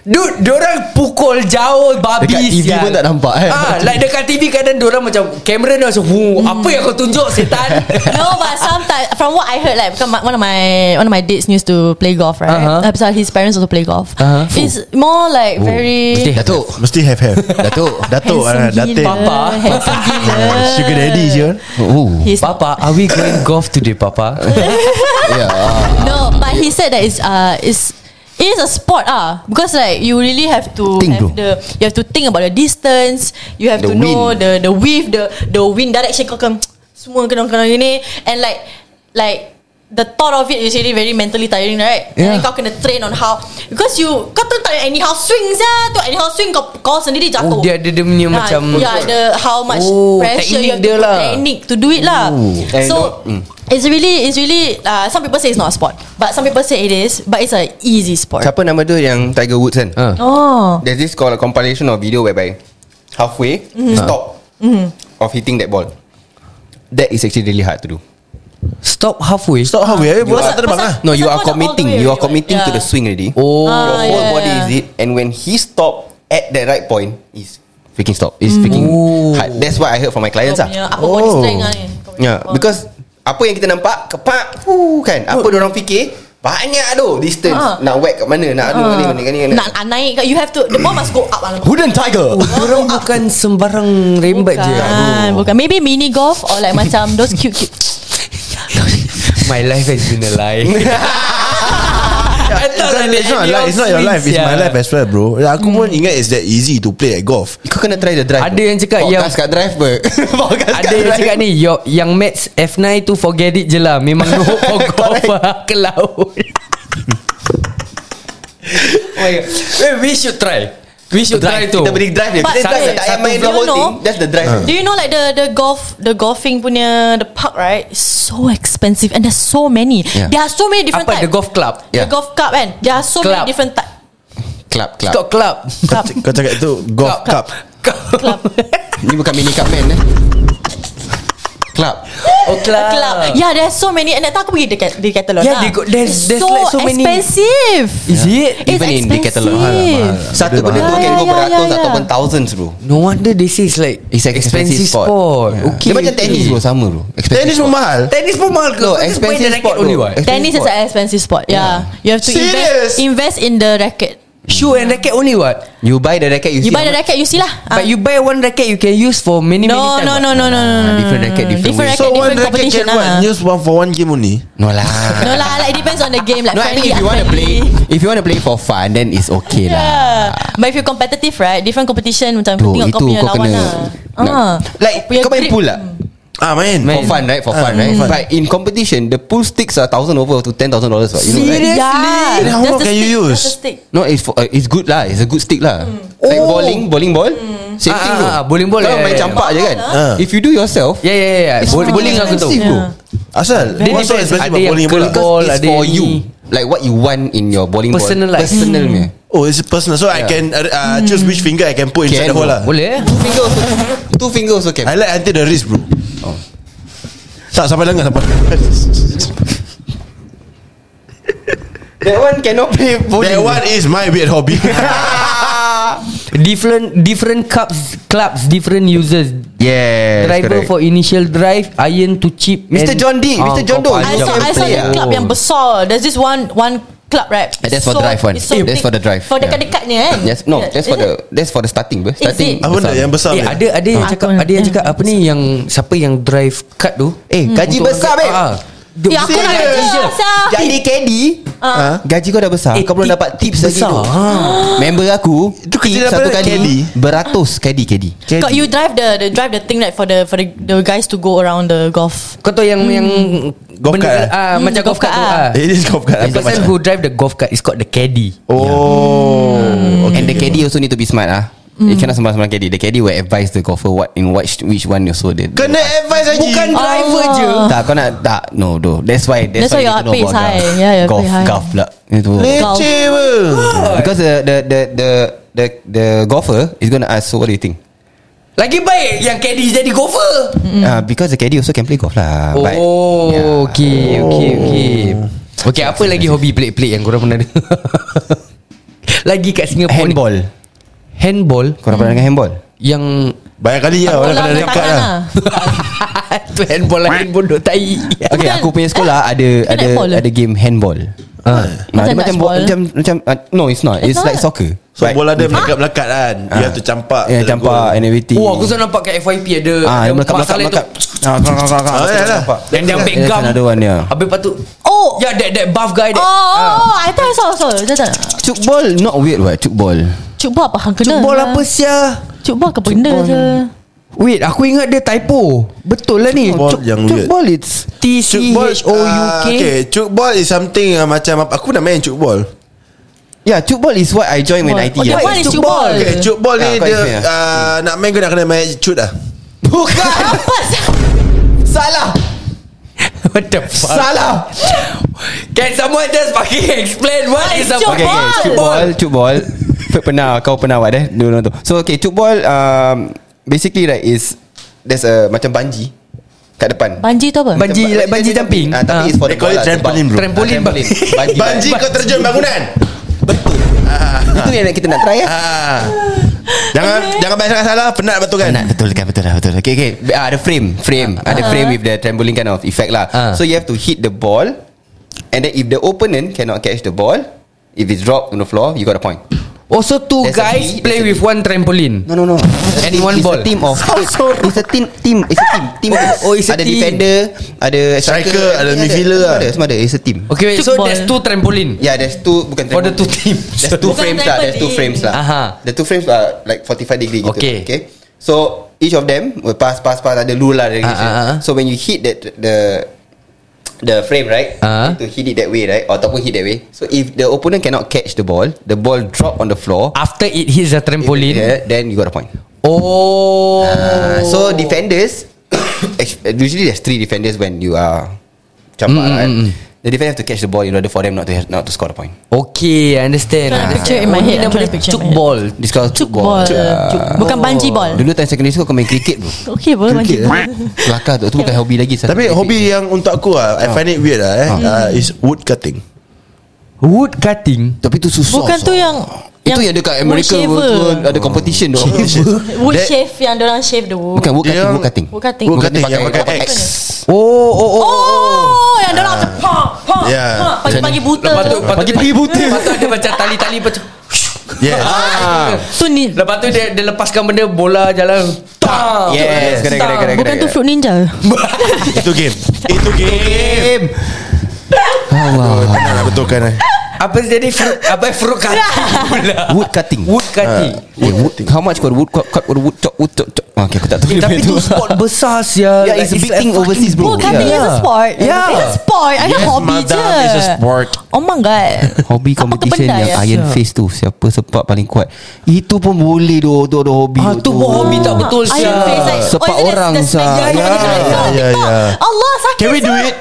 [SPEAKER 3] Dude, diorang pukul jauh babi
[SPEAKER 6] Dekat TV
[SPEAKER 3] sial.
[SPEAKER 6] pun tak nampak, eh.
[SPEAKER 3] Ah, like dekat TV kadang diorang macam kamera dia macam, "Hu, apa yang kau tunjuk setan?"
[SPEAKER 4] No but sometimes From what I heard like because my- One of my One of my dates used to play golf right
[SPEAKER 3] Uh-huh.
[SPEAKER 4] uh His parents also play golf
[SPEAKER 3] Uh-huh.
[SPEAKER 4] It's more like very
[SPEAKER 6] Datuk
[SPEAKER 2] Mesti have-have
[SPEAKER 6] Datuk
[SPEAKER 2] Datuk
[SPEAKER 4] Handsome
[SPEAKER 2] ah, Datin
[SPEAKER 4] gila
[SPEAKER 3] Papa.
[SPEAKER 4] Handsome gila
[SPEAKER 2] Sugar daddy je
[SPEAKER 6] Oh
[SPEAKER 4] uh, He's
[SPEAKER 3] Papa, are we going golf today, Papa?
[SPEAKER 6] Yeah
[SPEAKER 4] No, but he said that it's uh it's it is a sport ah because like you really have to
[SPEAKER 6] Think,
[SPEAKER 4] have
[SPEAKER 6] bro.
[SPEAKER 4] the you have to think about the distance, you have
[SPEAKER 6] The
[SPEAKER 4] to know
[SPEAKER 6] wind.
[SPEAKER 4] the the width, the the wind direction kau kan semua kena kena ini and like like the thought of it is really very mentally tiring right and then
[SPEAKER 6] Yeah.
[SPEAKER 4] kau kena train on how because you kau tu tak boleh anyhow swing sah tu anyhow swing kau kau sendiri
[SPEAKER 3] Oh,
[SPEAKER 4] jatuh
[SPEAKER 3] dia ada dia punya
[SPEAKER 4] Ah,
[SPEAKER 3] macam-
[SPEAKER 4] yeah the how much
[SPEAKER 3] Oh,
[SPEAKER 4] pressure
[SPEAKER 3] teknik
[SPEAKER 4] you have
[SPEAKER 3] dia
[SPEAKER 4] to
[SPEAKER 3] lah.
[SPEAKER 4] put technique to do it lah
[SPEAKER 6] And
[SPEAKER 4] so Mm. It's really, it's really. Uh, some people say it's not a sport, but some people say it is. But it's an easy sport.
[SPEAKER 6] Siapa nama tu yang Tiger Woods kan?
[SPEAKER 3] Ah.
[SPEAKER 4] Oh,
[SPEAKER 6] There's this called a compilation of video whereby halfway stop of hitting that ball. That is actually really hard to do.
[SPEAKER 3] Stop halfway.
[SPEAKER 2] Stop
[SPEAKER 6] Oh,
[SPEAKER 2] halfway eh, Bola
[SPEAKER 4] Pasal-
[SPEAKER 2] tak terbang lah
[SPEAKER 4] pasal-
[SPEAKER 6] No,
[SPEAKER 4] Pasal kau
[SPEAKER 6] you Ah, are
[SPEAKER 4] dah all the
[SPEAKER 6] committing.
[SPEAKER 4] way
[SPEAKER 6] You are
[SPEAKER 4] already,
[SPEAKER 6] committing to
[SPEAKER 4] yeah.
[SPEAKER 6] the swing already.
[SPEAKER 3] Oh.
[SPEAKER 6] your
[SPEAKER 4] Ah,
[SPEAKER 6] whole
[SPEAKER 4] yeah,
[SPEAKER 6] body
[SPEAKER 4] yeah.
[SPEAKER 6] is it, and when he stop at the right point, is freaking stop. It's freaking
[SPEAKER 3] Oh.
[SPEAKER 6] hard. That's what I heard from my
[SPEAKER 4] Mm. kau
[SPEAKER 6] clients
[SPEAKER 4] punya
[SPEAKER 6] ah.
[SPEAKER 4] apa oh. body
[SPEAKER 2] Oh.
[SPEAKER 4] strength lah ni. Kau punya
[SPEAKER 6] Yeah,
[SPEAKER 4] apa.
[SPEAKER 6] because apa yang kita nampak kepak, huh, kan? Apa orang fikir banyak tu distance
[SPEAKER 4] Ah.
[SPEAKER 6] nak whack kat mana, nak adu mana, mana, mana, mana.
[SPEAKER 4] nak nak naik, kau- you have to. The ball must go up. lah.
[SPEAKER 6] Hidden
[SPEAKER 3] Oh,
[SPEAKER 6] tiger.
[SPEAKER 3] diorang bukan sembarang rembat je.
[SPEAKER 4] Bukan, bukan. Maybe mini golf or like macam those cute cute.
[SPEAKER 3] My life has been a lie. I thought like
[SPEAKER 2] It's not
[SPEAKER 3] any
[SPEAKER 2] life It's not your
[SPEAKER 3] outfits,
[SPEAKER 2] life It's my
[SPEAKER 3] yeah.
[SPEAKER 2] life eh? as well bro Aku pun ingat It's that easy to play at golf
[SPEAKER 6] Kau kena try the drive
[SPEAKER 3] Ada yang cakap
[SPEAKER 6] Podcast
[SPEAKER 3] yang-
[SPEAKER 6] kat drive ber Podcast
[SPEAKER 3] Ada yang cakap ni yo, Yang match F9 tu forget it je lah Memang no for golf lah Ke laut Oh my God. Wait, We should try We should try
[SPEAKER 6] Drive
[SPEAKER 3] tu
[SPEAKER 6] tu Ah. Kita beri drive dia
[SPEAKER 4] But
[SPEAKER 6] Kita drive
[SPEAKER 4] wait,
[SPEAKER 6] Tak payah
[SPEAKER 4] satu
[SPEAKER 6] main the
[SPEAKER 4] video
[SPEAKER 6] whole
[SPEAKER 4] no.
[SPEAKER 6] thing That's the drive
[SPEAKER 4] Do you know like the the golf the golfing punya the park right? It's so expensive and there's so many.
[SPEAKER 6] Yeah.
[SPEAKER 4] There are so many different
[SPEAKER 3] Apa the
[SPEAKER 4] type.
[SPEAKER 3] golf club
[SPEAKER 4] The
[SPEAKER 6] Yeah.
[SPEAKER 4] golf cup kan? There are so
[SPEAKER 3] Club.
[SPEAKER 4] many different type.
[SPEAKER 6] Club club
[SPEAKER 3] Stop club
[SPEAKER 2] Kau c- Kau cakap tu Golf
[SPEAKER 3] Cup.
[SPEAKER 2] cup
[SPEAKER 3] Club
[SPEAKER 6] Ni bukan mini cup man eh Club
[SPEAKER 3] Oh club,
[SPEAKER 4] club. Yeah, there's so many. And that time aku pergi dekat Decathlon
[SPEAKER 3] Yeah,
[SPEAKER 4] lah.
[SPEAKER 3] they got- there's-
[SPEAKER 4] It's
[SPEAKER 3] there's
[SPEAKER 4] so,
[SPEAKER 3] like so many.
[SPEAKER 4] expensive.
[SPEAKER 3] Is it?
[SPEAKER 4] It's
[SPEAKER 6] Even in lah,
[SPEAKER 4] expensive. Ya,
[SPEAKER 6] Decathlon, mahal Satu benda tu
[SPEAKER 4] mahal.
[SPEAKER 6] can go
[SPEAKER 4] Yeah, yeah,
[SPEAKER 6] beratus
[SPEAKER 4] yeah, yeah.
[SPEAKER 6] Ataupun thousands bro
[SPEAKER 3] No wonder they say it's like
[SPEAKER 6] It's an expensive sport, Yeah.
[SPEAKER 3] Okay
[SPEAKER 6] Dia macam tennis bro Sama bro Expensive
[SPEAKER 2] Tennis pun
[SPEAKER 6] sport.
[SPEAKER 2] mahal
[SPEAKER 3] Tennis pun mahal ke
[SPEAKER 6] No
[SPEAKER 3] Kau just
[SPEAKER 6] expensive
[SPEAKER 3] wear the racket
[SPEAKER 6] sport
[SPEAKER 3] only
[SPEAKER 6] bro
[SPEAKER 3] what?
[SPEAKER 6] Expensive
[SPEAKER 4] Tennis is
[SPEAKER 6] sport.
[SPEAKER 4] an expensive sport. Yeah. You have to
[SPEAKER 2] Serious?
[SPEAKER 4] invest, invest in the racket.
[SPEAKER 3] Shoe and racket only what
[SPEAKER 6] You buy the racket You,
[SPEAKER 4] You
[SPEAKER 6] see
[SPEAKER 4] buy the
[SPEAKER 6] how much-
[SPEAKER 4] racket, you see lah.
[SPEAKER 3] But
[SPEAKER 4] Ah.
[SPEAKER 3] you buy one racket You can use for many many
[SPEAKER 4] no,
[SPEAKER 3] time
[SPEAKER 4] no,
[SPEAKER 3] what?
[SPEAKER 4] no, no, no, no, no.
[SPEAKER 6] Different racket, different
[SPEAKER 4] different
[SPEAKER 6] way.
[SPEAKER 4] racket,
[SPEAKER 2] So one
[SPEAKER 4] different
[SPEAKER 2] racket
[SPEAKER 4] competition
[SPEAKER 2] can what
[SPEAKER 4] lah.
[SPEAKER 2] Use one for one game only
[SPEAKER 6] No lah
[SPEAKER 4] No lah, like depends on the game. Like
[SPEAKER 6] No I mean
[SPEAKER 4] friendly, lah.
[SPEAKER 6] if you want to play
[SPEAKER 4] unfriendly.
[SPEAKER 6] If you want to play for fun Then it's okay lah
[SPEAKER 4] Yeah. But if you competitive right Different competition Macam
[SPEAKER 6] Bro,
[SPEAKER 4] tengok
[SPEAKER 6] itu
[SPEAKER 4] kau punya
[SPEAKER 6] kau
[SPEAKER 4] lawan
[SPEAKER 6] kena-
[SPEAKER 4] lah
[SPEAKER 6] nak-
[SPEAKER 4] Ah.
[SPEAKER 6] Like
[SPEAKER 4] Punya
[SPEAKER 6] kau main
[SPEAKER 4] grip.
[SPEAKER 6] pool lah
[SPEAKER 2] Ah main
[SPEAKER 6] For fun right For
[SPEAKER 2] Ah,
[SPEAKER 6] fun right
[SPEAKER 2] for fun.
[SPEAKER 6] But in competition The pool sticks Are thousand over To ten thousand dollars You know right
[SPEAKER 3] Seriously?
[SPEAKER 4] Yeah.
[SPEAKER 2] Then how
[SPEAKER 4] Just
[SPEAKER 2] long
[SPEAKER 4] the
[SPEAKER 2] can you
[SPEAKER 4] stick,
[SPEAKER 2] use?
[SPEAKER 4] just the stick.
[SPEAKER 6] No, it's for, uh, it's good lah. It's a good stick lah. Like
[SPEAKER 3] Oh.
[SPEAKER 6] bowling, bowling ball.
[SPEAKER 3] Ah,
[SPEAKER 6] Same thing
[SPEAKER 3] ah,
[SPEAKER 6] bro.
[SPEAKER 3] ah, bowling ball, yeah,
[SPEAKER 6] Kalau main
[SPEAKER 3] yeah,
[SPEAKER 6] campak je kan.
[SPEAKER 2] Ah.
[SPEAKER 6] If you do yourself,
[SPEAKER 3] Yeah yeah yeah
[SPEAKER 6] it's
[SPEAKER 3] Bo- Bowling aku tahu
[SPEAKER 6] expensive, bro.
[SPEAKER 4] Yeah.
[SPEAKER 2] Asal
[SPEAKER 3] Very
[SPEAKER 2] What's so
[SPEAKER 3] best.
[SPEAKER 2] expensive
[SPEAKER 3] Ada
[SPEAKER 2] about
[SPEAKER 3] yang
[SPEAKER 2] bowling bola
[SPEAKER 3] keluar. Ball,
[SPEAKER 6] Because it's
[SPEAKER 3] ada
[SPEAKER 6] for
[SPEAKER 3] ni.
[SPEAKER 6] you Like what you want In your bowling ball
[SPEAKER 3] Personalised.
[SPEAKER 6] Personalnya
[SPEAKER 3] Hmm.
[SPEAKER 2] Oh it's personal So I
[SPEAKER 6] Yeah.
[SPEAKER 2] can uh, uh, Choose which finger I can put inside
[SPEAKER 6] Can
[SPEAKER 2] the hole lah
[SPEAKER 3] Boleh eh?
[SPEAKER 6] Two fingers also Two fingers also can
[SPEAKER 2] I like until the wrist bro Tak sampai lengan Sampai
[SPEAKER 6] That one cannot play bowling
[SPEAKER 2] That one is my weird hobby
[SPEAKER 3] Different different cups clubs different users.
[SPEAKER 6] Yes
[SPEAKER 3] Driver
[SPEAKER 6] correct.
[SPEAKER 3] for initial drive, iron to chip.
[SPEAKER 6] Mr.
[SPEAKER 3] and-
[SPEAKER 6] John Deere,
[SPEAKER 3] Ah,
[SPEAKER 6] Mr. John
[SPEAKER 3] kau
[SPEAKER 6] Doe.
[SPEAKER 4] I
[SPEAKER 3] panjang.
[SPEAKER 4] saw I saw
[SPEAKER 6] play
[SPEAKER 4] the
[SPEAKER 6] ah.
[SPEAKER 4] club yang besar There's this one One club right
[SPEAKER 6] Ah, that's for drive one.
[SPEAKER 4] it's so
[SPEAKER 6] Eh, that's
[SPEAKER 4] big.
[SPEAKER 6] for the drive.
[SPEAKER 4] For
[SPEAKER 6] Yeah.
[SPEAKER 4] dekat-dekatnya kan
[SPEAKER 6] Yes no
[SPEAKER 4] Yeah.
[SPEAKER 6] That's for
[SPEAKER 4] Is it?
[SPEAKER 6] the That's for the starting bro.
[SPEAKER 4] it?
[SPEAKER 6] Starting
[SPEAKER 2] Apa benda yang besar
[SPEAKER 3] Eh
[SPEAKER 2] ni?
[SPEAKER 3] ada ada yang
[SPEAKER 4] Ah,
[SPEAKER 3] cakap
[SPEAKER 4] kau nak-
[SPEAKER 3] ada yang cakap apa ni yang siapa yang drive kad tu?
[SPEAKER 6] Eh gaji besar babe
[SPEAKER 3] Ah,
[SPEAKER 4] Eh, aku nak
[SPEAKER 6] Serious?
[SPEAKER 4] kerja Asal
[SPEAKER 6] Jadi KD
[SPEAKER 2] Ah.
[SPEAKER 6] Gaji kau dah besar
[SPEAKER 3] Eh,
[SPEAKER 6] Kau belum
[SPEAKER 3] tip-
[SPEAKER 6] dapat tips
[SPEAKER 3] tip
[SPEAKER 6] lagi
[SPEAKER 3] besar.
[SPEAKER 6] tu
[SPEAKER 3] Ha.
[SPEAKER 4] Ah.
[SPEAKER 6] Member aku
[SPEAKER 2] Itu kerja
[SPEAKER 6] tip
[SPEAKER 2] apa
[SPEAKER 6] satu
[SPEAKER 2] dia?
[SPEAKER 6] kali
[SPEAKER 2] Caddy?
[SPEAKER 6] Beratus KD KD
[SPEAKER 4] Kau you drive the, the drive the thing right for the for the, the guys to go around the golf.
[SPEAKER 3] Kau tahu yang yang
[SPEAKER 2] Golf
[SPEAKER 3] benda-
[SPEAKER 2] cart, eh?
[SPEAKER 3] ah,
[SPEAKER 4] Hmm,
[SPEAKER 3] macam golf
[SPEAKER 4] golf
[SPEAKER 3] cart tu.
[SPEAKER 4] cart, ah.
[SPEAKER 3] Ah.
[SPEAKER 2] It is Eh, golf card
[SPEAKER 3] The person who drive the golf cart is called the caddy.
[SPEAKER 2] Oh okay,
[SPEAKER 6] And the
[SPEAKER 2] okay.
[SPEAKER 6] KD also need to be smart ah.
[SPEAKER 4] Mm.
[SPEAKER 6] You cannot sembarang-sembarang KD The KD will advise the golfer What in which, which one you sold it
[SPEAKER 2] Kena advice Ah, lagi
[SPEAKER 3] Bukan driver
[SPEAKER 4] Allah.
[SPEAKER 3] je.
[SPEAKER 6] Tak kau nak Tak no do That's why That's,
[SPEAKER 4] Ah. That's why
[SPEAKER 6] you
[SPEAKER 4] your
[SPEAKER 6] need to know
[SPEAKER 4] pay is
[SPEAKER 6] about
[SPEAKER 4] high.
[SPEAKER 6] golf.
[SPEAKER 4] Yeah, your
[SPEAKER 6] golf,
[SPEAKER 4] pay high.
[SPEAKER 6] Golf pula Itu
[SPEAKER 2] Leceh apa
[SPEAKER 6] Because the the, the the the the golfer Is gonna ask So what do you think
[SPEAKER 3] Lagi baik yang caddy jadi golfer.
[SPEAKER 6] Ah, Because the KD also can play golf
[SPEAKER 3] Oh,
[SPEAKER 6] lah But-
[SPEAKER 3] yeah. okay, okay,
[SPEAKER 6] Oh.
[SPEAKER 3] okay. Okay, apa lagi hobi pelik-pelik yang korang pernah ada? lagi kat Singapore ni.
[SPEAKER 6] Handball
[SPEAKER 3] Handball
[SPEAKER 6] Korang pernah dengan handball
[SPEAKER 3] yang
[SPEAKER 2] Banyak kali lah Orang kena
[SPEAKER 4] Bola
[SPEAKER 2] dekat
[SPEAKER 4] tangan
[SPEAKER 2] lah
[SPEAKER 3] tu handball lain bodoh tai.
[SPEAKER 6] Okay
[SPEAKER 4] Bukan.
[SPEAKER 6] aku punya sekolah Ada
[SPEAKER 4] Kena
[SPEAKER 6] ada
[SPEAKER 4] netball lah.
[SPEAKER 6] ada game handball Ah,
[SPEAKER 4] Macam
[SPEAKER 6] dia macam bo-
[SPEAKER 4] dodgeball.
[SPEAKER 6] macam macam ah, no it's not
[SPEAKER 4] It's
[SPEAKER 6] it's, like
[SPEAKER 4] not.
[SPEAKER 6] soccer
[SPEAKER 2] So bola dia melekat-melekat kan You have to campak
[SPEAKER 6] yeah, Ya, campak and everything
[SPEAKER 3] Oh, aku selalu nampak kat FYP ada
[SPEAKER 6] Ah,
[SPEAKER 3] ada
[SPEAKER 6] dia melekat melekat
[SPEAKER 3] masalah
[SPEAKER 6] melekat.
[SPEAKER 3] tu.
[SPEAKER 6] Ah, kau kau kau.
[SPEAKER 2] Ah, ya lah.
[SPEAKER 3] Dan dia ambil
[SPEAKER 6] That's
[SPEAKER 3] gum.
[SPEAKER 6] another one, yeah.
[SPEAKER 3] Habis patut
[SPEAKER 4] Oh.
[SPEAKER 3] Yeah, that that buff guy that.
[SPEAKER 4] Oh, oh, I thought I saw also. Dah tak.
[SPEAKER 6] Cuk ball not weird what? Cuk ball.
[SPEAKER 4] Cuk buat apa hang kena?
[SPEAKER 3] Cuk ball apa sia?
[SPEAKER 4] Cuk buat ke benda je.
[SPEAKER 3] Wait, aku ingat dia typo. Betul lah ni.
[SPEAKER 2] Cuk ball yang
[SPEAKER 6] cuk
[SPEAKER 2] weird.
[SPEAKER 6] ball it's
[SPEAKER 3] T
[SPEAKER 2] Cuk
[SPEAKER 3] C
[SPEAKER 2] ball
[SPEAKER 3] H O U
[SPEAKER 2] ah,
[SPEAKER 3] K.
[SPEAKER 2] Okay Cuk ball is something uh, Macam apa- Aku pernah main cuk ball
[SPEAKER 6] Yeah, cuk ball is what I join when
[SPEAKER 4] Ball.
[SPEAKER 6] IT.
[SPEAKER 4] Oh, that
[SPEAKER 6] lah.
[SPEAKER 4] one is
[SPEAKER 6] Cuk-
[SPEAKER 4] cuk ball.
[SPEAKER 2] Okay cuk ball
[SPEAKER 6] Ah,
[SPEAKER 2] ni
[SPEAKER 6] kau
[SPEAKER 2] Dia
[SPEAKER 6] explain, ah.
[SPEAKER 2] ah, Nak main kau nak kena main cut lah
[SPEAKER 6] Bukan.
[SPEAKER 4] Apa sia?
[SPEAKER 6] Salah.
[SPEAKER 3] What the fuck?
[SPEAKER 6] Salah.
[SPEAKER 3] Can someone just fucking explain what is a
[SPEAKER 4] Cuk
[SPEAKER 3] fucking
[SPEAKER 4] ball.
[SPEAKER 6] Cuk ball, cuk ball. Fe- pernah kau pernah buat eh dulu tu. So okay, cuk ball um, basically right is there's a macam banji kat depan.
[SPEAKER 4] Banji tu apa?
[SPEAKER 3] Banji. like banji jumping.
[SPEAKER 6] Ah,
[SPEAKER 3] Ah.
[SPEAKER 6] tapi it's for
[SPEAKER 2] They
[SPEAKER 6] the
[SPEAKER 2] call
[SPEAKER 6] ball
[SPEAKER 2] it
[SPEAKER 6] lah,
[SPEAKER 2] trampoline
[SPEAKER 6] sebab-
[SPEAKER 2] bro
[SPEAKER 3] Trampoline.
[SPEAKER 6] Ah, trampoline. Banji.
[SPEAKER 2] Banji kau terjun bangunan
[SPEAKER 6] Betul. Itu yang kita nak try eh.
[SPEAKER 2] Ah. Jangan Jangan banyak sangat salah Penat betul kan
[SPEAKER 6] Nak betul kan betul lah betul. Okay okay. Ah, ada frame, frame. Ada frame with the trampoline kind of effect lah.
[SPEAKER 3] Ah.
[SPEAKER 6] So you have to hit the ball and then if the opponent cannot catch the ball, if it's dropped on the floor, you got a point.
[SPEAKER 3] Oh, so two
[SPEAKER 6] There's a
[SPEAKER 3] guys
[SPEAKER 6] knee,
[SPEAKER 3] play with
[SPEAKER 6] there's a
[SPEAKER 3] one trampoline.
[SPEAKER 6] No no no.
[SPEAKER 3] And one
[SPEAKER 6] it's
[SPEAKER 3] ball.
[SPEAKER 6] A team of eight. It's a team team. It's a team. Team.
[SPEAKER 3] Oh, it's a
[SPEAKER 6] ada
[SPEAKER 3] team.
[SPEAKER 6] defender, ada
[SPEAKER 2] Striker, ada midfielder
[SPEAKER 6] Semua
[SPEAKER 2] lah.
[SPEAKER 6] ada, semua ada. It's a team.
[SPEAKER 3] Okay, wait, so
[SPEAKER 4] Cuk ball.
[SPEAKER 3] there's two trampoline.
[SPEAKER 6] Yeah, there's two bukan
[SPEAKER 3] For the two
[SPEAKER 6] trampoline.
[SPEAKER 3] teams.
[SPEAKER 6] There's two
[SPEAKER 4] Bukan
[SPEAKER 6] frames lah. There's two
[SPEAKER 4] trampoline.
[SPEAKER 6] frames lah.
[SPEAKER 3] Aha.
[SPEAKER 6] The two frames are like 45 degree gitu.
[SPEAKER 3] Okay.
[SPEAKER 6] Okay. So each of them will pass pass pass ada rule lah dari
[SPEAKER 3] Ah, ah, ah.
[SPEAKER 6] So when you hit that the the frame right
[SPEAKER 3] Ah.
[SPEAKER 6] you need to hit it that way right ataupun hit that way so if the opponent cannot catch the ball the ball drop on the floor
[SPEAKER 3] After it hits the trampoline.
[SPEAKER 6] yeah, then you got a point
[SPEAKER 3] Oh.
[SPEAKER 6] Ah, so defenders actu- usually there's three defenders when you are
[SPEAKER 3] Mm,
[SPEAKER 6] campak
[SPEAKER 3] mm,
[SPEAKER 6] right
[SPEAKER 3] mm.
[SPEAKER 6] the defender have to catch the ball in order for them not to have, not to score a point
[SPEAKER 3] Okay, I understand. Ah.
[SPEAKER 4] Trying to picture in my
[SPEAKER 3] Only
[SPEAKER 4] head,
[SPEAKER 3] nama
[SPEAKER 4] I'm trying
[SPEAKER 3] dia
[SPEAKER 4] to picture
[SPEAKER 3] cuk
[SPEAKER 4] in my head.
[SPEAKER 3] ball.
[SPEAKER 6] This called
[SPEAKER 4] Cuk ball. Cuk- Bukan banji ball.
[SPEAKER 6] Dulu time secondary school kau main cricket lah. bro
[SPEAKER 4] Okey apa banji?
[SPEAKER 6] Kelakar tu, tu bukan hobi lagi
[SPEAKER 2] eh?
[SPEAKER 6] satu
[SPEAKER 2] Tapi
[SPEAKER 6] cricket.
[SPEAKER 2] hobi yang untuk aku lah I find it weird lah eh ah, Is wood cutting
[SPEAKER 3] Wood cutting.
[SPEAKER 6] Tapi tu susah
[SPEAKER 4] Bukan tu yang
[SPEAKER 6] Itu yang dekat Amerika
[SPEAKER 4] wood
[SPEAKER 6] tu,
[SPEAKER 4] shaver.
[SPEAKER 6] Ada competition tu
[SPEAKER 4] Wood
[SPEAKER 2] That-
[SPEAKER 4] shave yang orang shave the wood.
[SPEAKER 6] Bukan wood
[SPEAKER 2] Dia
[SPEAKER 6] cutting
[SPEAKER 2] yang-
[SPEAKER 6] Wood cutting
[SPEAKER 4] Wood cutting.
[SPEAKER 2] Wood
[SPEAKER 6] Bukan
[SPEAKER 2] cutting
[SPEAKER 6] dia
[SPEAKER 2] yang
[SPEAKER 6] pakai
[SPEAKER 2] pakai
[SPEAKER 6] X.
[SPEAKER 2] X
[SPEAKER 3] Oh, oh, oh.
[SPEAKER 4] Oh, yang orang macam pa pa
[SPEAKER 2] Yeah.
[SPEAKER 4] pa pagi-pagi buta.
[SPEAKER 3] Lepas tu
[SPEAKER 4] tu.
[SPEAKER 3] pagi-pagi buta. Lepas tu ada macam tali-tali macam
[SPEAKER 2] Yes
[SPEAKER 6] Ah.
[SPEAKER 2] Ah.
[SPEAKER 4] Tu ni.
[SPEAKER 3] Lepas tu dia, dia lepaskan benda bola jalan. Tang.
[SPEAKER 6] Yes Correct correct correct
[SPEAKER 4] Bukan tu
[SPEAKER 6] correct.
[SPEAKER 4] fruit ninja.
[SPEAKER 2] Itu game Itu game
[SPEAKER 6] Game
[SPEAKER 2] Allah Oh, Nak betulkan eh
[SPEAKER 3] Apa jadi fru- Apa fruit cutting pula
[SPEAKER 6] Wood cutting
[SPEAKER 3] Wood cutting
[SPEAKER 6] Eh, wood, how much kau ada wood cut, cut or wood chop wood chop chop. Ah, okay, aku tak tahu.
[SPEAKER 3] Eh, tapi
[SPEAKER 6] nama
[SPEAKER 3] tu
[SPEAKER 6] itu.
[SPEAKER 3] sport besar
[SPEAKER 4] lah,
[SPEAKER 3] sia
[SPEAKER 6] Yeah, it's a big thing overseas, bro.
[SPEAKER 4] Wood cutting
[SPEAKER 6] Yeah.
[SPEAKER 4] is a sport
[SPEAKER 3] Yeah.
[SPEAKER 4] It's a sport I yes,
[SPEAKER 2] Yes,
[SPEAKER 4] hobby
[SPEAKER 2] madam,
[SPEAKER 4] je
[SPEAKER 2] it's a sport.
[SPEAKER 4] Oh my god
[SPEAKER 6] Hobi
[SPEAKER 4] Apa
[SPEAKER 6] competition
[SPEAKER 4] kebenda
[SPEAKER 6] yang
[SPEAKER 4] ya?
[SPEAKER 6] iron face tu Siapa sepak paling kuat Itu pun boleh doh doh doh hobi
[SPEAKER 3] Ah, tu pun hobi tak betul
[SPEAKER 4] Iron
[SPEAKER 3] sia
[SPEAKER 4] face, like- oh,
[SPEAKER 6] Sepak
[SPEAKER 4] is it the-
[SPEAKER 6] orang
[SPEAKER 4] the
[SPEAKER 6] sia
[SPEAKER 4] snake yang
[SPEAKER 2] Yeah,
[SPEAKER 4] orang
[SPEAKER 2] yeah,
[SPEAKER 4] tengok
[SPEAKER 2] yeah,
[SPEAKER 4] TikTok?
[SPEAKER 2] yeah.
[SPEAKER 4] Allah sakit
[SPEAKER 2] Can we do
[SPEAKER 4] sia.
[SPEAKER 2] it?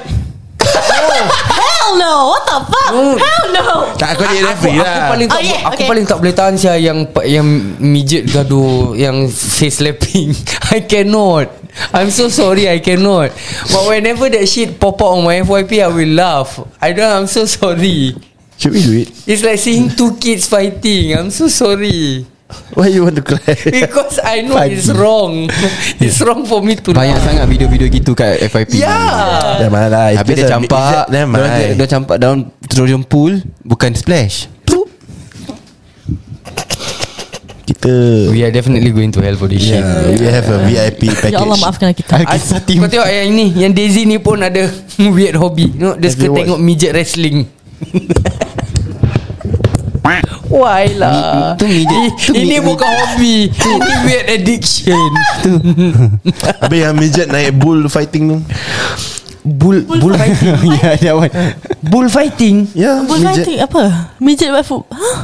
[SPEAKER 4] Hell no What the fuck Hell no
[SPEAKER 2] Tak aku jadi
[SPEAKER 3] Ah, Aku,
[SPEAKER 2] referee
[SPEAKER 3] aku
[SPEAKER 2] lah
[SPEAKER 3] paling tak
[SPEAKER 4] Oh, yeah,
[SPEAKER 3] aku
[SPEAKER 4] okay.
[SPEAKER 3] paling tak boleh tahan sia yang yang midget gaduh yang face slapping. I cannot. I'm so sorry I cannot. But whenever that shit pop up on my FYP I will laugh. I don't I'm so sorry.
[SPEAKER 2] Should we do it?
[SPEAKER 3] It's like seeing two kids fighting. I'm so sorry.
[SPEAKER 2] Why you want to cry?
[SPEAKER 3] Because I know it's
[SPEAKER 6] Fighting.
[SPEAKER 3] wrong. It's wrong for me to
[SPEAKER 6] Banyak
[SPEAKER 3] laugh.
[SPEAKER 6] sangat video-video gitu kat FYP
[SPEAKER 2] Ya. Dah
[SPEAKER 3] Yeah.
[SPEAKER 2] mana lah it's
[SPEAKER 6] Habis
[SPEAKER 2] just a- it's
[SPEAKER 6] dia campak
[SPEAKER 2] just- Never
[SPEAKER 6] dorang-
[SPEAKER 2] mind
[SPEAKER 6] Dia campak daun Trojan pool Bukan splash
[SPEAKER 2] Kita
[SPEAKER 3] We are definitely going to hell for this shit.
[SPEAKER 2] Yeah, we Ya, have a VIP package.
[SPEAKER 4] Ya Allah
[SPEAKER 2] Ah,
[SPEAKER 4] maafkan kita
[SPEAKER 6] Al-Kisati
[SPEAKER 3] Kau tengok yang ini Yang Daisy ni pun ada Weird hobby you know, Dia
[SPEAKER 2] Have you
[SPEAKER 3] suka
[SPEAKER 2] watched-
[SPEAKER 3] tengok midget wrestling Why lah
[SPEAKER 6] Ni- tu midget-
[SPEAKER 3] I-
[SPEAKER 6] tu
[SPEAKER 3] Ini
[SPEAKER 6] midget-
[SPEAKER 3] bukan hobi Ini weird addiction Tu
[SPEAKER 2] Habis yang midget naik bull fighting tu.
[SPEAKER 3] Bull Bull fighting
[SPEAKER 6] Ya dia awal
[SPEAKER 3] Bull fighting
[SPEAKER 6] Ya,
[SPEAKER 2] Yeah,
[SPEAKER 4] Bukan fighting apa Midget buat food Huh?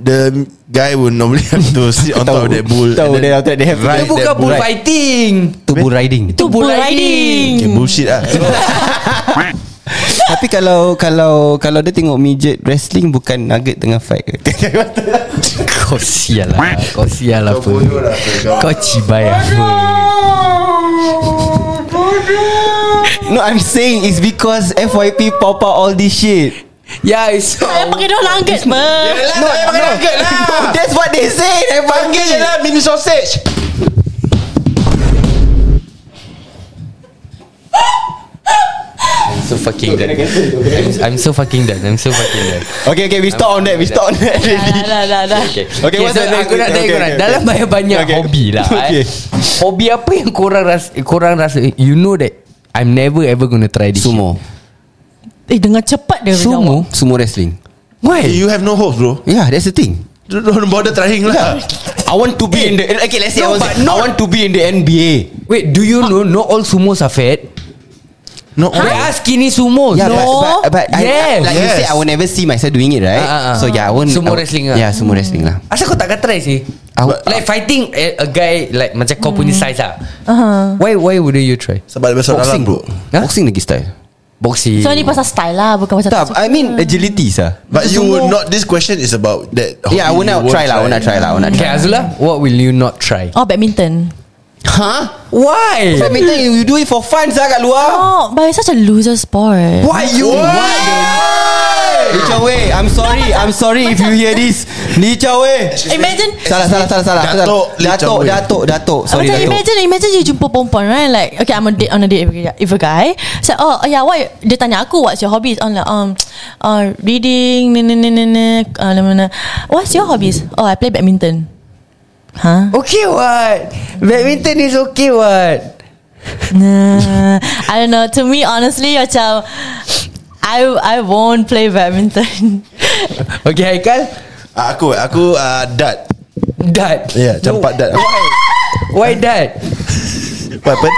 [SPEAKER 2] The guy would normally have to sit on top of that bull. and
[SPEAKER 6] Tahu
[SPEAKER 2] then-
[SPEAKER 6] dia after that They have to
[SPEAKER 3] Dia
[SPEAKER 2] Right.
[SPEAKER 3] bukan
[SPEAKER 2] that
[SPEAKER 3] bull
[SPEAKER 2] bull-
[SPEAKER 3] fighting
[SPEAKER 6] Itu bull riding
[SPEAKER 3] Itu bull
[SPEAKER 4] bull
[SPEAKER 2] Okay,
[SPEAKER 3] riding
[SPEAKER 2] bullshit lah.
[SPEAKER 6] Tapi kalau Kalau Kalau dia tengok midget wrestling Bukan nugget tengah fight ke
[SPEAKER 3] Kau sial lah Kau sial lah
[SPEAKER 2] Kau bodoh lah, kau.
[SPEAKER 3] Kau cibai apa
[SPEAKER 6] No I'm saying It's because FYP pop out all this shit
[SPEAKER 3] Ya it's
[SPEAKER 4] Saya pakai lah, dua langit me.
[SPEAKER 2] Lah,
[SPEAKER 6] No, no, no, That's what they say
[SPEAKER 2] Panggil je lah mini sausage.
[SPEAKER 3] so fucking done I'm, I'm so fucking done I'm so fucking done
[SPEAKER 6] Okay okay We stop on that We stop on that already.
[SPEAKER 4] Dah dah dah
[SPEAKER 3] Okay,
[SPEAKER 6] Okay, what's
[SPEAKER 3] so
[SPEAKER 6] the next-
[SPEAKER 3] aku nak tanya
[SPEAKER 6] okay,
[SPEAKER 3] korang
[SPEAKER 6] okay,
[SPEAKER 3] Dalam
[SPEAKER 6] okay.
[SPEAKER 3] banyak-banyak
[SPEAKER 6] Okay.
[SPEAKER 3] hobi lah eh.
[SPEAKER 6] Okay.
[SPEAKER 3] Hobi apa yang korang rasa Korang rasa You know that I'm never ever gonna try this
[SPEAKER 6] Sumo
[SPEAKER 4] Eh dengan cepat dia
[SPEAKER 3] Sumo?
[SPEAKER 6] Sumo wrestling
[SPEAKER 2] Hey,
[SPEAKER 3] Why?
[SPEAKER 2] you have no hope, bro.
[SPEAKER 6] Yeah that's the thing
[SPEAKER 2] Don't bother trying lah.
[SPEAKER 6] I want to be in the eh, Okay let's say
[SPEAKER 3] No,
[SPEAKER 6] I, want,
[SPEAKER 3] but
[SPEAKER 6] I want to be in the NBA
[SPEAKER 3] Wait do you know Not all sumos are fat
[SPEAKER 2] No,
[SPEAKER 3] They are skinny sumos
[SPEAKER 6] Yeah,
[SPEAKER 3] Oh, No
[SPEAKER 6] but, but, but
[SPEAKER 3] Yes
[SPEAKER 6] I, like you
[SPEAKER 2] Yes.
[SPEAKER 6] said, I will never see myself doing it, right?
[SPEAKER 3] Ah, ah, ah.
[SPEAKER 6] So yeah, I won't.
[SPEAKER 3] Sumo
[SPEAKER 6] I won't-
[SPEAKER 3] wrestling lah.
[SPEAKER 6] Yeah, sumo wrestling lah.
[SPEAKER 3] Asal kau takkan try sih
[SPEAKER 6] I would-
[SPEAKER 3] Like fighting a, a guy Like macam kau punya
[SPEAKER 6] Hmm.
[SPEAKER 3] size lah
[SPEAKER 6] Uh-huh.
[SPEAKER 3] Why why would you try
[SPEAKER 2] sebab besar dalam bro.
[SPEAKER 3] Huh?
[SPEAKER 6] Boxing lagi style.
[SPEAKER 3] Boxing
[SPEAKER 4] So ni pasal style lah Bukan pasal
[SPEAKER 6] Tak, I mean agility sah.
[SPEAKER 2] But you would not. This question is about that.
[SPEAKER 6] Yeah, I
[SPEAKER 2] hobby
[SPEAKER 6] will
[SPEAKER 2] you
[SPEAKER 6] not
[SPEAKER 2] won't
[SPEAKER 6] try lah. I will not try lah. I will not
[SPEAKER 3] Okay
[SPEAKER 6] try.
[SPEAKER 3] Azula What will you not try
[SPEAKER 4] Oh badminton
[SPEAKER 6] Huh?
[SPEAKER 3] Why
[SPEAKER 6] Badminton you do it for fun sah kat luar.
[SPEAKER 4] Oh But it's such a loser sport
[SPEAKER 6] Why you? What the? Lee Chow Wei, I'm sorry. I'm sorry if you hear this. Lee Chow Wei.
[SPEAKER 4] Imagine
[SPEAKER 6] Salah, salah, salah, salah. Aku salah.
[SPEAKER 2] Datuk Lee Chow
[SPEAKER 6] Datuk,
[SPEAKER 2] Wei.
[SPEAKER 6] Datuk, Datuk. Sorry,
[SPEAKER 4] macam
[SPEAKER 6] Datuk.
[SPEAKER 4] imagine Imagine you jumpa perempuan right Like Okay I'm a date on a date with a- With a guy So oh yeah what Dia tanya aku What's your hobbies I'm like um, uh, Reading ni, ni, ni, ni, ni, uh, ni, ni, ni. What's your hobbies Oh I play badminton Huh?
[SPEAKER 3] Okay what Badminton is okay what
[SPEAKER 4] Nah, I don't know. To me, honestly, macam I I won't play badminton.
[SPEAKER 3] Okay Haikal
[SPEAKER 2] Ah, Aku, aku uh, dat.
[SPEAKER 3] Dad
[SPEAKER 2] Yeah,
[SPEAKER 6] Ya,
[SPEAKER 2] campak dat.
[SPEAKER 3] Why Why dad
[SPEAKER 2] What happened?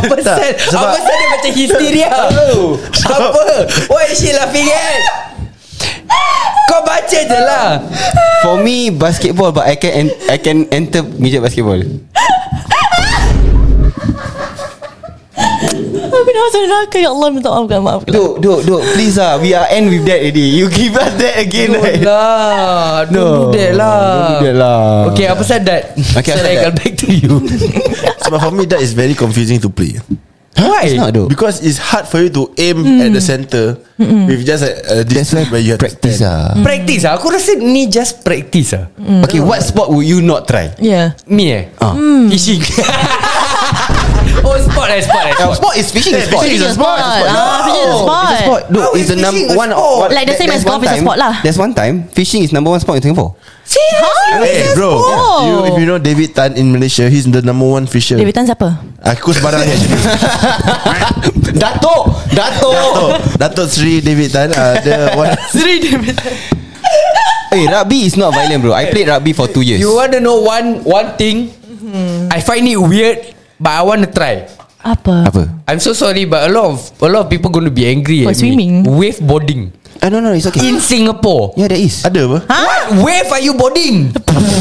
[SPEAKER 3] Apa
[SPEAKER 2] Tak,
[SPEAKER 3] sel
[SPEAKER 2] sebab-
[SPEAKER 3] Apa sel dia macam hysteria Apa Why is she laughing at Kau baca je lah
[SPEAKER 6] For me basketball but I can en- I can enter midget basketball.
[SPEAKER 4] Aku nak masuk neraka Ya Allah minta maaf Maaf
[SPEAKER 6] Duk, duk, duk. Please ah, we are end with that already. You give us that again.
[SPEAKER 3] No
[SPEAKER 6] right?
[SPEAKER 3] lah Don't
[SPEAKER 6] No,
[SPEAKER 3] do that lah
[SPEAKER 6] don't do that lah.
[SPEAKER 3] Okay apa sel dad
[SPEAKER 6] Okay,
[SPEAKER 3] Sel
[SPEAKER 6] apa sel
[SPEAKER 3] Haikal
[SPEAKER 6] dad?
[SPEAKER 3] back to you
[SPEAKER 2] Sebab for me that is very confusing to play.
[SPEAKER 3] Why
[SPEAKER 6] It's not though.
[SPEAKER 2] Because it's hard for you to aim at
[SPEAKER 4] Mm.
[SPEAKER 2] the center with just a, a
[SPEAKER 6] That's why
[SPEAKER 2] distance where you have to
[SPEAKER 6] practice
[SPEAKER 2] stand.
[SPEAKER 6] ah.
[SPEAKER 3] Practice lah Aku rasa ni just practice lah
[SPEAKER 4] Mm.
[SPEAKER 6] Okay, what sport would you not try?
[SPEAKER 4] Yeah
[SPEAKER 3] Me eh
[SPEAKER 6] Ah.
[SPEAKER 3] Fishing Oh sport eh Sport eh
[SPEAKER 6] Yeah,
[SPEAKER 3] sport.
[SPEAKER 6] sport is fishing is sport.
[SPEAKER 4] Fishing is a sport Ah, Fishing is a sport
[SPEAKER 6] It's a sport. Look,
[SPEAKER 3] How
[SPEAKER 6] it's
[SPEAKER 3] is
[SPEAKER 6] the number
[SPEAKER 3] fishing a
[SPEAKER 6] one.
[SPEAKER 3] sport?
[SPEAKER 6] one-
[SPEAKER 4] Like the
[SPEAKER 6] that-
[SPEAKER 4] same
[SPEAKER 6] there's
[SPEAKER 4] as golf
[SPEAKER 6] one
[SPEAKER 4] is a
[SPEAKER 6] time-
[SPEAKER 4] sport lah.
[SPEAKER 6] There's one time fishing is number one sport in Singapore.
[SPEAKER 4] Serious?
[SPEAKER 6] Eh,
[SPEAKER 2] Hey bro
[SPEAKER 4] Oh.
[SPEAKER 2] you, If you know David Tan in Malaysia He's the number one fisher
[SPEAKER 4] David Tan siapa?
[SPEAKER 2] Aku sebarang yang
[SPEAKER 6] Datuk Datuk
[SPEAKER 4] Oh.
[SPEAKER 2] Dato Dato Sri David Tan uh, Dia one
[SPEAKER 4] Sri David Tan
[SPEAKER 6] Eh rugby is not violent bro I played rugby for 2 years
[SPEAKER 3] You want to know one one thing?
[SPEAKER 4] Hmm.
[SPEAKER 3] I find it weird, but I want to try.
[SPEAKER 4] Apa?
[SPEAKER 6] Apa?
[SPEAKER 3] I'm so sorry, but a lot of a lot of people going to be angry
[SPEAKER 4] For
[SPEAKER 3] at
[SPEAKER 4] swimming?
[SPEAKER 3] me. Wave boarding
[SPEAKER 6] Ah, no no it's okay
[SPEAKER 3] in Singapore.
[SPEAKER 6] Yeah there is
[SPEAKER 2] Ada apa?
[SPEAKER 3] What wave are you boarding?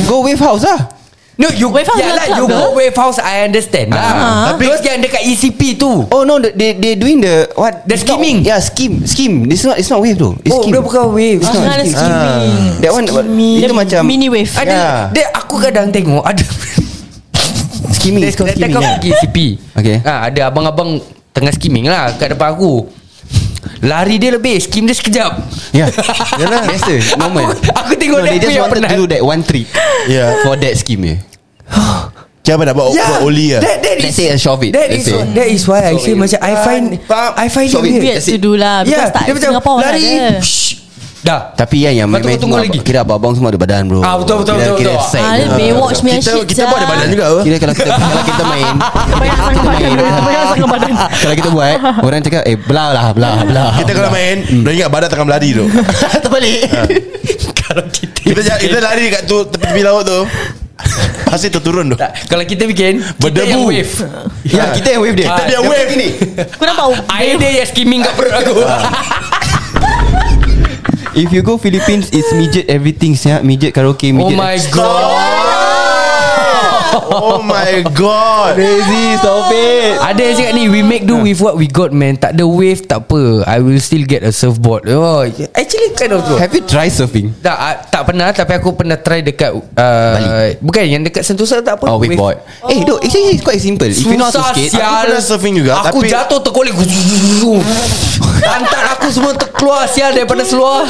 [SPEAKER 6] Go wave house lah
[SPEAKER 3] No, you
[SPEAKER 4] Wave house
[SPEAKER 3] yeah,
[SPEAKER 4] dalam
[SPEAKER 3] lah,
[SPEAKER 4] club
[SPEAKER 3] you
[SPEAKER 4] ke? uh-huh.
[SPEAKER 3] go wave house. I understand
[SPEAKER 6] Ah,
[SPEAKER 3] lah.
[SPEAKER 2] Tapi-
[SPEAKER 3] Tapi those yang dekat ECP tu.
[SPEAKER 6] Oh no, the- they they doing the what?
[SPEAKER 3] The
[SPEAKER 6] It's not-
[SPEAKER 3] skimming.
[SPEAKER 6] Yeah, skim, skim. It's not it's not wave though. It's
[SPEAKER 3] oh, dia
[SPEAKER 6] skim.
[SPEAKER 3] bukan wave.
[SPEAKER 4] Ah,
[SPEAKER 3] Ah,
[SPEAKER 4] ada skimming.
[SPEAKER 6] That one
[SPEAKER 4] Skimming.
[SPEAKER 6] itu macam Ah,
[SPEAKER 4] Mini wave.
[SPEAKER 3] Ada,
[SPEAKER 6] Yeah.
[SPEAKER 3] dia aku kadang tengok ada.
[SPEAKER 6] skimming. It's called
[SPEAKER 3] Datang
[SPEAKER 6] skimming.
[SPEAKER 3] kau
[SPEAKER 6] yeah.
[SPEAKER 3] pergi ECP.
[SPEAKER 6] Okay.
[SPEAKER 3] Ah, ada abang-abang tengah skimming lah kat depan aku. Lari dia lebih, skim dia sekejap.
[SPEAKER 6] Yeah. Yalah, biasa, normal.
[SPEAKER 3] Aku- aku tengok
[SPEAKER 6] no,
[SPEAKER 3] dia
[SPEAKER 6] they
[SPEAKER 3] aku
[SPEAKER 6] just
[SPEAKER 3] yang
[SPEAKER 6] wanted
[SPEAKER 3] penat.
[SPEAKER 6] to do that one trick
[SPEAKER 2] Yeah
[SPEAKER 6] for that skim yeah.
[SPEAKER 2] Kenapa nak buat, buat Oli
[SPEAKER 6] ah?
[SPEAKER 2] lah
[SPEAKER 3] That, that
[SPEAKER 6] Let's
[SPEAKER 3] is
[SPEAKER 6] say a shove it.
[SPEAKER 3] That is
[SPEAKER 6] Let's say.
[SPEAKER 3] that is why I say macam I find I find Eh, it
[SPEAKER 6] Shove it.
[SPEAKER 3] weird.
[SPEAKER 4] Weird
[SPEAKER 6] That's it.
[SPEAKER 4] to do lah Because tak
[SPEAKER 3] dia macam
[SPEAKER 4] Singapore
[SPEAKER 3] lari.
[SPEAKER 4] ada
[SPEAKER 3] shh, Dah.
[SPEAKER 6] Tapi kan
[SPEAKER 3] Lepas tu
[SPEAKER 6] yang yang
[SPEAKER 3] kau
[SPEAKER 6] main-main
[SPEAKER 3] tunggu
[SPEAKER 6] semua,
[SPEAKER 3] lagi.
[SPEAKER 6] Kira abang-abang semua ada badan bro.
[SPEAKER 3] Ah, betul, betul,
[SPEAKER 6] kira,
[SPEAKER 3] betul,
[SPEAKER 6] Kira
[SPEAKER 3] betul.
[SPEAKER 6] sack.
[SPEAKER 4] Ah, dia Baywatch punya
[SPEAKER 2] Kita
[SPEAKER 4] shit
[SPEAKER 2] kita pun ada badan juga apa?
[SPEAKER 6] Kira kalau kita kalau kita main
[SPEAKER 4] Banyak sangat badan Banyak sangat badan
[SPEAKER 6] kalau kita buat orang cakap eh belah lah belah belah.
[SPEAKER 2] Kita kalau main
[SPEAKER 6] Hmm.
[SPEAKER 2] Dia ingat badan tengah melari tu
[SPEAKER 6] terbalik.
[SPEAKER 3] Kalau kita
[SPEAKER 2] Kita ja- kita lari dekat tu Tepi tepi laut tu Pasir terturun tu
[SPEAKER 3] tak, kalau kita bikin kita
[SPEAKER 2] Berdebu.
[SPEAKER 3] yang wave.
[SPEAKER 6] Ya, kita yang wave dia.
[SPEAKER 3] Kita
[SPEAKER 2] Dia wave ni
[SPEAKER 4] Aku nampak
[SPEAKER 3] Air dia yang skimming kat perut aku.
[SPEAKER 6] Ah, If you go Philippines It's midget everything yeah. Midget karaoke
[SPEAKER 3] oh
[SPEAKER 6] midget
[SPEAKER 3] my god.
[SPEAKER 2] Oh my god
[SPEAKER 6] Crazy stop it
[SPEAKER 3] Ada yang cakap ni We make
[SPEAKER 6] Ah.
[SPEAKER 3] do with what we got man Tak ada wave tak apa I will still get a surfboard oh, yeah. Actually kind of true
[SPEAKER 6] Have you tried surfing?
[SPEAKER 3] tak, ah, tak pernah Tapi aku pernah try dekat uh, Bali Bukan yang dekat Sentosa tak apa
[SPEAKER 6] Oh wakeboard oh. Eh no Actually it's quite simple If you know how to
[SPEAKER 3] Susah
[SPEAKER 6] skate
[SPEAKER 3] sial.
[SPEAKER 2] Aku pernah surfing juga,
[SPEAKER 3] Aku
[SPEAKER 2] tapi-
[SPEAKER 3] jatuh terkolik Lantak aku semua terkeluar Sial daripada seluar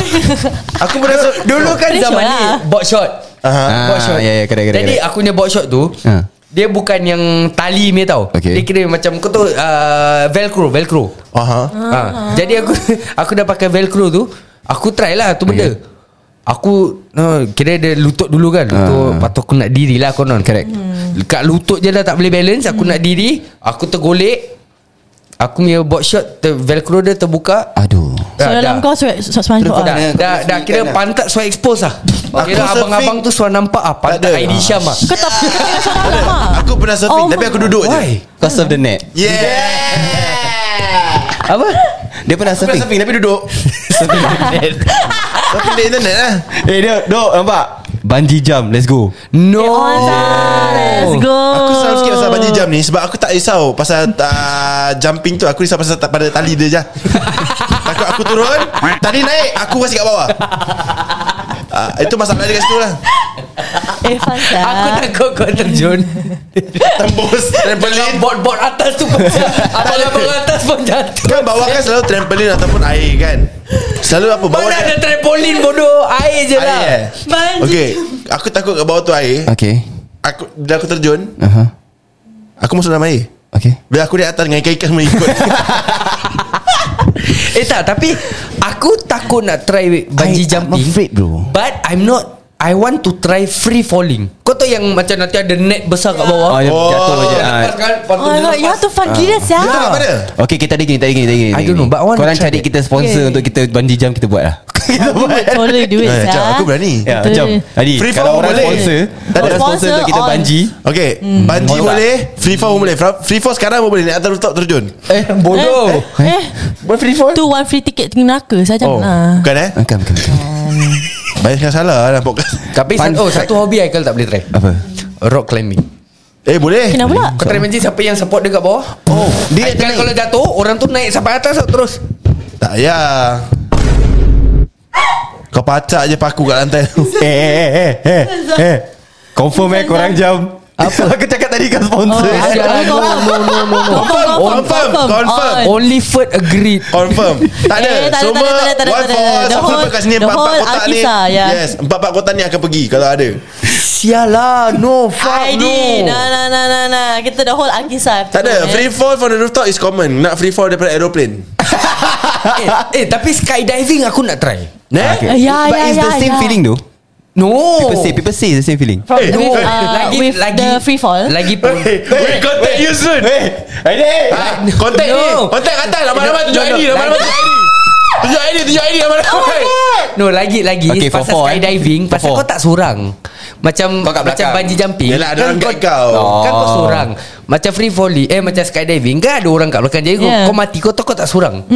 [SPEAKER 2] Aku pernah sur-
[SPEAKER 3] Dulu kan
[SPEAKER 4] Boleh
[SPEAKER 3] zaman
[SPEAKER 4] shot
[SPEAKER 3] ni
[SPEAKER 4] lah.
[SPEAKER 3] Board shot
[SPEAKER 2] Aha.
[SPEAKER 6] Ah,
[SPEAKER 3] Board shot
[SPEAKER 6] ya, ya, correct, correct,
[SPEAKER 3] Jadi
[SPEAKER 6] correct.
[SPEAKER 3] aku punya board shot tu
[SPEAKER 6] Ah.
[SPEAKER 3] Dia bukan yang tali ni tau
[SPEAKER 6] Okay.
[SPEAKER 3] Dia kira macam Kau tahu uh, Velcro Velcro
[SPEAKER 2] Aha
[SPEAKER 4] Ah.
[SPEAKER 3] ha. Jadi aku Aku dah pakai velcro tu Aku try lah tu benda
[SPEAKER 6] Okay.
[SPEAKER 3] Aku no, Kira dia lutut dulu kan Lutut
[SPEAKER 6] Ah.
[SPEAKER 3] Lepas tu aku nak diri lah konon Correct Kat lutut je dah tak boleh balance
[SPEAKER 4] Hmm.
[SPEAKER 3] Aku nak diri Aku tergolek Aku punya board shot ter, Velcro dia terbuka
[SPEAKER 6] Aduh
[SPEAKER 4] So dalam kau
[SPEAKER 3] Dah,
[SPEAKER 4] SpongeBob
[SPEAKER 3] dah, dah,
[SPEAKER 4] lah
[SPEAKER 3] dah, dah kira pantat suai expose lah
[SPEAKER 2] Aku
[SPEAKER 3] Kira
[SPEAKER 2] surfing.
[SPEAKER 3] abang-abang tu suai nampak ah
[SPEAKER 2] Tak
[SPEAKER 3] Pantat
[SPEAKER 2] ada.
[SPEAKER 3] Aidy Syam ah
[SPEAKER 4] Kau tak Kau tak lama
[SPEAKER 2] Aku pernah surfing
[SPEAKER 4] Oh
[SPEAKER 2] Tapi
[SPEAKER 4] my
[SPEAKER 2] aku duduk je
[SPEAKER 3] Why?
[SPEAKER 6] Cause of the net
[SPEAKER 2] Yeah
[SPEAKER 6] Apa? Dia pernah
[SPEAKER 2] Aku pernah
[SPEAKER 6] surfing
[SPEAKER 2] surfing Tapi duduk Surfing di internet lah
[SPEAKER 6] Eh dia Dok nampak Bungee jump Let's go
[SPEAKER 3] No
[SPEAKER 4] Oh, Let's go
[SPEAKER 2] Oh. Aku susah sikit pasal bungee jump ni Sebab aku tak risau Pasal uh, jumping tu Aku risau pasal tak pada tali dia je Takut aku turun Tali naik Aku masih kat bawah uh, Itu masalah dia kat situ lah
[SPEAKER 4] Eh Fansa
[SPEAKER 3] Aku takut kau terjun
[SPEAKER 2] Tembus
[SPEAKER 3] Dalam
[SPEAKER 2] trampoline
[SPEAKER 3] board-board atas tu pun Abang-abang atas pun jatuh
[SPEAKER 2] Kan bawah kan selalu trampoline Ataupun air kan Selalu apa bawah kan?
[SPEAKER 3] Mana
[SPEAKER 2] dia-
[SPEAKER 3] ada trampolin bodoh Air je
[SPEAKER 2] Air
[SPEAKER 3] lah
[SPEAKER 2] eh
[SPEAKER 4] Bungee
[SPEAKER 2] Okay Aku takut kat bawah tu air
[SPEAKER 6] Okay
[SPEAKER 2] Aku Bila aku terjun
[SPEAKER 6] Aha
[SPEAKER 2] Aku masuk dalam air
[SPEAKER 6] Okay
[SPEAKER 2] Bila aku di atas Dengan ikan-ikan semua ikut
[SPEAKER 3] Eh tak tapi Aku takut nak try Bungee
[SPEAKER 6] I- I'm
[SPEAKER 3] jumping
[SPEAKER 6] afraid, bro.
[SPEAKER 3] But I'm not I want to try free falling Kau tahu yang macam nanti ada net besar kat bawah
[SPEAKER 6] Oh, dia
[SPEAKER 2] Oh.
[SPEAKER 6] jatuh je ah.
[SPEAKER 3] Lepas kan Lepas tu
[SPEAKER 4] Oh my
[SPEAKER 3] dia
[SPEAKER 4] god You
[SPEAKER 3] lepas
[SPEAKER 4] have to fun gila sia
[SPEAKER 2] Tahu tak pada
[SPEAKER 6] Okay kita ada gini Tadi gini, tadi gini
[SPEAKER 3] I
[SPEAKER 6] tadi
[SPEAKER 3] don't know,
[SPEAKER 6] gini.
[SPEAKER 3] but I want to
[SPEAKER 6] Korang
[SPEAKER 3] try
[SPEAKER 6] cari
[SPEAKER 3] that.
[SPEAKER 6] kita sponsor
[SPEAKER 4] Okay.
[SPEAKER 6] Untuk kita bungee jump Kita buat lah
[SPEAKER 4] Totally do it
[SPEAKER 2] Eh, jap,
[SPEAKER 4] sia
[SPEAKER 2] Aku berani
[SPEAKER 6] Ya
[SPEAKER 4] Betul.
[SPEAKER 6] macam Adi
[SPEAKER 2] Free
[SPEAKER 6] Kalau
[SPEAKER 2] fall
[SPEAKER 6] orang
[SPEAKER 2] boleh.
[SPEAKER 6] sponsor
[SPEAKER 2] Tak ada
[SPEAKER 6] Orang sponsor
[SPEAKER 4] sponsor
[SPEAKER 6] untuk kita
[SPEAKER 4] on.
[SPEAKER 6] bungee
[SPEAKER 2] Okay hmm. Bungee
[SPEAKER 6] Boleh
[SPEAKER 2] boleh Free fall pun boleh Fra- Free fall sekarang pun boleh Naik atas rooftop terjun
[SPEAKER 3] Eh bodoh
[SPEAKER 4] Eh
[SPEAKER 2] Boleh free fall
[SPEAKER 4] Tu one free ticket Tinggi neraka ah. Saya
[SPEAKER 2] Oh
[SPEAKER 4] janganlah
[SPEAKER 2] Bukan eh
[SPEAKER 6] Bukan bukan bukan.
[SPEAKER 2] Banyak yang salah lah dalam podcast
[SPEAKER 3] Tapi san- oh, satu hobi Aikal tak boleh try
[SPEAKER 6] Apa?
[SPEAKER 3] Rock climbing
[SPEAKER 2] Eh boleh
[SPEAKER 4] Kenapa pula
[SPEAKER 3] Kau try macam siapa yang support dia kat bawah
[SPEAKER 6] Oh
[SPEAKER 3] Dia Aikal kalau jatuh Orang tu naik sampai atas tau, terus
[SPEAKER 2] Tak ya Kau pacak je paku kat lantai tu
[SPEAKER 6] Eh eh eh eh eh Confirm eh korang jam Apa aku cakap tadi kan sponsor
[SPEAKER 4] Oh,
[SPEAKER 3] Sial,
[SPEAKER 4] ada-
[SPEAKER 3] no, no, no, no, no.
[SPEAKER 4] Confirm
[SPEAKER 2] Confirm, confirm.
[SPEAKER 4] on.
[SPEAKER 3] Only Ferd agreed
[SPEAKER 2] Confirm Tak ada
[SPEAKER 4] Eh, tak ada,
[SPEAKER 2] Semua
[SPEAKER 4] tak ada, tak ada,
[SPEAKER 2] One
[SPEAKER 4] tak ada.
[SPEAKER 2] for all
[SPEAKER 4] The
[SPEAKER 2] Siapa
[SPEAKER 4] whole-
[SPEAKER 2] kat sini
[SPEAKER 4] the
[SPEAKER 2] Empat-empat
[SPEAKER 4] whole
[SPEAKER 2] kotak ni
[SPEAKER 4] Alkisah, ya.
[SPEAKER 2] Yes Empat-empat kotak ni akan pergi Kalau ada
[SPEAKER 3] Sial lah No fuck
[SPEAKER 4] ID
[SPEAKER 3] no
[SPEAKER 4] Nah nah nah nah nah Kita the whole Eh. Alkisah
[SPEAKER 2] Tak ada Free fall from the rooftop is common Nak free fall daripada aeroplane
[SPEAKER 3] eh, eh tapi skydiving aku nak try
[SPEAKER 6] Nah,
[SPEAKER 4] Eh, ya,
[SPEAKER 6] But
[SPEAKER 4] ya,
[SPEAKER 6] Ah, it's the
[SPEAKER 4] ya,
[SPEAKER 6] same
[SPEAKER 4] ya.
[SPEAKER 6] feeling though
[SPEAKER 3] No
[SPEAKER 6] People say People say the same feeling
[SPEAKER 4] From
[SPEAKER 2] Eh, eh,
[SPEAKER 4] with, uh, with the free fall
[SPEAKER 3] Lagi pun
[SPEAKER 2] Hey, contact you soon Hey Aidil Contact
[SPEAKER 3] no.
[SPEAKER 2] ni Contact atas Lama-lama tunjuk
[SPEAKER 3] No, no.
[SPEAKER 2] ID Lama-lama tunjuk ID Tunjuk ID Tunjuk ID Lama-lama
[SPEAKER 3] No lagi lagi
[SPEAKER 6] Oh
[SPEAKER 3] okay,
[SPEAKER 6] Okay, for
[SPEAKER 3] Pasal
[SPEAKER 6] four, eh.
[SPEAKER 3] skydiving
[SPEAKER 6] For
[SPEAKER 3] Pasal
[SPEAKER 6] four.
[SPEAKER 3] kau tak seorang Macam
[SPEAKER 6] Kau kat
[SPEAKER 3] Macam
[SPEAKER 6] belakang.
[SPEAKER 3] bungee jumping
[SPEAKER 2] Yelah, ada orang guide kau.
[SPEAKER 3] Kan kau
[SPEAKER 6] Oh.
[SPEAKER 3] seorang Macam free volley Eh macam skydiving Kan ada orang kat belakang Jadi yeah.
[SPEAKER 4] Yeah.
[SPEAKER 3] kau, kau mati Kau tahu kau tak seorang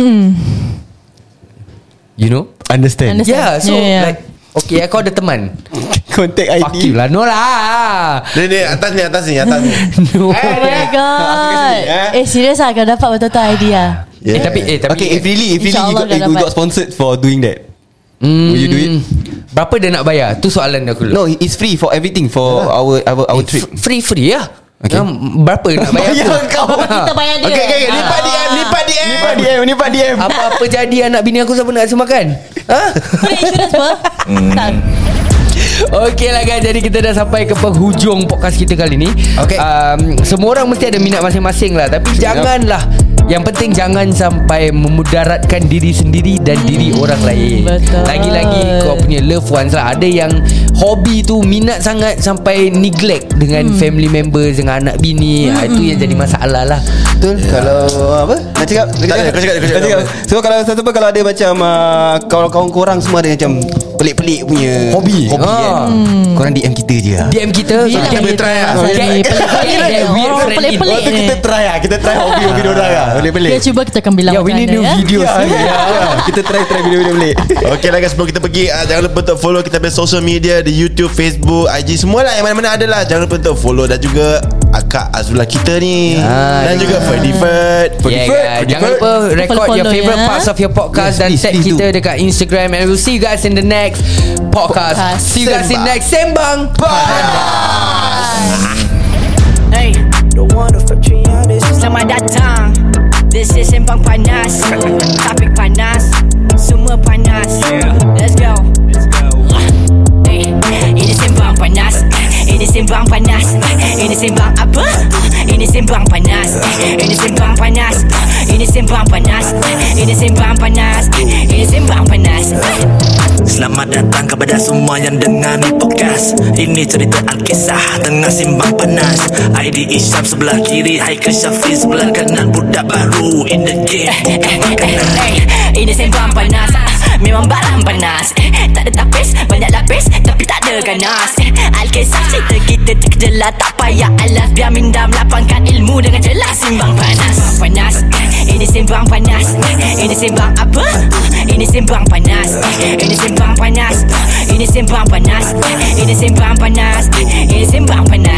[SPEAKER 3] You know
[SPEAKER 6] Understand
[SPEAKER 4] Understand.
[SPEAKER 3] Yeah so
[SPEAKER 4] Yeah, yeah.
[SPEAKER 3] like Okay kau ada teman
[SPEAKER 6] Contact
[SPEAKER 3] Fuck you
[SPEAKER 6] ID
[SPEAKER 3] lah No lah Eh,
[SPEAKER 2] Ni ni atas ni Atas ni Atas ni
[SPEAKER 3] No
[SPEAKER 4] Oh
[SPEAKER 2] Eh.
[SPEAKER 4] my god Eh serius lah Kau dapat betul-betul idea
[SPEAKER 3] yeah. Eh tapi eh tapi
[SPEAKER 6] Okay if really If really you
[SPEAKER 4] InsyaAllah
[SPEAKER 6] got,
[SPEAKER 4] dah
[SPEAKER 6] you
[SPEAKER 4] dapat.
[SPEAKER 6] got sponsored For doing that
[SPEAKER 3] Hmm.
[SPEAKER 6] Will you do it?
[SPEAKER 3] Berapa dia nak bayar? Tu soalan aku dulu.
[SPEAKER 6] No it's free for everything For our our our Oh, trip
[SPEAKER 3] Free free lah.
[SPEAKER 6] Okay.
[SPEAKER 3] Okay. Berapa nak bayar?
[SPEAKER 6] Bayar
[SPEAKER 3] tu?
[SPEAKER 6] kau.
[SPEAKER 4] Kita bayar dia
[SPEAKER 2] Okay okay
[SPEAKER 4] Ah.
[SPEAKER 2] Lipat DM Lipat DM
[SPEAKER 6] Lipat DM Lipat DM
[SPEAKER 3] Apa-apa jadi anak bini aku siapa nak kasih makan? Ha? Hmm.
[SPEAKER 4] Boleh insurance apa? Tak
[SPEAKER 3] Okey lah guys Jadi kita dah sampai ke penghujung podcast kita kali ni
[SPEAKER 6] Okay.
[SPEAKER 3] um, Semua orang mesti ada minat masing-masing lah Tapi janganlah Yang penting jangan sampai memudaratkan diri sendiri dan diri orang lain
[SPEAKER 4] Hmm. betul.
[SPEAKER 3] Lagi-lagi kau punya loved ones lah Ada yang hobi tu minat sangat sampai neglect Dengan
[SPEAKER 4] Hmm.
[SPEAKER 3] family members, dengan anak bini ha, Itu yang jadi masalah lah
[SPEAKER 6] Betul yeah. Kalau apa Nak cakap Nak
[SPEAKER 2] Tak ada, kau cakap, kau cakap.
[SPEAKER 6] Nak cakap So kalau satu pun Kalau ada macam uh, Kawan-kawan korang semua ada macam Pelik-pelik punya
[SPEAKER 3] Hobi.
[SPEAKER 6] Hobi
[SPEAKER 3] Ah.
[SPEAKER 6] kan Korang DM kita je lah
[SPEAKER 3] DM kita ah.
[SPEAKER 2] Kita boleh try lah
[SPEAKER 3] Okay.
[SPEAKER 4] Pelik-pelik
[SPEAKER 3] eh, Weird
[SPEAKER 4] Orang
[SPEAKER 3] friendly.
[SPEAKER 4] pelik-pelik
[SPEAKER 6] Waktu
[SPEAKER 4] ni.
[SPEAKER 6] kita try
[SPEAKER 2] Ah,
[SPEAKER 6] lah Kita try hobi-hobi dorang lah Pelik-pelik
[SPEAKER 4] Kita cuba kita akan bilang
[SPEAKER 3] Yeah, we
[SPEAKER 4] macam
[SPEAKER 3] need
[SPEAKER 4] mana,
[SPEAKER 3] new
[SPEAKER 4] ya.
[SPEAKER 3] videos
[SPEAKER 6] Ya, ya, ya. Kita try try video-video pelik
[SPEAKER 2] Okay lah guys Sebelum kita pergi uh, Jangan lupa untuk follow Kita punya social media Di YouTube, Facebook, IG Semualah yang mana-mana ada lah Jangan lupa untuk follow Dan juga Akak Azula kita ni
[SPEAKER 3] Ah,
[SPEAKER 2] Dan juga Ferdy Ferd
[SPEAKER 3] Yeah, guys. Jangan lupa record
[SPEAKER 4] Follow-follow
[SPEAKER 3] your favorite
[SPEAKER 4] ya.
[SPEAKER 3] parts of your podcast
[SPEAKER 6] Yes,
[SPEAKER 3] dan
[SPEAKER 6] please,
[SPEAKER 3] tag
[SPEAKER 6] please
[SPEAKER 3] kita dekat Instagram and we'll see you guys in the next podcast.
[SPEAKER 4] Podcast.
[SPEAKER 3] See you guys in
[SPEAKER 2] Sembang.
[SPEAKER 3] next sembang.
[SPEAKER 1] Hey,
[SPEAKER 5] The one of Fatrianis
[SPEAKER 1] selamat datang This is Sembang Panas Topik panas Semua panas
[SPEAKER 5] Yeah.
[SPEAKER 1] Let's go
[SPEAKER 5] Let's go
[SPEAKER 1] Hey, Ini Sembang Panas Ini Sembang Panas Ini Sembang apa? Ini Sembang Panas Ini Sembang Panas Ini Sembang Panas Ini Sembang Panas Ini Sembang Panas
[SPEAKER 5] Selamat datang kepada semua yang dengar ni podcast Ini cerita Alkisah tengah simbang panas ID Isyam sebelah kiri Haikal Syafiq sebelah kanan Budak baru in the game bukan makanan
[SPEAKER 1] Hey, Ini Sembang Panas Memang barang panas Tak ada tapis, banyak lapis Tapi tak ada ganas Alkisah cerita kita terkejelah Tak payah alas Biar minda melapangkan ilmu dengan jelas Sembang Panas Sembang Panas Ini Sembang Panas Ini Sembang apa? Ini Sembang Panas Ini Sembang Panas Ini Sembang Panas Ini Sembang Panas Ini Sembang Panas